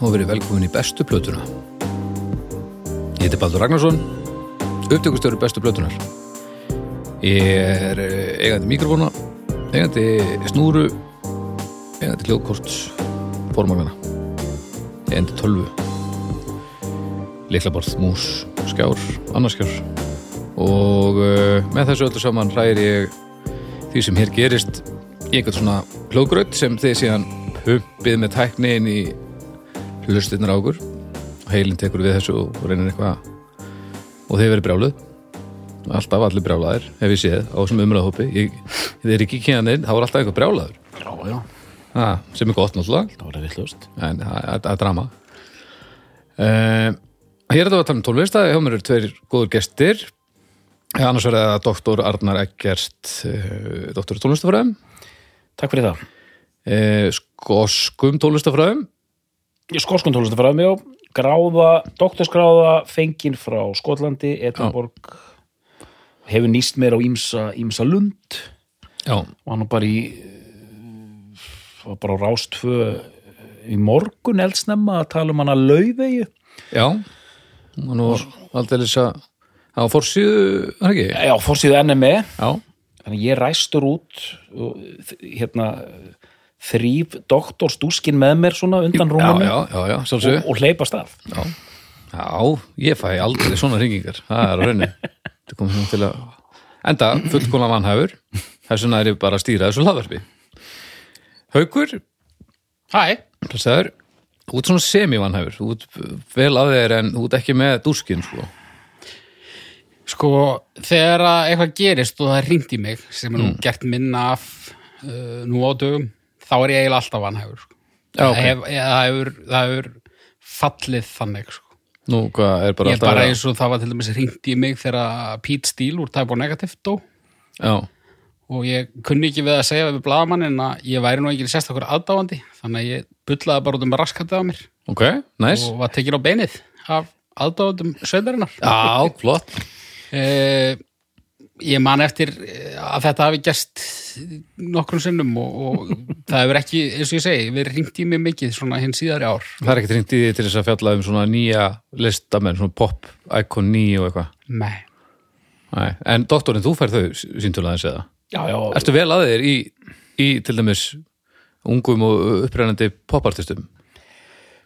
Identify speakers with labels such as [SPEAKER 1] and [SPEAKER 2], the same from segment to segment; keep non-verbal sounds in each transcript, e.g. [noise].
[SPEAKER 1] og verið velkomin í bestu plötuna. Ég heiti Baldur Ragnarsson, upptökustöru bestu plötunar. Ég er eh, eigandi mikrofóna, eigandi snúru, eigandi hljóðkorts, formagana, eigandi tölvu, liklaborð, mús, skjár, annarskjár og uh, með þessu öllu saman hræðir ég því sem hér gerist í einhvern svona hljóðgröð sem þið síðan pumpið með tækni inn í hlustirnar á okkur og heilin tekur við þessu og reynir eitthvað og þið verið brjáluð alltaf allir brjálaðir hef ég séð á þessum umræðhópi ég, þið er ekki kynaninn, þá er alltaf eitthvað brjálaður
[SPEAKER 2] Já, já,
[SPEAKER 1] ha, sem er gott náttúrulega
[SPEAKER 2] það var það vittlust
[SPEAKER 1] en það það er drama uh, hér er þetta að tala um tónlist að hjá mér eru tveir góður gestir Eh, annars er það doktor Arnar Eggert uh, doktor tónlistafræðum
[SPEAKER 2] Takk fyrir það
[SPEAKER 1] uh, skoskum tónlistafræðum
[SPEAKER 2] Ég Skoskun tónlistu frá mig á Gráða, doktorsgráða, fengin frá Skotlandi, Edinborg Hefur nýst mér á Ímsa, Ímsa Lund
[SPEAKER 1] já,
[SPEAKER 2] Og hann var bara í eh, Var bara á rástfö Í morgun eldsnemma að tala um hana laufegi
[SPEAKER 1] já og nú aldrei þess að það var forsýðu, er það ekki?
[SPEAKER 2] Já, fórsýðu NME
[SPEAKER 1] já,
[SPEAKER 2] E. Þannig að ég ræstur út og, þ- hérna þrýf doktorstúskin með mér svona undan
[SPEAKER 1] já,
[SPEAKER 2] rúminu
[SPEAKER 1] já, já, já sjálfsög
[SPEAKER 2] og, og hleypast af
[SPEAKER 1] Já, ég fæ aldrei svona hringingar Það er á rauninu [laughs] Þetta kom svona til að Enda, fullkona mannhæfur Þess vegna er ég bara að stýra þessu hlaðverfi Haukur,
[SPEAKER 3] Hæ,
[SPEAKER 1] blessaður Þú ert svona semi-mannhæfur Þú ert vel að þeir en þú ert ekki með dúskin sko.
[SPEAKER 3] sko þegar að eitthvað gerist og það er hringt í mig sem er
[SPEAKER 1] Mm.
[SPEAKER 3] nú gert minna af uh, nú á dögum, þá er ég eiginlega alltaf vanhæfur sko.
[SPEAKER 1] Já, ok.
[SPEAKER 3] það, hef, ég, það, hefur, það hefur fallið þannig sko.
[SPEAKER 1] Nú, hvað er bara
[SPEAKER 3] ég er bara
[SPEAKER 1] að-
[SPEAKER 3] eins og það var til dæmis hringt í mig þegar að Pete Steele úr Type O Negative dó
[SPEAKER 1] Já,
[SPEAKER 3] og ég kunni ekki við að segja við blaðamannin að ég væri nú ekki sérstakur aðdáandi þannig að ég bullaði bara út um raskatið á mér
[SPEAKER 1] ok, næs
[SPEAKER 3] og var tekin á beinið af aðdáðum sveitarinnar
[SPEAKER 1] Já, flott
[SPEAKER 3] Eh, ég man eftir eh, að þetta hafi gæst nokkrum sinnum og, og
[SPEAKER 1] [laughs]
[SPEAKER 3] það hefur ekki, eins og ég segi, við ringt í mig mikið svona hinn síðari ár.
[SPEAKER 1] Það er ekki hringt í því til þess að fjalla um svona nýja listamenn, svona pop, icon ný og eitthvað
[SPEAKER 3] Nei.
[SPEAKER 1] Nei, En doktorinn, þú fær þau síntulega eins eða?
[SPEAKER 2] Já, já,
[SPEAKER 1] Ertu vel að þér í, í til dæmis ungum og upprennandi popartistum?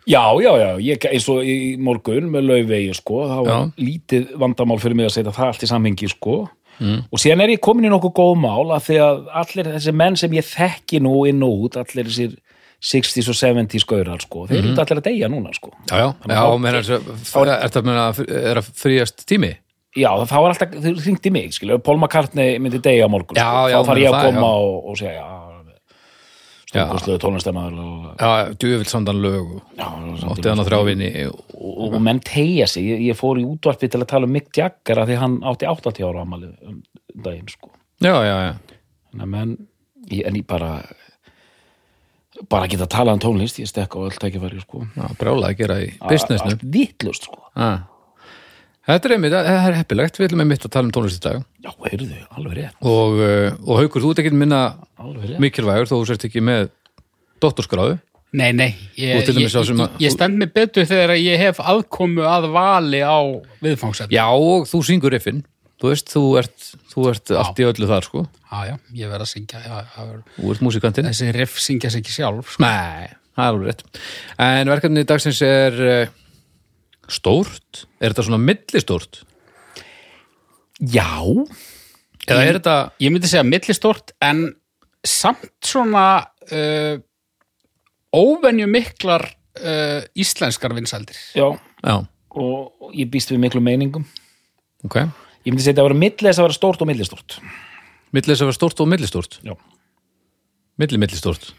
[SPEAKER 2] Já, já, já, ég, eins og í morgun með laufvegi, sko, það var
[SPEAKER 1] Já.
[SPEAKER 2] lítið vandamál fyrir mig að setja það allt í samhengi, sko. Mm. Og síðan er ég komin í nokkuð góð mál að því að allir þessi menn sem ég þekki nú inn og út, allir þessir 60s og 70s gaurar, sko, þeir
[SPEAKER 1] Mhm.
[SPEAKER 2] eru allir að deyja núna, sko.
[SPEAKER 1] Já, já. Já, meina þess að, er það meina að er að fríast tími?
[SPEAKER 2] Já, það- það var alltaf, þau hringdi í mig, skilja, Paul McCartney myndi deyja á morgun,
[SPEAKER 1] Já,
[SPEAKER 2] sko.
[SPEAKER 1] já,
[SPEAKER 2] þá þarf ég
[SPEAKER 1] meina
[SPEAKER 2] að
[SPEAKER 1] það,
[SPEAKER 2] koma
[SPEAKER 1] já.
[SPEAKER 2] og, og segja, já, stundgóðslöðu tónlistamæður og,
[SPEAKER 1] Já, djöfild samdan lög og
[SPEAKER 2] já, samt-
[SPEAKER 1] átti hann að þrjávinni og
[SPEAKER 2] og, og menn tegja sig, ég, ég fór í útvarpi til að tala um Mick Jagger að því hann átti 80 ára amalið um daginn sko
[SPEAKER 1] Já, já, já.
[SPEAKER 2] Þannig að menn, ég, en ég bara bara geta að tala um tónlist ég stekka á öll tækifæri sko
[SPEAKER 1] Já, brjálað að gera í businessnum.
[SPEAKER 2] allt vitlust sko
[SPEAKER 1] Já. Þetta er einmitt, það er heppilegt, við ætlum einmitt að tala um tónlist í dag
[SPEAKER 2] já, heyrðu, alveg rétt,
[SPEAKER 1] og, uh, og Haukur, þú ert ekki minna
[SPEAKER 2] alveg rétt
[SPEAKER 1] mikilvægur þó þú sért ekki með dóttorskráðu.
[SPEAKER 3] Nei, nei,
[SPEAKER 1] Og
[SPEAKER 3] ég,
[SPEAKER 1] til
[SPEAKER 3] ég,
[SPEAKER 1] dæmis sá sem
[SPEAKER 3] ég,
[SPEAKER 1] að-
[SPEAKER 3] ég stend mig betur þegar að ég hef aðkomu að vali á viðfangsefni.
[SPEAKER 1] Já, og þú syngur riffin. Þú veist, þú ert, þú ert allt í öllu þar, sko.
[SPEAKER 3] Já, já, ég verð að syngja, já, já, já.
[SPEAKER 1] Þú ert músikantinn.
[SPEAKER 3] þessi riff syngja sig ekki sjálf. Sko.
[SPEAKER 1] Nei, það er alveg rétt. En verkefni dagsins er eh, stórt? Er þetta svona millistórt?
[SPEAKER 2] já,
[SPEAKER 1] Eða er þetta...
[SPEAKER 3] Ég myndi segja millistort en samt svona uh, óvenju miklar uh, íslenskar vinsældir.
[SPEAKER 2] já
[SPEAKER 1] Já,
[SPEAKER 2] og ég býst við miklu meiningum
[SPEAKER 1] ok.
[SPEAKER 2] ég myndi segja að vera milli þess að vera stórt og millistort
[SPEAKER 1] Millis að vera stórt og millistórt?
[SPEAKER 2] Já.
[SPEAKER 1] Milli, millistórt.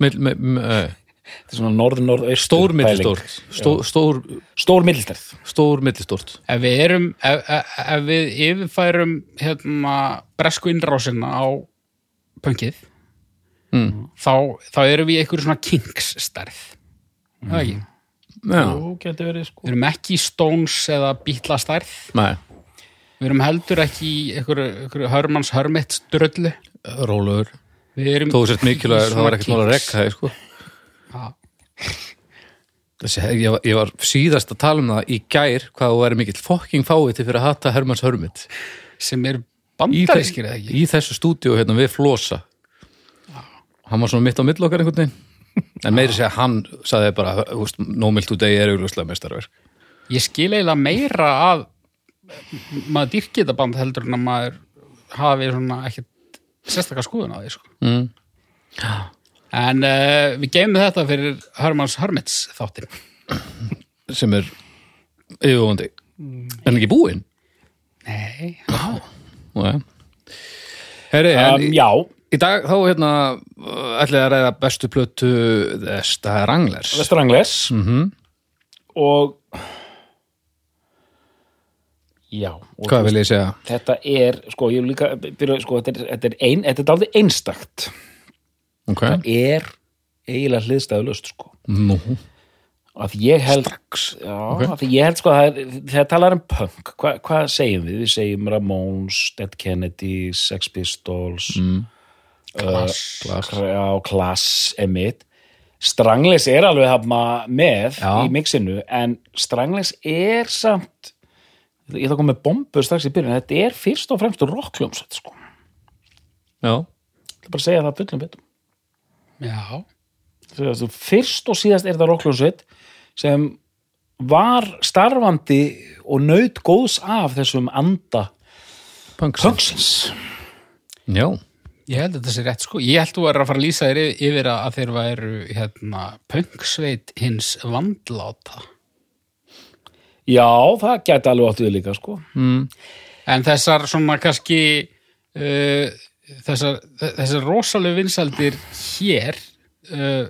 [SPEAKER 1] Mill, me, me, eh,
[SPEAKER 2] þetta er svona norð-norð
[SPEAKER 1] Stór millistort Stór, stór,
[SPEAKER 2] stór millistærð
[SPEAKER 1] stór millistort
[SPEAKER 3] Ef við erum, ef, ef, ef við yfirfærum hérna bresku innrásina á pönkið,
[SPEAKER 1] Mm.
[SPEAKER 3] þá, þá erum við í einhverju svona kingsstærð. Það ekki?
[SPEAKER 1] Mm. Já,
[SPEAKER 2] Jú, getur verið sko
[SPEAKER 3] Við erum ekki í Stones eða Bítlastærð.
[SPEAKER 1] nei
[SPEAKER 3] Við erum heldur ekki í einhverju, einhverju Hörmanns Hörmett dröllu.
[SPEAKER 1] Rólaður
[SPEAKER 3] Við erum
[SPEAKER 1] Þó þú sért mikilvægur,
[SPEAKER 3] í
[SPEAKER 1] það var ekkert mál að
[SPEAKER 3] kings.
[SPEAKER 1] rekka það, sko.
[SPEAKER 3] Já.
[SPEAKER 1] Þessi, ég, var- ég var síðast að tala um það í gær hvað þú væri mikill fokking fáið til fyrir að hata Hermanns Hörmynd
[SPEAKER 3] Sem er
[SPEAKER 1] í,
[SPEAKER 3] bandarískir eða ekki?
[SPEAKER 1] í þessu stúdíu hérna við Flosa hann var svona mitt á mill okkar einhvern veginn en meiri segja hann sagði bara þú veist, No Milk Today er augljóslega mestarverk
[SPEAKER 3] Ég skil eiginlega meira að maður dýrki þetta band heldur en að maður hafi svona ekkert sérstakar skoðun á því, sko.
[SPEAKER 1] mm.
[SPEAKER 3] En uh, við geymum þetta fyrir Hermanns Hermits þáttin.
[SPEAKER 1] sem er yfirvóðandi er hann ekki búinn?
[SPEAKER 3] Nei.
[SPEAKER 1] Nei. Herri, en
[SPEAKER 2] um, Já,
[SPEAKER 1] í dag þá hérna ætlaði að ræða bestu plötu Þesta Ranglers
[SPEAKER 2] Vestur Angles
[SPEAKER 1] Mhm.
[SPEAKER 2] og Já og
[SPEAKER 1] Hvað vil ég segja?
[SPEAKER 2] Þetta er, sko, ég vil líka byrja, sko, þetta er, þetta er ein, þetta er dálítið einstakt
[SPEAKER 1] Ok,
[SPEAKER 2] Það er eiginlega hliðstæðulust, sko
[SPEAKER 1] nú
[SPEAKER 2] að ég held já, að því ég held sko að það er- þegar talar um punk, hva, hvað segjum við? Við segjum Ramones, Dead Kennedy Sex Pistols mm.
[SPEAKER 3] Klass.
[SPEAKER 1] Glass.
[SPEAKER 2] já, Klass, Emmitt Strangles er alveg hafna með
[SPEAKER 1] Já.
[SPEAKER 2] í mixinu, en Strangles er samt ég ætla að koma með bombu strax í byrjun þetta er fyrst og fremst rockljómsveit sko. ég
[SPEAKER 1] Já,
[SPEAKER 2] ætla bara að segja það fullum betum
[SPEAKER 3] Já.
[SPEAKER 2] Þegar þú- fyrst og síðast er þetta rockljómsveit sem var starfandi og naut góðs af þessum anda
[SPEAKER 1] punks
[SPEAKER 2] punksins
[SPEAKER 1] Já,
[SPEAKER 3] Ég held að þetta sé rétt sko. Ég held þú er að fara að lýsa þér yfir- yfir að að þeir væru hérna, pöngsveit hins vandláta.
[SPEAKER 2] já, það gæti alveg átt við líka sko.
[SPEAKER 3] En þessar svona kannski uh, þessar, þessar rosalegu vinsaldir hér uh,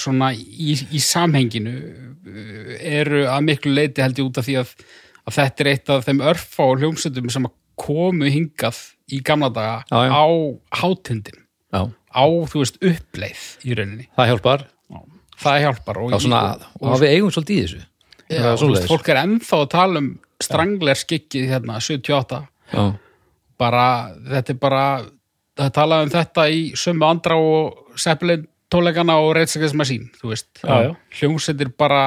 [SPEAKER 3] svona í, í samhenginu uh, eru að miklu leiti held ég út af því að, að þetta er eitt af þeim örfá hljómsveitum sem að komu hingað í gamla daga
[SPEAKER 1] Já, já.
[SPEAKER 3] á hátindin
[SPEAKER 1] já,
[SPEAKER 3] á, þú veist, uppleið í rauninni.
[SPEAKER 1] það hjálpar
[SPEAKER 3] Það hjálpar og,
[SPEAKER 1] Já, svona að, og við eigum svolítið í þessu
[SPEAKER 3] já,
[SPEAKER 1] það er
[SPEAKER 3] þú veist,
[SPEAKER 1] svoleiðis.
[SPEAKER 3] fólk er ennþá að tala um strangler skikkið hérna 78
[SPEAKER 1] Já,
[SPEAKER 3] bara, þetta er bara það talaði um þetta í sömu andra og seppelin tólegana og reitsakins masín, þú veist
[SPEAKER 2] Já, já.
[SPEAKER 3] hljómsveitir bara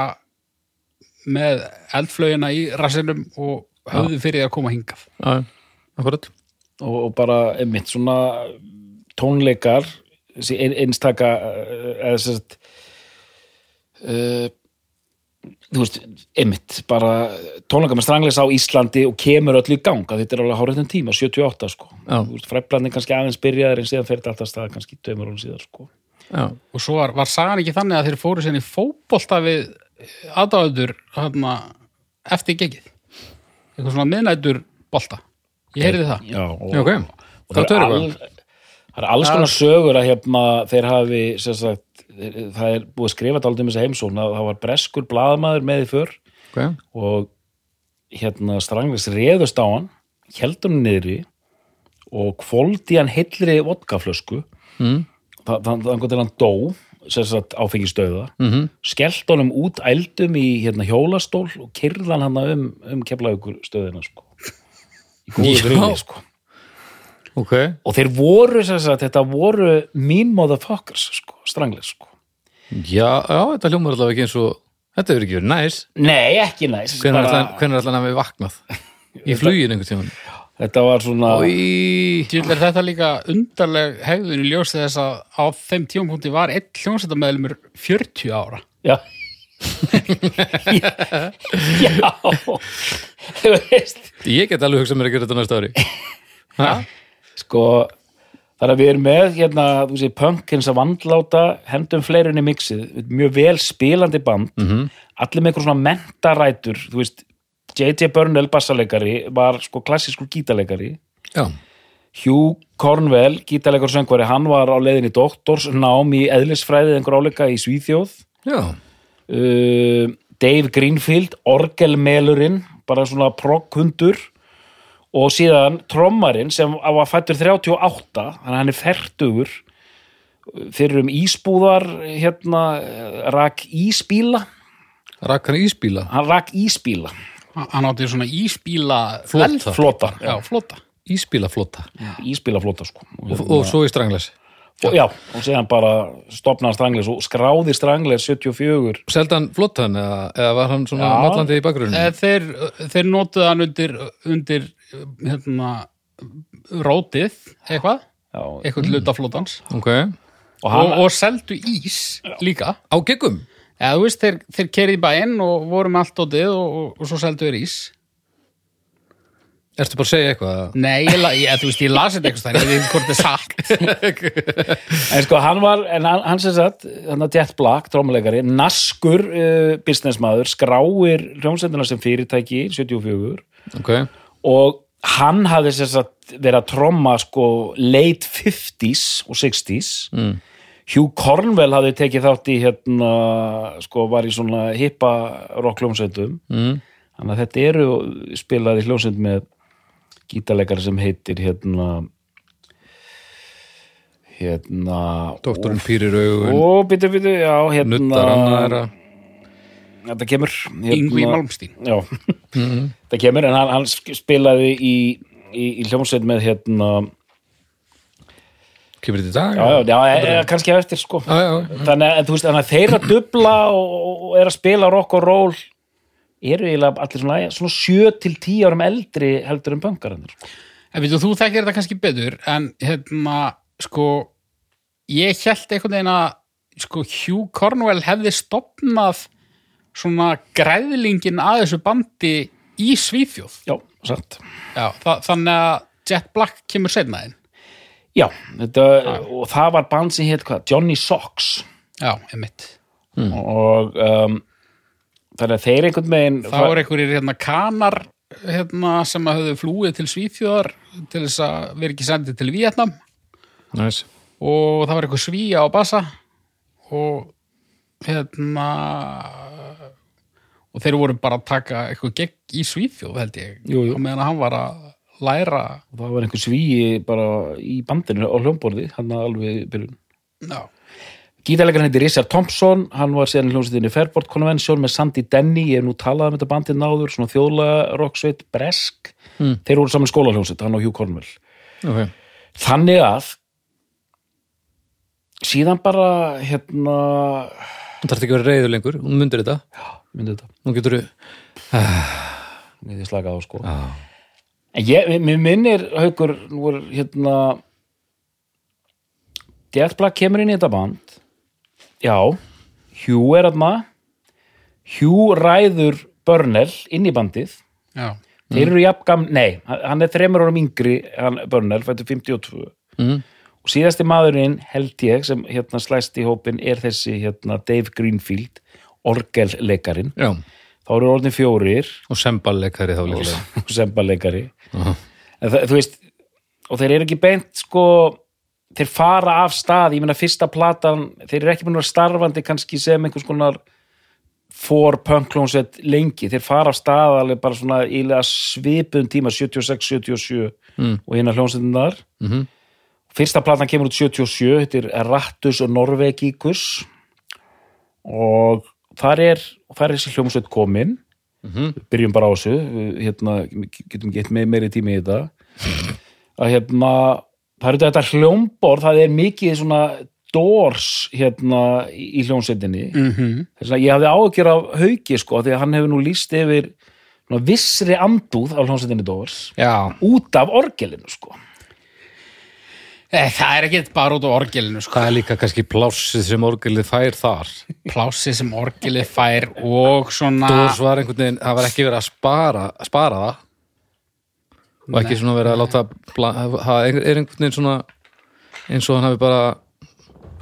[SPEAKER 3] með eldflögina í rassinum og höfðu fyrir því að koma hingað
[SPEAKER 1] já, akkurat
[SPEAKER 2] og, og bara einmitt svona tónleikar þessi ein- einstaka eh, eða sérst uh, þú veist, einmitt bara tónleikar með strangleis á Íslandi og kemur öllu í gang að þetta er alveg hárreitum tíma, 78 sko
[SPEAKER 1] Já.
[SPEAKER 2] Þú veist, fræflarnir kannski aðeins byrjaðir en síðan fer þetta alltaf af stað kannski tveimur hún síðar sko
[SPEAKER 1] Já,
[SPEAKER 3] og svo var, var sagan ekki þannig að þeir fóru sérni fótbolta við aðdáðudur hérna, eftir gegið eitthvað svona miðnættur bolta ég heyrði það
[SPEAKER 2] Já, og,
[SPEAKER 1] já ok
[SPEAKER 2] og
[SPEAKER 1] Það
[SPEAKER 2] það, er
[SPEAKER 1] er
[SPEAKER 2] all, það er alls konar sögur að hefna, þeir hafi sem sagt, þeir- það er búið að skrifa dálítið um þessa heimsókn að það var breskur blaðamaður með í för
[SPEAKER 1] eitthvað
[SPEAKER 2] og hérna stranglis réðust á hann held hann niðri og kvóldi hann heillri vodkaflösku
[SPEAKER 1] Mm.
[SPEAKER 2] Þa- þa- þannig til hann dó sem sagt áfengisdauða mm -hmm. skellt honum út ældum í hérna, hjólastól og kyrðan hann um, um keflaugur stöðina sko. í góðu
[SPEAKER 1] Já.
[SPEAKER 2] grunni sko.
[SPEAKER 1] Ok,
[SPEAKER 2] og þeir voru sem sagt, þetta voru mean motherfuckers sko, stranglis sko.
[SPEAKER 1] já, já, þetta hljómar allavega ekki eins og Þetta hefur ekki verið næs
[SPEAKER 2] nei ekki næs
[SPEAKER 1] Hvenær
[SPEAKER 2] bara-
[SPEAKER 1] ætla hann að við vaknað? Í flugin einhvern tímann
[SPEAKER 2] þetta var svona
[SPEAKER 1] Í...
[SPEAKER 3] Djöfull er þetta líka undarleg hegðun í ljósi þess að á þeim tímapunkti var einn hljómsveitamæðlumur 40 ára.
[SPEAKER 2] Já Já Þú veist
[SPEAKER 1] Ég get alveg hugsað mér að gera þetta næsta ári Ha?
[SPEAKER 2] Sko þar að við erum með hérna, þú sé, punk hins að vandláta hendum fleirinn í mixið, mjög vel spilandi band, -hmm. allir með eitthvað svona mentarætur, þú veist J.J. Burnell bassaleikari var sko klassískur gítarleikari
[SPEAKER 1] Já,
[SPEAKER 2] Hugh Cornwell, gítalegur söngvari, hann var á leiðin í doktorsnám í eðlisfræðið einhver áleika í Svíþjóð.
[SPEAKER 1] Já,
[SPEAKER 2] uh, Dave Greenfield orgelmelurinn, bara svona progghundur og síðan trommarinn sem var fættur 38, þannig að hann er fertugur fyrir um ísbúðar hérna, eh, rak ísbíla
[SPEAKER 1] rakkar ísbíla
[SPEAKER 2] hann rak ísbíla
[SPEAKER 3] Hann átti svona ísbíla
[SPEAKER 1] Flota.
[SPEAKER 3] eld-
[SPEAKER 2] flota,
[SPEAKER 3] Já, flota
[SPEAKER 1] Ísbílaflota
[SPEAKER 2] ísbíla flota sko
[SPEAKER 1] og, og svo í strangles
[SPEAKER 2] og, já, og síðan bara stopnaði strangleir og skráði strangleir 74
[SPEAKER 1] Seldan flotan eða, eða var hann svona
[SPEAKER 2] Já.
[SPEAKER 1] mallandi í
[SPEAKER 2] Mm.
[SPEAKER 1] bakgrunni?
[SPEAKER 3] Eh, Þeir, þeir notuðu hann undir, undir hérna, rótið, eitthvað,
[SPEAKER 2] já,
[SPEAKER 3] eitthvað hlutaflótans
[SPEAKER 1] Ok,
[SPEAKER 2] Mm. og
[SPEAKER 3] Eh, og,
[SPEAKER 2] hann
[SPEAKER 3] og seldu ís líka.
[SPEAKER 1] á geggum
[SPEAKER 3] Eða þú veist, þeir, þeir kerið í bæinn og voru með allt dótið og, og, og svo seldu þeir ís.
[SPEAKER 1] Ertu bara að segja eitthvað?
[SPEAKER 3] Nei, ég, la- ég, þú veist, ég lasi þetta eitthvað stær, ég veit ekki hvort það er satt.
[SPEAKER 2] En sko, hann var, en hann, hann sem sagt, hann að Jet Black, trómuleikari, naskur uh, businessmaður, skráir hljómsendina sem fyrirtæki, 74,
[SPEAKER 1] Ok,
[SPEAKER 2] og hann hafði sem sagt verið að tromma sko late 50s og 60s. Mm. Hugh Cornwell hafði tekið þátt í hérna, sko, var í svona hippa rock hljómsendum.
[SPEAKER 1] mm.
[SPEAKER 2] Þannig að þetta eru spilaði hljómsend með gítarleikari sem heitir hérna, hérna,
[SPEAKER 1] doktorinn pýrir augun
[SPEAKER 2] Ó, býtu, býtu, já, hérna
[SPEAKER 1] Nuttar hann aðra
[SPEAKER 2] Þetta kemur hérna,
[SPEAKER 3] Yngvi Malmstín.
[SPEAKER 2] Já, þetta kemur en hann, hann spilaði í, í, í hljómsveit með hérna
[SPEAKER 1] Kemur þetta í dag?
[SPEAKER 2] Já, já, já, e, e, kannski á eftir sko
[SPEAKER 1] já, já.
[SPEAKER 2] Þannig að þú veist, þannig að þeir að dubla og, og- og er að spila rock og roll eru eiginlega allir svona, ja, svona 7 til 10 árum eldri heldur en bankarannir sko.
[SPEAKER 3] En veitum, þú þekkir þetta kannski betur, en hérna, sko, ég held einhvern veginn að, sko, Hugh Cornwell hefði stopnað svona græðlingin að þessu bandi í Svíþjóð.
[SPEAKER 2] Já, satt
[SPEAKER 3] Já, þa þannig að Jet Black kemur setna þinn.
[SPEAKER 2] Já, þetta, og það var band sem hétt hvað, Johnny Socks
[SPEAKER 3] Já, emitt.
[SPEAKER 2] og um, þannig að þeir einhvern veginn
[SPEAKER 3] Það voru einhverjir hérna kanar hérna, sem að höfðu flúið til Svíþjóðar til þess að vera ekki sendið til Vietnam
[SPEAKER 1] Nice.
[SPEAKER 3] og það var einhver svíja á bassa og hérna og þeir voru bara að taka eitthvað gegn í Svíþjóð held ég
[SPEAKER 2] Jú, jú.
[SPEAKER 3] og meðan hann var að læra
[SPEAKER 2] og það var einhver svíi bara í bandinu á hljómborði, hann að alveg í byrjun.
[SPEAKER 3] já,
[SPEAKER 2] Gítarleikarinn heitir Richard Thompson, hann var síðan í hljómsveitinni Fairport Convention með Sandy Denny, ég hef nú talað um þetta bandið náður, svona þjóðlega rocksveit, bresk, þeir voru saman skóla hljómsveit, hann og Hugh Cornwell.
[SPEAKER 1] Okay.
[SPEAKER 2] Þannig að síðan bara, hérna,
[SPEAKER 1] Þú þarft ekki að vera reyður lengur, hún myndir þetta
[SPEAKER 2] myndi þetta,
[SPEAKER 1] Nú getur þú
[SPEAKER 2] myndi slakað á sko. En ég, mér- mér minnir, haukur, nú er hérna, Death Black kemur inn í þetta band já, Hugh er aðna Hugh ræður Börnell inn í bandið
[SPEAKER 3] já,
[SPEAKER 2] þeir eru jafn gam, nei, hann er þremur árum yngri hann Börnell, fættu 52
[SPEAKER 1] mm.
[SPEAKER 2] og síðasti maðurinn held ég sem hérna slæst í hópin er þessi hérna Dave Greenfield orgelleikarin,
[SPEAKER 1] Já,
[SPEAKER 2] þá eru orðin fjórir
[SPEAKER 1] og semballeikari þá líklega
[SPEAKER 2] [laughs] sembaleikari en það, þú veist og þeir eru ekki beint sko þeir fara af stað, ég meina fyrsta platan þeir eru ekki búin að vera starfandi kannski sem einhvers konar for punk klónsveit lengi, þeir fara af stað alveg bara svona ílega svipum tíma 76, 77 mm. og hérna hljónsveitinnar mm -hmm. fyrsta platan kemur út 77 hittir Rattus og Norvegikus og þar er, þar er þessi hljómsveit komin byrjum bara á þessu við, hérna, getum gett með meiri tími í þetta að hérna það eru þetta hljómbor, það er mikið svona dors hérna í í hljómsveitinni mm -hmm. þess að ég hafði áhyggjur af hauki sko af því að hann hefur nú líst yfir svona, vissri andúð á hljómsveitinni dors
[SPEAKER 3] já.
[SPEAKER 2] út af orgelinu sko
[SPEAKER 3] Eh, það er ekkert bara út á orgelinu sko.
[SPEAKER 1] Það er líka kannski plássið sem orgelið fær þar
[SPEAKER 3] plássi sem orgelið fær og svona
[SPEAKER 1] Dórs var einhvern veginn, það var ekki verið að spara, spara það og ekki svona verið að láta bla- það er einhvern veginn svona eins og hann hafi bara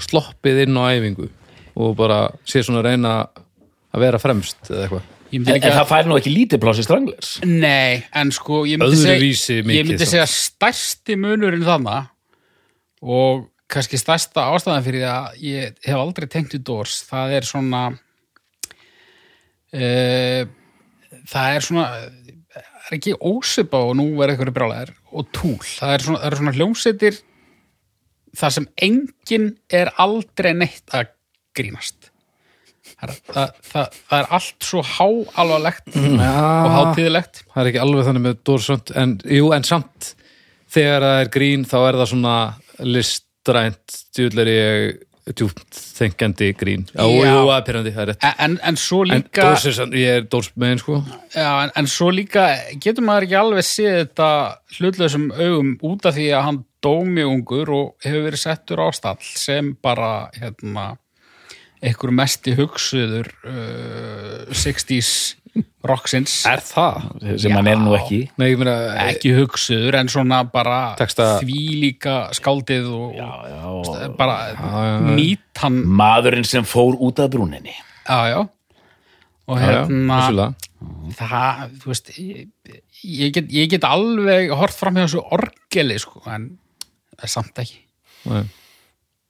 [SPEAKER 1] sloppið inn á æfingu og bara sé svona að reyna að vera fremst eða eitthvað
[SPEAKER 3] Ég myndi
[SPEAKER 2] en,
[SPEAKER 3] líka-
[SPEAKER 2] en það fær nú ekki lítið plási stranglers
[SPEAKER 3] Nei, en sko ég myndi
[SPEAKER 1] Öðruvísi
[SPEAKER 3] segja,
[SPEAKER 1] mikið
[SPEAKER 3] ég myndi
[SPEAKER 1] samt.
[SPEAKER 3] segja stærsti munurinn þarna og kannski stærsta ástæðan fyrir því að ég hef aldrei tengt í Doors það er svona uh, það er svona er ekki ósipa og nú er eitthvað brjálæðir og túl, það er svona, það er svona hljómsveitir þar sem enginn er aldrei neitt að grínast það, er- það, það, það er allt svo háalvarlegt
[SPEAKER 1] Mm.
[SPEAKER 3] og hátíðilegt
[SPEAKER 1] það er ekki alveg þannig með Dórsönd en jú, en samt þegar það er grín þá er það svona listrænt djúðlega ég djúpt þengjandi grín já,
[SPEAKER 3] Já.
[SPEAKER 1] jú, að pyrrandi, það er rétt
[SPEAKER 3] En- en, en svo
[SPEAKER 1] en
[SPEAKER 3] líka
[SPEAKER 1] Dórs er sann, ég er Dórs með einn sko
[SPEAKER 3] Já, en, en svo líka getur maður ekki alveg séð þetta hlutlausum augum út af því að hann dómi ungur og hefur verið settur á stall sem bara hérna, einhver mesti hugsuður uh, 60s rocksins
[SPEAKER 1] er það?
[SPEAKER 2] sem hann er nú ekki
[SPEAKER 1] Nei, ég meina, eh,
[SPEAKER 3] ekki hugsuður en svona bara
[SPEAKER 1] Texta-
[SPEAKER 3] því líka skáldið og,
[SPEAKER 2] já,
[SPEAKER 3] og bara nýtt hann
[SPEAKER 2] maðurinn sem fór út af brúninni
[SPEAKER 3] já, já. og
[SPEAKER 1] já, já,
[SPEAKER 3] hérna
[SPEAKER 1] vissulega.
[SPEAKER 3] það, þú veist ég, ég, get, ég get alveg hort fram hjá þessu orgeli, sko, en eh, samt ekki.
[SPEAKER 1] Nei.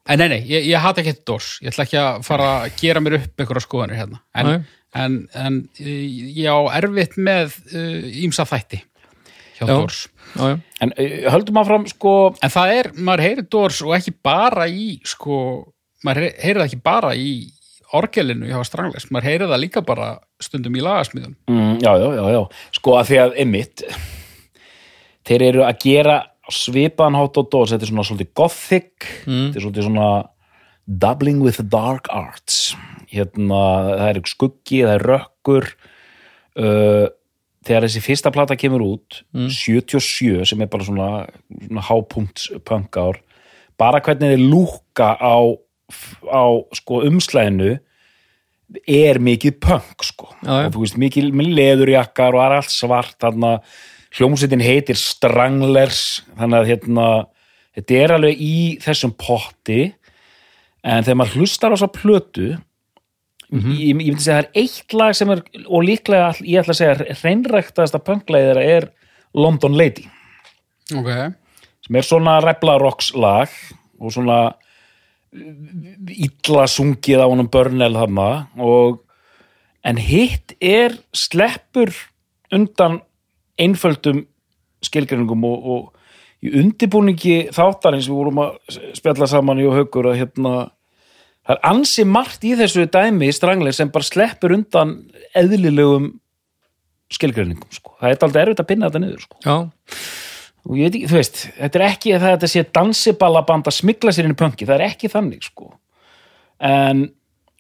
[SPEAKER 3] En nei, nei, ég, ég hata ekki dós, ég ætla ekki að fara að gera mér upp einhverja skoðanir hérna, en,
[SPEAKER 1] Nei.
[SPEAKER 3] en, en eh, ég á erfitt með uh, ímsa þætti hjá
[SPEAKER 1] Já.
[SPEAKER 3] dós.
[SPEAKER 1] Já, já.
[SPEAKER 2] en eh, höldum áfram sko
[SPEAKER 3] En það er, maður heyri dós og ekki bara í, sko, maður heyri, heyri það ekki bara í orgelinu hjá Strangles, maður heyri það líka bara stundum í lagasmiðun.
[SPEAKER 2] Mm, já, já, já, já, sko að því að einmitt, þeir eru að gera svipaðan hátt og dós, þetta er svona svolítið gothic, þetta er svolítið svona doubling with the dark arts, hérna, það er skuggi, það er rökkur, uh, þegar þessi fyrsta plata kemur út, 77, sem er bara svona, svona hápunkt pönkár, bara hvernig þeir lúka á, á sko umslæðinu, er mikið punk sko
[SPEAKER 1] Já, já.
[SPEAKER 2] og þú veist mikið með leðurjakkar og það er allt svart þarna hljómsveitin heitir Stranglers þannig að hérna þetta er alveg í þessum potti en þegar maður hlustar á þessa plötu
[SPEAKER 1] Mhm.
[SPEAKER 2] ég, ég myndi segja að það er eitt lag sem er og líklega all- ég ætla að segja hreinræktaðasta punklegið þeirra er London Lady
[SPEAKER 3] Ok,
[SPEAKER 2] sem er svona replarocks lag og svona illa sungið á honum Börnel þarna og en hitt er sleppur undan einföldum skilgreiningum og, og í undibúningi þáttarins við vorum að spjalla saman í og haukur að hérna það er ansi margt í þessu dæmi strangleir sem bara sleppur undan eðlilegum skilgreiningum sko. það er aldrei erfitt að pinna þetta niður sko
[SPEAKER 1] já,
[SPEAKER 2] og ég veit ekki, þú veist, þetta er ekki að þetta sé dansiballaband að smikla sér inn í pönki, það er ekki þannig sko en,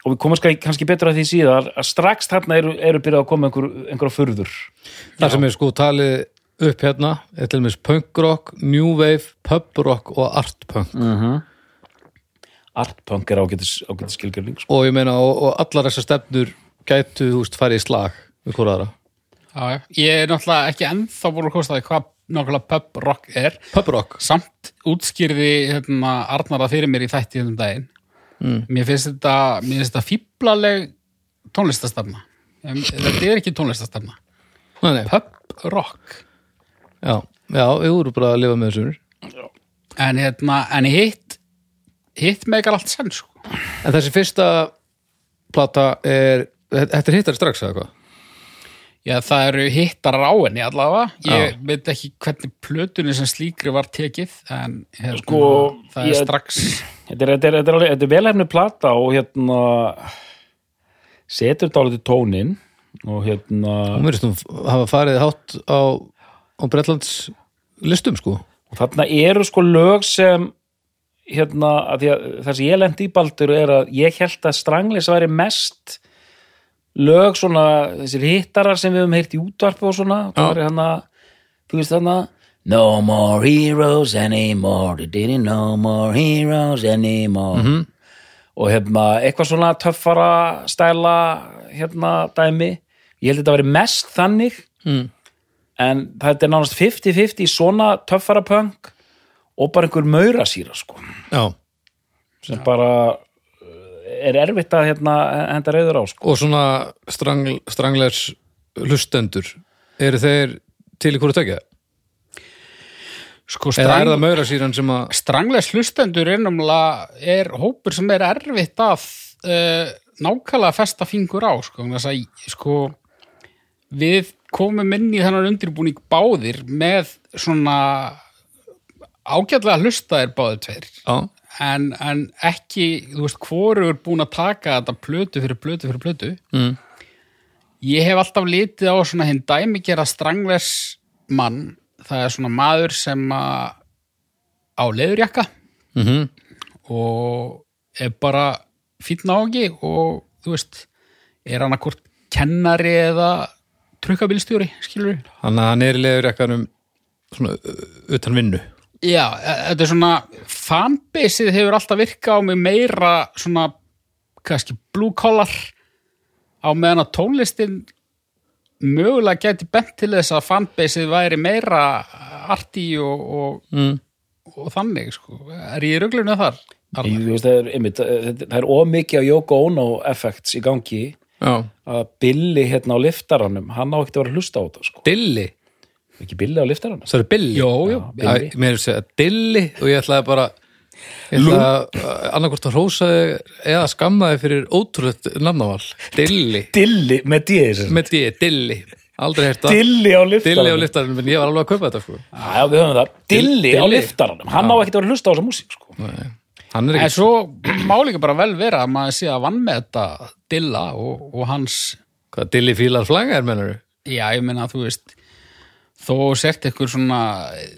[SPEAKER 2] og við komum skal- kannski betur að því síðar að strax þarna eru, eru byrjað að koma einhver, einhverja furður
[SPEAKER 1] það sem er sko talið upp hérna er til dæmis punkrock, new wave pubrock og artpunk
[SPEAKER 2] artpönk er ágætis, ágætis skilgjörling sko.
[SPEAKER 1] og ég meina, og, og allar þessar stefnur gætu, þú veist, farið í slag við hvoraðra,
[SPEAKER 3] Já, já. ég er náttúrulega ekki ennþá búin að kosta því hvað nákvæmlega pub rock er
[SPEAKER 1] pubrock
[SPEAKER 3] samt útskýrði hérna, Arnar það fyrir mér í þætti þessum daginn
[SPEAKER 1] Mm.
[SPEAKER 3] mér finnst þetta, mér finnst þetta fíblaleg tónlistastarna þetta er ekki tónlistastarna
[SPEAKER 1] nei, nei,
[SPEAKER 3] pub rock
[SPEAKER 1] já, já, við vorum bara að lifa með þessu
[SPEAKER 3] en, hérna, en hitt hitt megar allt senn sko.
[SPEAKER 1] en þessi fyrsta plata er, þetta er hittari strax eða hvað?
[SPEAKER 3] Já, það eru hittar á henni allavega ég veit ekki hvernig plötunni sem slíkri var tekið en hérna,
[SPEAKER 2] Sko,
[SPEAKER 3] það er
[SPEAKER 2] ég-
[SPEAKER 1] [clears throat]
[SPEAKER 3] strax
[SPEAKER 2] þetta er, þetta er, þetta er, alveg- þetta er velhæfni plata og hérna setur dálítið tónin og hérna
[SPEAKER 1] hún verðist nú hafa farið hátt á, á Bretlands listum sko
[SPEAKER 2] og þarna eru sko lög sem hérna, að því að það sem ég lendi í Baldur er að ég held að Stranglis væri mest lög svona, þessir hittarar sem við höfum heyrt í útvarpi og svona það er hann að, þú veist þarna No more heroes anymore they didn't no more heroes anymore -hmm. og hérna, eitthvað svona töffara stæla, hérna, dæmi ég held að þetta væri mest þannig
[SPEAKER 1] Mm.
[SPEAKER 2] en þetta er nánast 50-50 svona töffara punk og bara einhver maurasýra sko
[SPEAKER 1] já,
[SPEAKER 2] sem bara uh, er erfitt að hérna, henda reyður á sko.
[SPEAKER 1] og svona strangl, stranglers lustendur eru þeir til í hverju tökja?
[SPEAKER 3] sko
[SPEAKER 1] Eða er það
[SPEAKER 3] strang,
[SPEAKER 1] maurasýran sem að
[SPEAKER 3] stranglega slustendur er námlega er hópur sem er erfitt að uh, nákvæmlega festa fingur á sko, vegna þess að, sko við komum inn í þennan undirbúning báðir með svona ágætlega hlustaðir báðir tveir
[SPEAKER 1] Já,
[SPEAKER 3] en, en ekki, þú veist, hvorur búin að taka þetta plötu fyrir plötu fyrir plötu
[SPEAKER 1] Mm.
[SPEAKER 3] ég hef alltaf litið á svona hinn dæmigera strangles mann, það er svona maður sem að á leðurjakka
[SPEAKER 1] mm
[SPEAKER 3] og er bara fínn áhengi og þú veist er hann akkvort kennari eða trukkabílstjóri, skilur við
[SPEAKER 1] hann, hann er í leður ekkanum svona ö- utan vinnu
[SPEAKER 3] Já, e- þetta er svona fanbaseið hefur alltaf virkað á mig meira svona kannski blue collar á meðan að tónlistin mögulega gæti bent til þess að fanbaseið væri meira arti og, og,
[SPEAKER 1] mm.
[SPEAKER 3] og þannig sko. Er ég rauglunni þar? Arnar?
[SPEAKER 2] Ég, þú veist, það, er, einmitt, eh, það það er ómikið á Yoko Ono effects í gangi
[SPEAKER 1] Já,
[SPEAKER 2] að Billy hérna á liftaranum hann á ekkert að vera að hlusta á þetta sko.
[SPEAKER 1] dilli
[SPEAKER 2] ekki Billy á liftaranum
[SPEAKER 1] Það er billi
[SPEAKER 3] Jó, jú.
[SPEAKER 1] Já,
[SPEAKER 2] Billy.
[SPEAKER 1] Mér er að segja dilli og ég ætlaði bara ég ætlaði að annarkvort að hrósa þig eða skamma þig fyrir ótrúlegt namnaval Dilli,
[SPEAKER 2] Dilly með dýðis
[SPEAKER 1] með því, dilli Aldrei hert að
[SPEAKER 2] Dilly á liftaranum
[SPEAKER 1] dilli á liftarinn, menn ég var alveg að kaupa þetta sko.
[SPEAKER 2] Já, já, við höfum það Dilly á
[SPEAKER 1] Dilly.
[SPEAKER 2] liftaranum hann á ekkert að vera að hlusta á þessa músík sko.
[SPEAKER 1] Hann er
[SPEAKER 3] En
[SPEAKER 1] ekki
[SPEAKER 3] svo má líka bara vel vera að maður sé að vann með þetta Dilla og, og hans
[SPEAKER 1] Hvað dilli fílar flangar, mennur
[SPEAKER 3] Já, ég meina, þú veist þó sért ykkur svona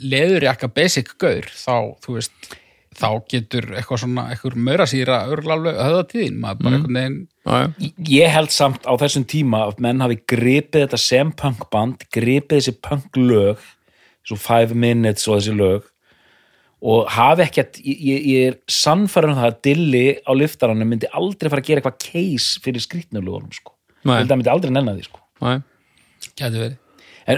[SPEAKER 3] leðurjakka basic gaur þá, þú veist, þá getur eitthvað svona, eitthvað maurasýra örglalveg höfða tíðin, maður bara einhvern veginn
[SPEAKER 1] Já, já
[SPEAKER 2] ég held samt á þessum tíma að menn hafi gripið þetta sem punkband gripið þessi punklög svo five minutes og þessi lög og hafi ekkert ég, ég- ég er sannfærin um það að Dilly á liftaranum myndi aldrei fara að gera eitthvað case fyrir skrýtnulögunum sko.
[SPEAKER 1] Nei.
[SPEAKER 2] Ég held að hann myndi aldrei nennan því sko.
[SPEAKER 1] Nei.
[SPEAKER 3] Gæti verið.
[SPEAKER 2] en,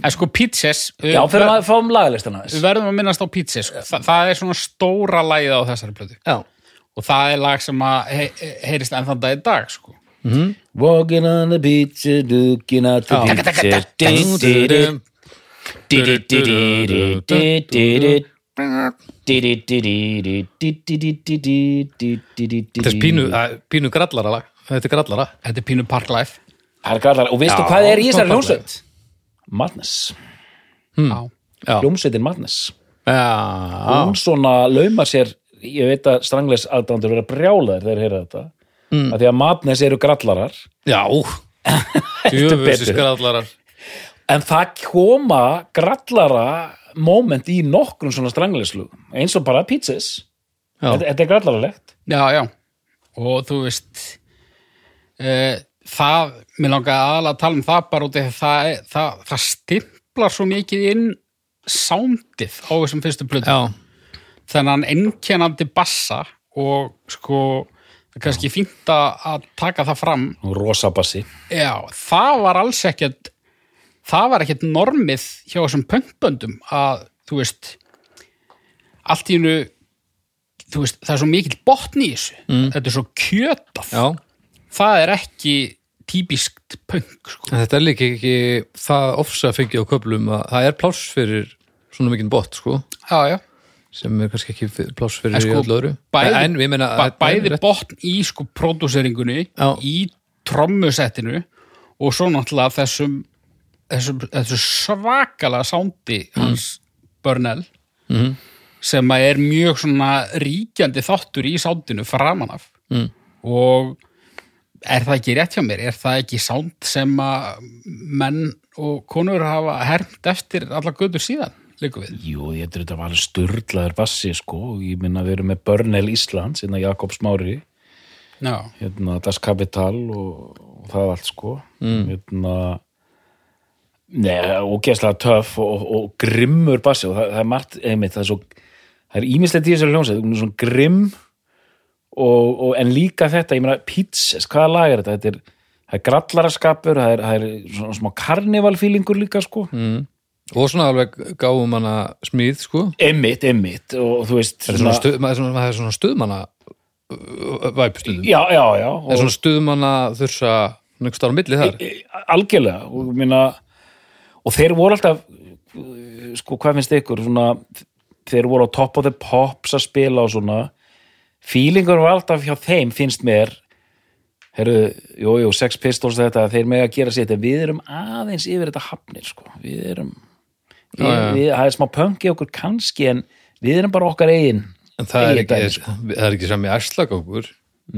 [SPEAKER 3] En sko, Pizzas
[SPEAKER 2] já,
[SPEAKER 3] við,
[SPEAKER 2] fyrir að fáum lagalistana
[SPEAKER 3] við verðum að minnast á Pizzas sko. Þa, það er svona stóra lagið á þessari plötu
[SPEAKER 1] Já.
[SPEAKER 3] og það er lag sem að he, he, heyrist ennþann dag í dag, sko
[SPEAKER 2] walking on the beach looking at the beach Ding, ding, ding.
[SPEAKER 1] Þetta
[SPEAKER 2] Þetta
[SPEAKER 1] er pínu, það er pínu grallara lag Þetta er grallara
[SPEAKER 3] Þetta er Pínu Park Life
[SPEAKER 2] Það er gallar, og veistu
[SPEAKER 1] Já,
[SPEAKER 2] hvað er í þessari
[SPEAKER 1] stoppaðu.
[SPEAKER 2] hljómsveit? Madness,
[SPEAKER 3] Já.
[SPEAKER 1] Já,
[SPEAKER 2] hljómsveitin Madness
[SPEAKER 1] já.
[SPEAKER 2] Hún svona laumar sér ég veit að strangleis aðdándur vera brjálaðir þegar þeir heyra þetta mm. að því að Madness eru grallarar
[SPEAKER 1] já. Djöfusins
[SPEAKER 2] betur.
[SPEAKER 1] grallarar
[SPEAKER 2] en það koma grallara moment í nokkrum svona strangleislugum eins og bara pizzas
[SPEAKER 1] Já.
[SPEAKER 2] þetta, þetta er grallaralegt
[SPEAKER 3] Já, já, og þú veist e, það, mér langaði aðalega að tala um það bara út af því að það, er- það, það stimplar svo mikið inn sándið á þessum fyrstu plötu
[SPEAKER 1] Já,
[SPEAKER 3] þennan einkennandi bassa og sko það er kannski fínt að að taka það fram
[SPEAKER 2] rosabassi
[SPEAKER 3] Já, það var alls ekkert það var ekkert normið hjá þessum pönkböndum að, þú veist allt í hennu þú veist, það er svo mikill botn í þessu þetta er svo kjötað
[SPEAKER 1] já
[SPEAKER 3] það er ekki típiskt pönk sko.
[SPEAKER 1] En Þetta er líka ekki það ofsa að fengið á köflum að það er pláss fyrir svona mikinn bot sko
[SPEAKER 3] Já, já
[SPEAKER 1] sem er kannski ekki fyrir- pláss fyrir
[SPEAKER 3] En
[SPEAKER 1] sko,
[SPEAKER 3] sko,
[SPEAKER 1] í öllu öðru
[SPEAKER 3] bæði,
[SPEAKER 1] en við meina
[SPEAKER 3] ba-
[SPEAKER 1] þetta er
[SPEAKER 3] bæði
[SPEAKER 1] rétt-
[SPEAKER 3] botn í sko pródúseringunni
[SPEAKER 1] Já.
[SPEAKER 3] í trommusettinu og svo náttúrulega þessum þessum, þessum svakalega sándi
[SPEAKER 1] Mm.
[SPEAKER 3] hans Börnell
[SPEAKER 1] Mhm.
[SPEAKER 3] sem að er mjög svona ríkjandi þáttur í sándinu framan af mm. og er það ekki rétt hjá mér? Er það ekki sánd sem að menn og konur hafa hermt eftir alla götu síðan, líka við?
[SPEAKER 2] Jú, ég heldur þetta var alveg styrlaður bassi sko, ég minna að við erum með Börnel Íslands, hérna Jakob Smári
[SPEAKER 3] Já,
[SPEAKER 2] hérna Das Kapital og, og það allt sko mm. hérna neða, ógeðslega töff og, og, og grimmur bassi og það, það er margt, einmitt, það er svo það er ímislegt í þessari hljómsveit, hún er svona grimm og, og en líka þetta, ég meina, pizzas, hvaða lag er þetta? Þetta er, það er grallaraskapur það er, það er svona smá karnivalfílingur líka sko, mm.
[SPEAKER 1] og svona alveg gáum hana smíð sko
[SPEAKER 2] einmitt, einmitt og þú veist,
[SPEAKER 1] það er svona, stuð, maður er svona, maður er svona stuðmanna væpstundum
[SPEAKER 2] já, já, já og, e,
[SPEAKER 1] það er svona stuðmanna þursa nöggst ára milli þar
[SPEAKER 2] algjörlega og, minna, og þeir voru alltaf uh, sko, hvað finnst ykkur svona, þeir voru á top of the pops að spila og svona feelingur var alltaf hjá þeim finnst mér herru, jú, jú, sex pistols þetta, þeir mega gera sér þetta, við erum aðeins yfir þetta hafnir, sko, við erum
[SPEAKER 1] Já, já.
[SPEAKER 2] við, það er smá pöngi okkur kannski en við erum bara okkar eigin
[SPEAKER 1] En það er
[SPEAKER 2] Eigið
[SPEAKER 1] ekki,
[SPEAKER 2] dæmi,
[SPEAKER 1] það er ekki sami ærslagókur.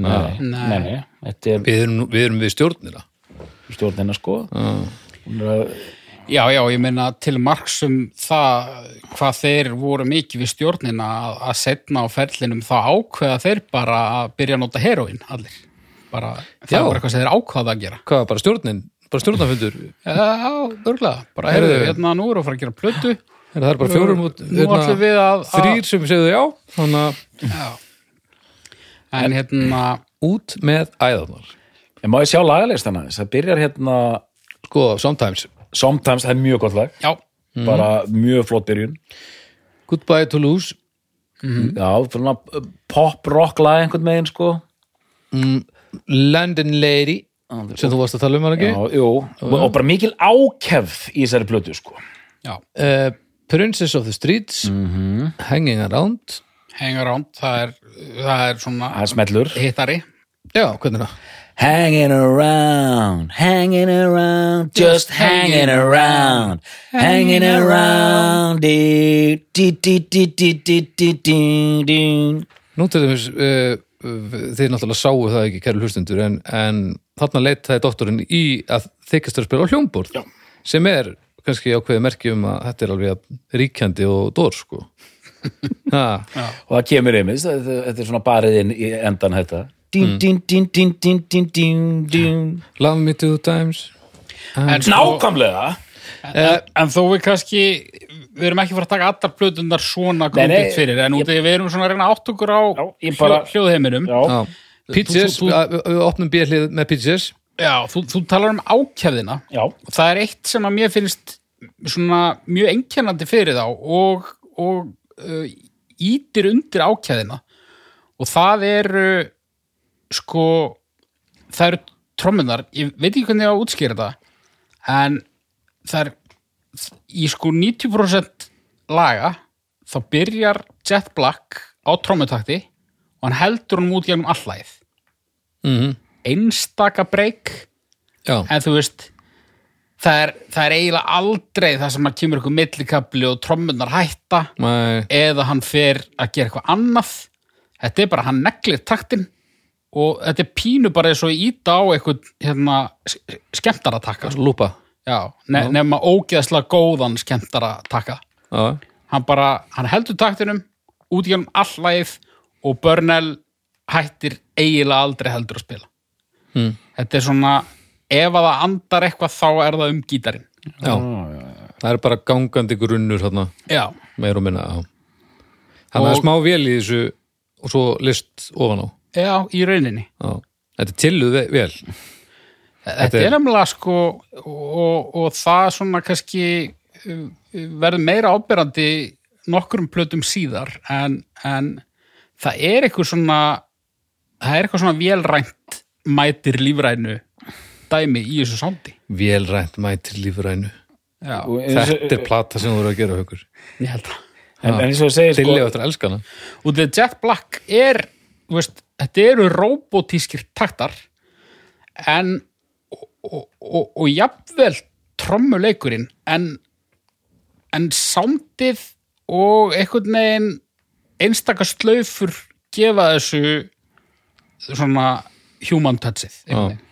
[SPEAKER 2] nei,
[SPEAKER 3] Nei.
[SPEAKER 2] nei, nei þetta er
[SPEAKER 1] Við erum, við erum við stjórnina.
[SPEAKER 2] stjórnina, sko
[SPEAKER 1] Ah.
[SPEAKER 2] Hún er að-
[SPEAKER 3] Já, já, ég meina til marksum það hvað þeir voru mikið við stjórnina að, að setna á ferlinum þá ákveða þeir bara að byrja að nota heroin allir. Bara,
[SPEAKER 1] Já.
[SPEAKER 3] það var eitthvað sem þeir ákvaða að gera.
[SPEAKER 1] Hvað, bara stjórnin? Bara stjórnafundur?
[SPEAKER 3] Já, örglega. Bara,
[SPEAKER 1] Heyrðu.
[SPEAKER 3] heyrðu, hérna, nú erum við að fara að gera plötu.
[SPEAKER 1] Er það er bara fjórum út?
[SPEAKER 3] Nú ætlum við að... að-
[SPEAKER 1] Þrýr sem segðu já, þannig að
[SPEAKER 3] En hérna,
[SPEAKER 1] út með æðarnar.
[SPEAKER 2] en má ég sjá lagalistan aðeins, það byrjar hérna
[SPEAKER 1] Sko, sometimes.
[SPEAKER 2] sometimes, það er mjög gott lag
[SPEAKER 3] já,
[SPEAKER 2] bara mjög flott byrjun
[SPEAKER 1] Goodbye Toulouse.
[SPEAKER 2] já, svona uh, pop rock lag einhvern megin sko
[SPEAKER 1] London Lady, sem þú varst að tala um hann ekki.
[SPEAKER 2] já, jú, og bara mikil ákefð í þessari plötu sko
[SPEAKER 3] já,
[SPEAKER 1] Uh, Princess of the Streets, Hanging Around.
[SPEAKER 3] hang around, það er, það er svona
[SPEAKER 2] það er smellur
[SPEAKER 3] hittari.
[SPEAKER 1] Já, hvernig það?
[SPEAKER 2] hanging around, hanging around just hanging around hanging around dí, dí, dí, dí, dí, dí, dí, dí, dí.
[SPEAKER 1] Nú til þess, uh, þið náttúrulega sáu það ekki, kæru hlustundur, en, en þarna leitaði doktorinn í að þykast að spila á hljómborð, Já. sem er kannski ákveðið merki um að þetta er alveg jafn ríkjandi og dór, sko. ha,
[SPEAKER 2] og það kemur einmitt, það- það- þetta er svona barið inn í endan þetta dín, dín, dín, dín, dín, dín, dín, dín
[SPEAKER 1] love me two times.
[SPEAKER 2] Ah.
[SPEAKER 3] En sko-
[SPEAKER 2] nákvæmlega Eh.
[SPEAKER 3] En þó við kannski, við erum ekki fara að taka allar plötundar svona
[SPEAKER 2] Nei, nei,
[SPEAKER 3] grúpið fyrir, en út af því að við erum svona að reyna átt okkur á
[SPEAKER 2] Já, ég bara-
[SPEAKER 3] hljó- hljóðheiminum.
[SPEAKER 2] já
[SPEAKER 1] Já. Peaches,
[SPEAKER 3] Þú- þú-
[SPEAKER 1] við við opnum bérlið með Peaches.
[SPEAKER 3] Já, þú, þú talar um ákjæðina.
[SPEAKER 2] Já,
[SPEAKER 3] Og það er eitt sem að mér finnst svona mjög einkennandi fyrir þá og, og uh, ítir undir ákjæðina. Og það eru, sko, það eru trommunar, ég veit ekki hvernig ég á að útskýra þetta, en það er í sko 90% laga þá byrjar Jet Black á trommutakti og hann heldur hann út gegnum allæð.
[SPEAKER 1] Mm
[SPEAKER 3] Einstaka breyk
[SPEAKER 1] Já,
[SPEAKER 3] en þú veist það er, það er eiginlega aldrei það sem að kemur eitthvað millikabli og trommunar hætta
[SPEAKER 1] Nei,
[SPEAKER 3] eða hann fer að gera eitthvað annað þetta er bara hann neglir taktin og þetta er pínu bara eins og íta á eitthvað hérna, skemmtara taka sko.
[SPEAKER 1] lúpa.
[SPEAKER 3] Já, ne nema ógeðslega góðan skemmtara taka
[SPEAKER 1] Já,
[SPEAKER 3] hann bara, hann heldur taktinum út í hann allæð og Börnell hættir eiginlega aldrei heldur að spila Hmm.
[SPEAKER 1] Mm.
[SPEAKER 3] þetta er svona ef að það andar eitthvað þá er það um gítarinn
[SPEAKER 1] já. Það er bara gangandi grunnur þarna.
[SPEAKER 3] já,
[SPEAKER 1] meir og minna já. þannig að
[SPEAKER 3] Og-
[SPEAKER 1] smá vel í þessu og svo list ofan á
[SPEAKER 3] já, í rauninni
[SPEAKER 1] já. þetta er tilluð ve- vel
[SPEAKER 3] þetta
[SPEAKER 1] er-
[SPEAKER 3] er nefnilega sko og, og það svona kannski uh, verður meira ábyrrandi nokkrum plötum síðar en, en það er eitthvað svona það er eitthvað svona vélrænt mætir lífrænu dæmi í þessu sándi
[SPEAKER 1] velrænt mætir lífrænu
[SPEAKER 3] Já,
[SPEAKER 2] og eins og-
[SPEAKER 1] þetta er plata sem þú eru að gera haukur
[SPEAKER 3] ég held það.
[SPEAKER 2] en, en eins og ég segi sko,
[SPEAKER 1] tilluð eftir að elska hana
[SPEAKER 3] Og The Jet Black er, þú veist, þetta eru robotískir taktar en og, og, og jafnvel trommuleikurinn en, en sándið og einhvern veginn einstaka slaufur gefa þessu svona human touchið einhvern veginn.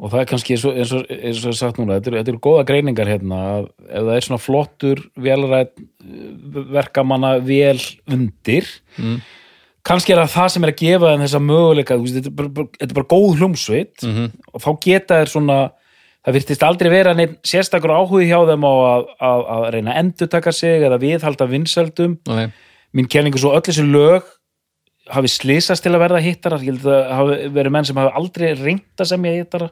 [SPEAKER 2] og það er kannski eins og, eins og, eins og ég sagt núna, þetta eru, þetta eru góða greiningar hérna, að ef það er svona flottur velrætt verkamanna vel undir kannski er það það sem er að gefa þeim þessa möguleika, þú veist, þetta er bara, bara, þetta er bara góð hljómsveit og þá geta þeir svona það virtist aldrei vera neitt sérstakur áhugi hjá þeim á að, að, að reyna að endurtaka sig eða viðhalda vinsældum
[SPEAKER 1] Nei.
[SPEAKER 2] mín kenningu svo öll þessi lög hafi slýsast til að verða hittarar ég held að það hafi verið menn sem hafi aldrei reynda sem ég hittara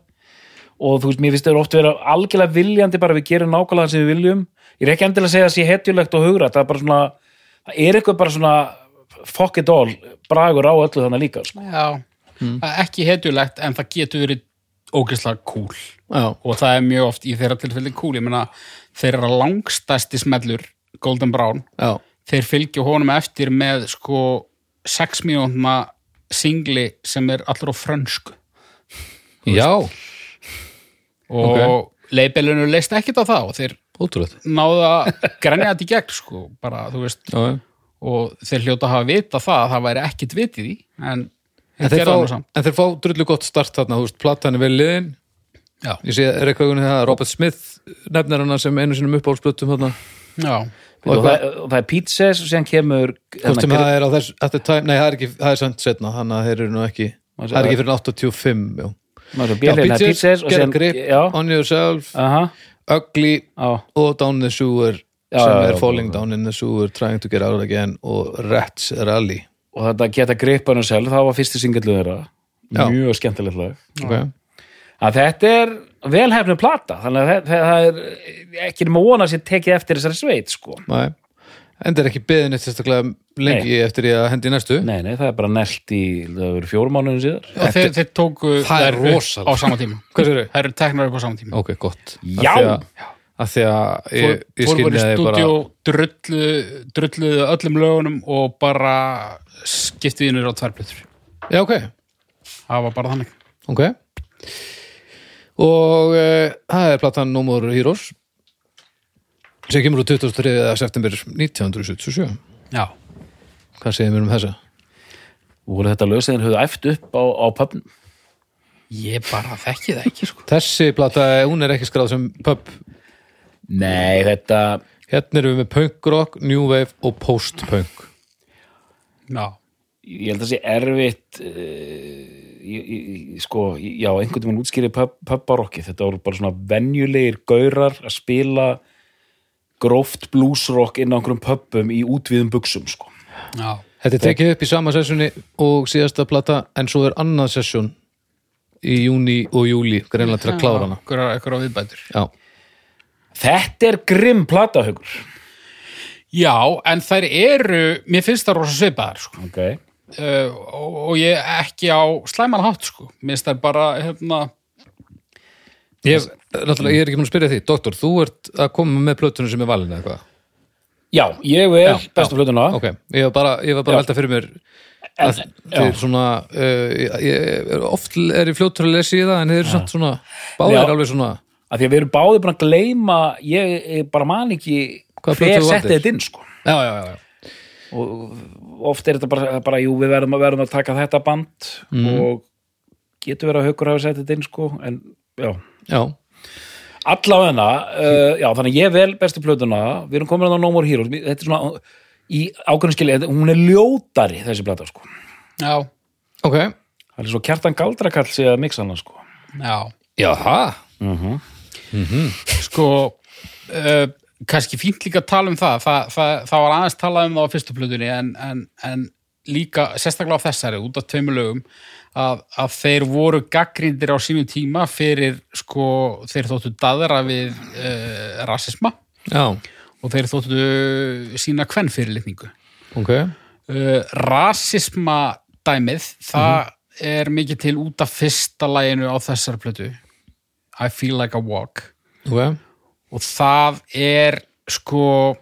[SPEAKER 2] og þú veist, mér finnst þeir oft vera algjörlega viljandi bara við gerum nákvæmlega það sem við viljum ég er ekki endilega að segja að sé hetjulegt og hugra það er bara svona, það er eitthvað bara svona fuck it all, bragur á öllu þannig líka sko.
[SPEAKER 3] Já, það er ekki hetjulegt en það getur verið ógeðslega cool
[SPEAKER 1] já,
[SPEAKER 3] og það er mjög oft í þeirra tilfelli cool ég meina þeirra langstæsti smellur Golden Brown
[SPEAKER 1] já,
[SPEAKER 3] þeir fylgja honum eftir með sko 6 mínúna singli sem er allra á frönsku
[SPEAKER 1] já
[SPEAKER 3] og okay. leibelinu leist ekkit á það og þeir
[SPEAKER 1] ótrúlega
[SPEAKER 3] náða grænja þetta í gegn sko, bara, þú veist
[SPEAKER 1] já, já.
[SPEAKER 3] og þeir hljóta að hafa vita það að það væri ekkit vitið í en
[SPEAKER 1] En
[SPEAKER 3] þeir
[SPEAKER 1] þeir,
[SPEAKER 3] gerðu það
[SPEAKER 1] fá,
[SPEAKER 3] nú samt
[SPEAKER 1] en þeir fá drullu gott start þarna, þú veist, platan er vel liðin
[SPEAKER 3] Já.
[SPEAKER 1] Ég sé reikaugunni það, Robert Smith nefnir hana sem einu sinum uppáhaldsblöttum þarna
[SPEAKER 3] já,
[SPEAKER 2] og, það, og það er pizzas og síðan kemur
[SPEAKER 1] Hvort sem
[SPEAKER 2] hérna,
[SPEAKER 1] það er á þess, þetta time, nei, það er ekki, það er samt setna, þannig að þeir eru nú ekki,
[SPEAKER 2] Maður sé-
[SPEAKER 1] það hérna er ekki fyrir 85, já.
[SPEAKER 2] maður svo bílir, það er pizzas
[SPEAKER 1] get
[SPEAKER 2] og
[SPEAKER 1] a
[SPEAKER 2] síðan
[SPEAKER 1] grip,
[SPEAKER 2] já,
[SPEAKER 1] on yourself,
[SPEAKER 2] aha,
[SPEAKER 1] ugly
[SPEAKER 2] á,
[SPEAKER 1] og down the sewer,
[SPEAKER 2] Já,
[SPEAKER 1] sem
[SPEAKER 2] já,
[SPEAKER 1] er
[SPEAKER 2] já,
[SPEAKER 1] falling down in the sewer, trying to get out again og rats rally.
[SPEAKER 2] og þetta geta gripan og sjálf, það var fyrsti singillu þeirra
[SPEAKER 1] Já.
[SPEAKER 2] mjög skemmtilegt lag
[SPEAKER 1] Okay.
[SPEAKER 2] að þetta er velhæfnu plata þannig að það, það er eh, ekki nema vona sér tekið eftir þessari sveit sko.
[SPEAKER 1] Nei. Enda er ekki beðin eitt sérstaklega lengi eftir ég að hendi í næstu.
[SPEAKER 2] nei, nei, það er bara nelt í það verið fjórum mánuðum síðar
[SPEAKER 3] og þeir, þeir tóku
[SPEAKER 1] Það er
[SPEAKER 3] þær upp
[SPEAKER 1] rosalegt.
[SPEAKER 3] á sama tíma
[SPEAKER 1] Hvað serðu?
[SPEAKER 3] það eru teknar upp á sama tíma
[SPEAKER 1] Ok, gott. Af
[SPEAKER 2] Já!
[SPEAKER 1] því að- Af því að ég, ég
[SPEAKER 3] fólk voru
[SPEAKER 1] skynni
[SPEAKER 3] í
[SPEAKER 1] að ég bara...
[SPEAKER 3] stúdíó drullu, drulluðu öllum lögunum og bara skiptiði innur á tværblöður
[SPEAKER 1] Já, ok.
[SPEAKER 3] það var bara þannig
[SPEAKER 1] Ok Og eh, það er platan Númur Heroes sem kemur úr 23. september 1977
[SPEAKER 3] já,
[SPEAKER 1] Hvað segir mér um þessa?
[SPEAKER 2] voru þetta lögseðin höfðu æft upp á, á pöfnum
[SPEAKER 3] ég bara þekki það ekki sko.
[SPEAKER 1] Þessi plata, eh, hún er ekki skráð sem pub
[SPEAKER 2] nei, þetta
[SPEAKER 1] Hérna erum við með punk rock, new wave og post-punk
[SPEAKER 3] já,
[SPEAKER 2] ég held að sé erfitt uh, ég, ég, sko, já, einhvern veginn útskýri pöpparokki, þetta voru bara svona venjulegir gaurar að spila gróft bluesrock inn á einhverjum pöppum í útvíðum buksum sko.
[SPEAKER 3] já,
[SPEAKER 1] Þetta er tekið upp í sama sessjoni og síðasta plata en svo er annað sessjón í júni og júli greinlega til að klára hana
[SPEAKER 3] ykkur, ykkur á viðbætur
[SPEAKER 1] Já,
[SPEAKER 2] þetta er grimm platahaugur
[SPEAKER 3] já, en þær eru mér finnst það rosa svipaðar sko.
[SPEAKER 2] okay.
[SPEAKER 3] uh, og, og ég ekki á slæman hátt sko. mér finnst þær bara hérna,
[SPEAKER 1] ég, náttúrulega, ég er ekki múin að spyrja því Doktor, þú ert að koma með plötunum sem er valin eða hvað?
[SPEAKER 2] Já, ég vel
[SPEAKER 1] Já,
[SPEAKER 2] bestu
[SPEAKER 1] já.
[SPEAKER 2] flötuna
[SPEAKER 1] Ok, ég var bara, ég var bara að velta fyrir mér að þið er svona uh, ég- ég er oft er ég fljótur að lesa í það en þið eru samt svona, báðir
[SPEAKER 2] Já.
[SPEAKER 1] alveg svona
[SPEAKER 2] að því að við erum báði búin að gleyma ég, ég bara man ekki
[SPEAKER 1] Hvaða plötu
[SPEAKER 2] hver
[SPEAKER 1] þú
[SPEAKER 2] setti
[SPEAKER 1] valdir?
[SPEAKER 2] þetta inn sko.
[SPEAKER 1] Já, já, já, já.
[SPEAKER 2] oft er þetta bara, bara jú, við verðum að, verðum að taka þetta band
[SPEAKER 1] Mhm.
[SPEAKER 2] og getur verið að haukur hafa setti þetta inn sko, en já
[SPEAKER 1] já.
[SPEAKER 2] allavegna, uh, já, þannig að ég vel bestu plötuna, við erum komin að No More Heroes þetta er svona, í ákveðinskili hún er ljótari þessi plata sko.
[SPEAKER 3] já,
[SPEAKER 1] Ok,
[SPEAKER 2] það er svo kjartan galdrakall sig að mixa hana sko.
[SPEAKER 3] já
[SPEAKER 1] jaha
[SPEAKER 3] sko uh, kannski fínt líka að tala um það það, það, það var aðeins talað um það á fyrstu plötunni en, en, en líka sérstaklega á þessari út af tveimur lögum að, að þeir voru gaggrindir á sínum tíma fyrir sko þeir þóttu daðra við uh, rasisma
[SPEAKER 1] Já,
[SPEAKER 3] og þeir þóttu sína kvennfyrirlitningu
[SPEAKER 1] ok
[SPEAKER 3] uh, rasisma dæmið það er mikið til út af fyrsta læginu á þessar plötu I feel like a walk
[SPEAKER 1] Ok,
[SPEAKER 3] og það er sko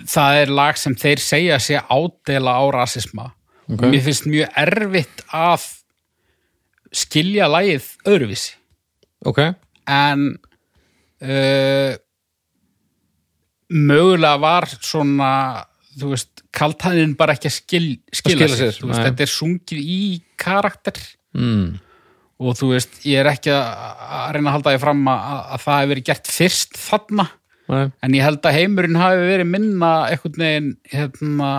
[SPEAKER 3] það er lag sem þeir segja sé ádela á rasisma og mér finnst mjög erfitt að skilja lagið öðruvísi
[SPEAKER 1] ok
[SPEAKER 3] en uh, mögulega var svona þú veist, kaltæðin bara ekki að skil,
[SPEAKER 1] skila
[SPEAKER 3] skila,
[SPEAKER 1] sér,
[SPEAKER 3] sér, þú veist,
[SPEAKER 1] nei.
[SPEAKER 3] þetta er sungið í karakter
[SPEAKER 1] mm.
[SPEAKER 3] og þú veist, ég er ekki að, að reyna að halda því fram að, að- að það hefur verið gert fyrst þarna
[SPEAKER 1] Nei.
[SPEAKER 3] en ég held að heimurinn hafi verið minna einhvern veginn hérna,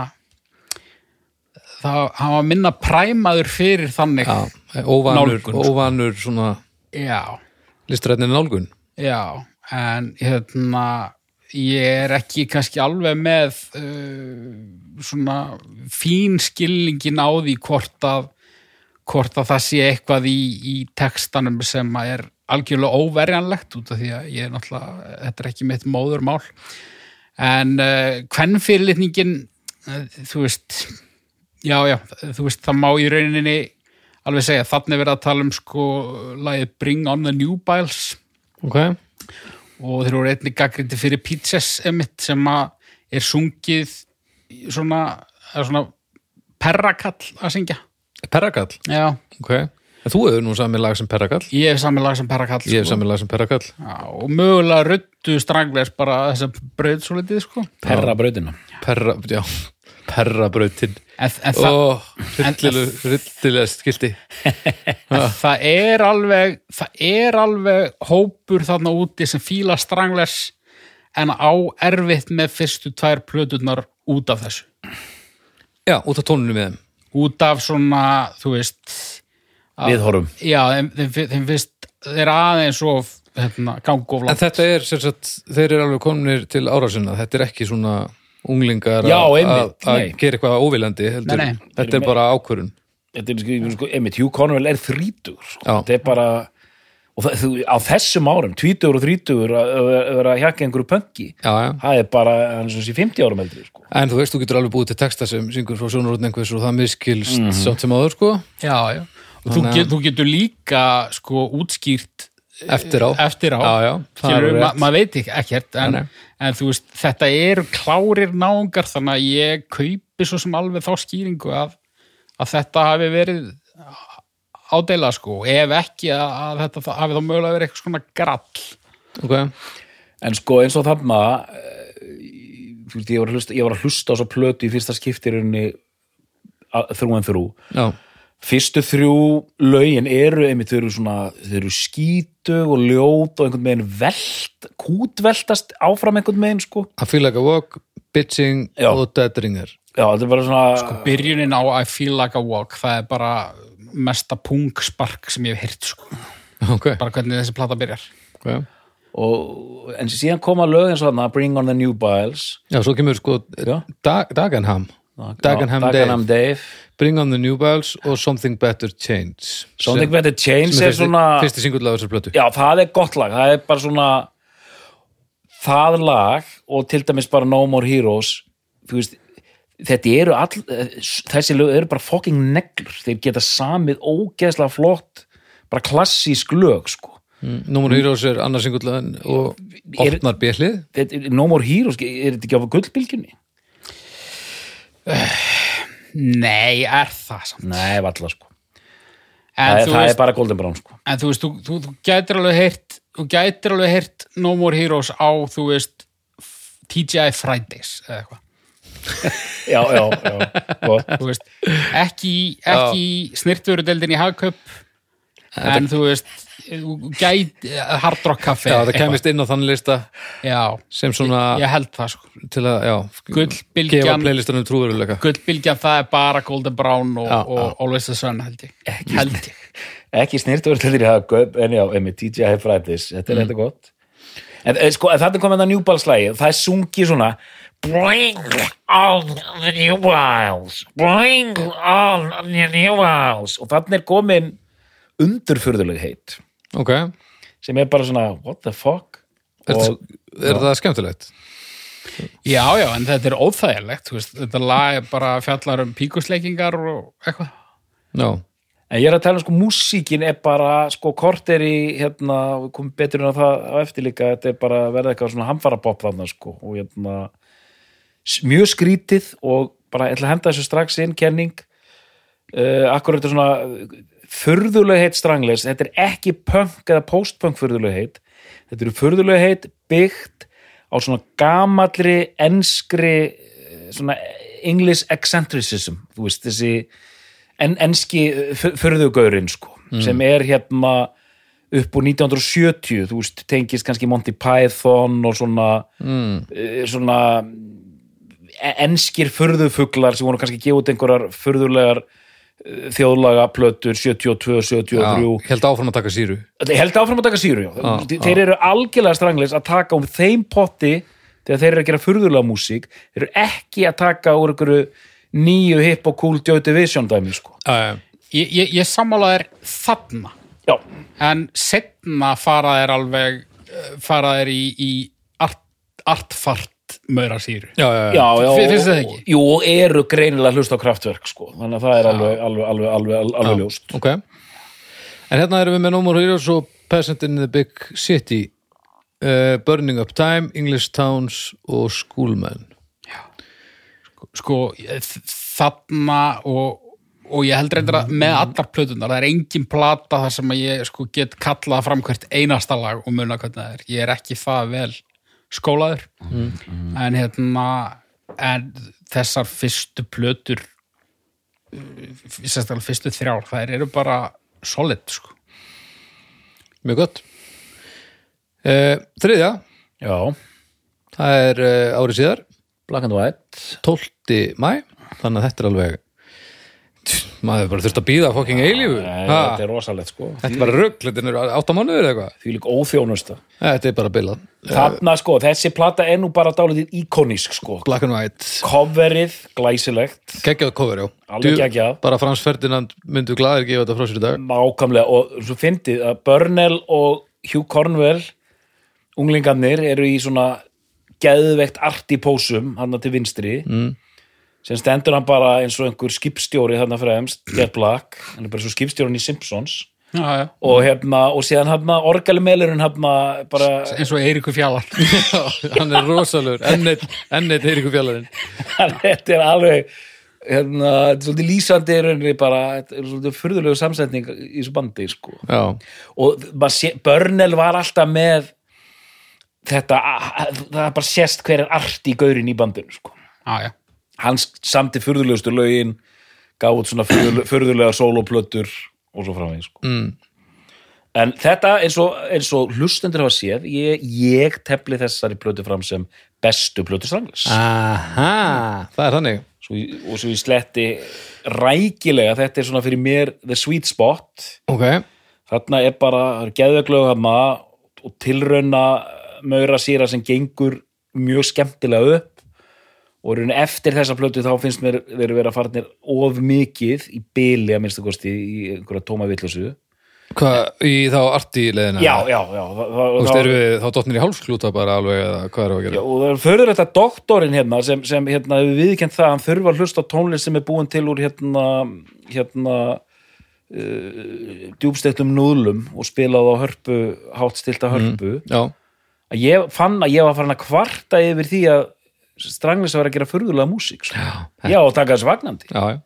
[SPEAKER 3] það hann var minna præmaður fyrir þannig
[SPEAKER 1] Já, óvanur,
[SPEAKER 3] Nálgun, sko.
[SPEAKER 1] óvanur svona
[SPEAKER 3] já,
[SPEAKER 1] listrætnin nálgun
[SPEAKER 3] já, en hérna ég er ekki kannski alveg með uh, svona fín skilningin á því hvort að hvort að það sé eitthvað í, í textanum sem að er algjörlega óverjanlegt út af því að ég er náttúrulega, þetta er ekki mitt móðurmál en uh, hvernfyrirlitningin uh, þú veist já, já, þú veist, það má í rauninni alveg segja, þannig verið að tala um sko lagið Bring on the New Biles
[SPEAKER 1] Ok,
[SPEAKER 3] og þeir voru einnig gaggrindi fyrir Pizzas emitt sem að er sungið í svona, eða svona perrakall að syngja
[SPEAKER 1] Perrakall
[SPEAKER 3] já,
[SPEAKER 1] Ok, en þú hefur nú samið lag sem Perrakall
[SPEAKER 3] ég hef samið lag sem perrakall
[SPEAKER 1] Ég hefur
[SPEAKER 3] sko.
[SPEAKER 1] samið lag sem Perrakall
[SPEAKER 3] já, og mögulega röttu strangles bara þess að brauð svo litið sko
[SPEAKER 2] perra brautina
[SPEAKER 1] Perra, já, Perrabrautin
[SPEAKER 3] en, en, það,
[SPEAKER 1] Ó, hryllilu- hryllilega skilti
[SPEAKER 3] en það er alveg það er alveg hópur þarna úti sem fíla strangles en á erfitt með fyrstu tvær plöturnar út af þessu
[SPEAKER 1] Já, út á tónunum við þeim
[SPEAKER 3] út af svona, þú veist
[SPEAKER 2] við horfum
[SPEAKER 3] Já, þeim, þeim, fi- þeim finnst þeir aðeins of hérna, gangu of
[SPEAKER 1] En
[SPEAKER 3] langt.
[SPEAKER 1] þetta er sem sagt, þeir eru alveg komnir til árásinna, þetta er ekki svona unglingar
[SPEAKER 2] Já,
[SPEAKER 1] að-
[SPEAKER 2] einmitt,
[SPEAKER 1] að- að
[SPEAKER 2] nei.
[SPEAKER 1] gera eitthvað óviljandi heldur,
[SPEAKER 3] Nei, nei.
[SPEAKER 1] þetta er bara ákvörun
[SPEAKER 2] þetta er skrifin, sko, einmitt, Hugh Conwell er þrítur sko.
[SPEAKER 1] Já.
[SPEAKER 2] þetta er bara og það, þú, á þessum árum, tvítur og þrítur að að vera að hjakka einhverju pönki
[SPEAKER 1] já, já.
[SPEAKER 2] það er bara, hann sem sé 50 árum eldri sko.
[SPEAKER 1] En þú veist, þú getur alveg búið til texta sem syngur frá sjónarotn einhvers og það miskilst
[SPEAKER 3] Mhm.
[SPEAKER 1] samt sem áður, sko,
[SPEAKER 3] Já, já. Og þú,
[SPEAKER 1] Þannig að-
[SPEAKER 3] get, þú getur líka sko útskýrt
[SPEAKER 1] eftir á
[SPEAKER 3] eftir á.
[SPEAKER 1] Já, já, það er
[SPEAKER 3] Skilur,
[SPEAKER 1] alveg
[SPEAKER 3] ma
[SPEAKER 1] rétt.
[SPEAKER 3] maður veit ekki ekkert, en,
[SPEAKER 1] Nei, nei.
[SPEAKER 3] en þú veist, þetta eru klárir náungar, þannig að ég kaupi svo sem alveg þá skýringu að, að þetta hafi verið ádeila sko, ef ekki að, að þetta þá- hafi þá mögulega verið eitthvað svona grall.
[SPEAKER 1] Ok,
[SPEAKER 2] en sko eins og þarna eh, þú veist, ég var að hlusta, ég var að hlusta á svo plötu í fyrsta skiptirunni þrú en þrú
[SPEAKER 1] já,
[SPEAKER 2] fyrstu þrjú lögin eru einmitt, þau eru svona, þau eru skítu og ljót og einhvern veginn velt, kútveltast áfram einhvern veginn sko.
[SPEAKER 1] I feel like a walk, bitching
[SPEAKER 2] Já.
[SPEAKER 1] og dead ringer
[SPEAKER 2] Já, þetta er bara svona
[SPEAKER 1] Ah.
[SPEAKER 2] sko,
[SPEAKER 3] byrjunin á I feel like a walk það er bara mesta pungspark sem ég hef heyrt sko,
[SPEAKER 1] Ok,
[SPEAKER 3] bara hvernig þessi plata byrjar
[SPEAKER 1] ok
[SPEAKER 2] og, en síðan koma lögin svona Bring on the New Biles
[SPEAKER 1] Já, svo kemur sko
[SPEAKER 2] Já.
[SPEAKER 1] Dag- Dagenham Dagenham
[SPEAKER 2] Já,
[SPEAKER 1] Dave,
[SPEAKER 2] Dagenham Dave.
[SPEAKER 1] Bring on the New Bells og Something Better Change
[SPEAKER 2] Something Better Change
[SPEAKER 1] sem
[SPEAKER 2] er
[SPEAKER 1] er
[SPEAKER 2] svona
[SPEAKER 1] fyrsti, fyrsti singull af þessar plötu
[SPEAKER 2] Já, það er gott lag, það er bara svona það lag og til dæmis bara No More Heroes þú veist, þetta eru all þessi lög eru bara fucking neglur þeir geta samið ógeðslega flott bara klassísk lög sko.
[SPEAKER 1] Númer Heroes er annars singullan og
[SPEAKER 2] Er-
[SPEAKER 1] opnar bjellið
[SPEAKER 2] þetta, No More Heroes, er þetta ekki á gullbylgjunni?
[SPEAKER 3] Nei, er það samt
[SPEAKER 2] Nei, valla sko það,
[SPEAKER 3] en, þú
[SPEAKER 2] það
[SPEAKER 3] veist,
[SPEAKER 2] er bara Golden Brown sko
[SPEAKER 3] en þú veist, þú, þú, þú gætir alveg heyrt þú gætir alveg heyrt No More Heroes á, þú veist f- TGI Fridays eða eitthvað
[SPEAKER 2] Já, já, já, gott
[SPEAKER 3] Þú veist, ekki, ekki snirturudeldin í hagköp en þú veist þú gæt, hardrock kaffi
[SPEAKER 1] Já, það kemist inn á þann lista
[SPEAKER 3] já,
[SPEAKER 1] sem svona
[SPEAKER 3] ég held það sko
[SPEAKER 1] til að, já,
[SPEAKER 3] Gullbylgjan-
[SPEAKER 1] gefa playlistanum trúveruleika
[SPEAKER 3] Guldbylgjan, það er bara Golden Brown og,
[SPEAKER 1] Já,
[SPEAKER 3] og Always the Sun, held ég. Held ég.
[SPEAKER 2] ekki snirtur til því að gaup en já, emi, DJ High Fridays, þetta er þetta gott en eh, sko, en þarna kom þetta New Balls lagi það er sungið svona Bring on the New Balls Bring on the New Balls og þarna er komin undurfurðuleg heit
[SPEAKER 1] Ok, er,
[SPEAKER 2] sem er bara svona, what the fuck og
[SPEAKER 1] er það skemmtilegt?
[SPEAKER 3] Já, já, en þetta er óþægilegt, þú veist, þetta lag er bara fjallar um píkusleikingar og eitthvað.
[SPEAKER 1] Já,
[SPEAKER 2] En ég er að tala um sko, músíkin er bara sko korter í, hérna, við komum betur en að það á eftir líka, þetta er bara að verða eitthvað svona hamfara pop þarna sko og hérna, s- mjög skrítið og bara ég ætla að henda þessu strax inn, kenning, uh, akkur þetta er svona eh, furðulegheit strangleis, þetta er ekki punk eða post-punk furðulegheit, þetta eru furðulegheit byggt á svona gamallri, enskri, eh, svona English eccentricism, þú veist, þessi en, enski förðugaurinn sko,
[SPEAKER 1] Mm.
[SPEAKER 2] sem er hérna upp úr 1970 þú veist, tengist kannski Monty Python og svona, mm. svona eh, enskir förðufuglar sem voru kannski að gefa út einhverjar eh, förðulegar þjóðlaga plötur 72,
[SPEAKER 1] já
[SPEAKER 2] 73
[SPEAKER 1] held áfram að taka síru
[SPEAKER 2] Þeir held áfram að taka síru, já.
[SPEAKER 1] Já,
[SPEAKER 2] Þe-
[SPEAKER 1] já.
[SPEAKER 2] þeir eru algjörlega strangleis að taka um þeim potti þegar þeir eru að gera furðulega músík. Þeir eru ekki að taka úr einhverju nýju hip og cool Joy Division dæmi, sko.
[SPEAKER 1] Já, já,
[SPEAKER 3] Ég, ég, ég sammála þér þarna,
[SPEAKER 2] Já,
[SPEAKER 3] en setna fara þér alveg, eh, fara þér í, í art, artfart vant maura síru.
[SPEAKER 1] já, já,
[SPEAKER 2] já, já,
[SPEAKER 3] Fi- finnst þið það ekki?
[SPEAKER 2] Jú, og eru greinilega hlust á kraftverk sko. þannig að það er alveg, alveg, alveg, alveg, alveg, alveg ljóst
[SPEAKER 1] ok en hérna erum við með No More Heroes og Peasant in the Big City uh, Burning Up Time, English Towns og Schoolmen
[SPEAKER 3] Sko, ég- þarna og, og ég held reyndar að með allar plötunar, það er engin plata þar sem að ég sko get kallað fram hvert einasta lag og muna hvernig það er. Ég er ekki það vel skólaður.
[SPEAKER 1] Mm.
[SPEAKER 3] En hérna, en þessar fyrstu plötur, sérstaklega fyrstu þrjár, þær eru bara solid, sko.
[SPEAKER 1] mjög gott uh, þriðja,
[SPEAKER 2] já,
[SPEAKER 1] það er uh, árið síðar
[SPEAKER 2] black and white
[SPEAKER 1] 12. mæ þannig að þetta er alveg maður hefur bara þurft að býða fokking eilífu
[SPEAKER 2] Ah, Nei,
[SPEAKER 1] Ha,
[SPEAKER 2] þetta er rosalegt sko
[SPEAKER 1] þetta er bara rugg, þetta er áttamánuður eða eitthvað Eh,
[SPEAKER 2] því líka óþjónusta
[SPEAKER 1] þetta er bara bilað,
[SPEAKER 2] þarna sko, þessi plata er nú bara dálítið íkonísk sko
[SPEAKER 1] black and white
[SPEAKER 2] coverið, glæsilegt
[SPEAKER 1] geggjað cover, já
[SPEAKER 2] Alveg
[SPEAKER 1] Djú-
[SPEAKER 2] geggjað.
[SPEAKER 1] bara Frans Ferdinand myndu glæðir gefa þetta frá sér í dag
[SPEAKER 2] nákvæmlega og svo fyndið að Burnell og Hugh Cornwell unglingarnir eru í svona geðveikt arti pósum hann til vinstri mm. sem stendur hann bara eins og einhver skipstjóri þarna fremst, Get Black hann er bara svo skipstjórinn í Simpsons
[SPEAKER 3] Já, já.
[SPEAKER 2] og, hérna, og síðan hann orgalmelurinn hann bara
[SPEAKER 3] Eins og Eiríku
[SPEAKER 1] [laughs]
[SPEAKER 3] Fjallar.
[SPEAKER 1] hann er rosalur, ennett ennett Eiríku fjallarinn
[SPEAKER 2] þetta er alveg hérna, þetta er svolítið lýsandi í rauninni bara, þetta er svolítið furðulegu samsetning í þessu bandi sko
[SPEAKER 1] já,
[SPEAKER 2] og maður sé, Börnel var alltaf með þetta það er bara sést hver er art í gaurin í bandinu sko.
[SPEAKER 3] Já, já.
[SPEAKER 2] hans samti furðulegustu lögin gaf út svona furðule- furðulegar sóloplötur og svo framvegis sko. mm. en þetta eins og, eins og hlustendur hafa séð ég, ég tefli þessari plötu fram sem bestu plötu stranglis
[SPEAKER 1] Ah. aha það er þannig
[SPEAKER 2] svo, ég- og svo ég sletti rækilega þetta er svona fyrir mér the sweet spot
[SPEAKER 1] ok,
[SPEAKER 2] þarna er bara geðveglög hana og tilrauna maura síra sem gengur mjög skemmtilega upp og raun eftir þessa plötu þá finnst mér þeir vera farnir of mikið í byli að minnstu kosti í einhverja tóma villjósu
[SPEAKER 1] hvað í þá arti leðina
[SPEAKER 2] já, já, já það,
[SPEAKER 1] Þú
[SPEAKER 2] það,
[SPEAKER 1] veist,
[SPEAKER 2] það,
[SPEAKER 1] erum við þá dottnir í hálfsklúta bara alveg eða hvað er að
[SPEAKER 2] já,
[SPEAKER 1] gera?
[SPEAKER 2] og það er förður þetta doktorinn hérna sem, sem hérna, hefur viðkjönt það að hann þurfa að hlusta á tónlist sem er búin til úr hérna, hérna uh, djúbstektum núðlum og spilað á hörpu, hátstilta hörpu
[SPEAKER 1] Já,
[SPEAKER 2] að ég fann að ég var farin að kvarta yfir því að Stranglis var að gera furðulega músík sko. já, og taka þessu vagnandi
[SPEAKER 1] já, já.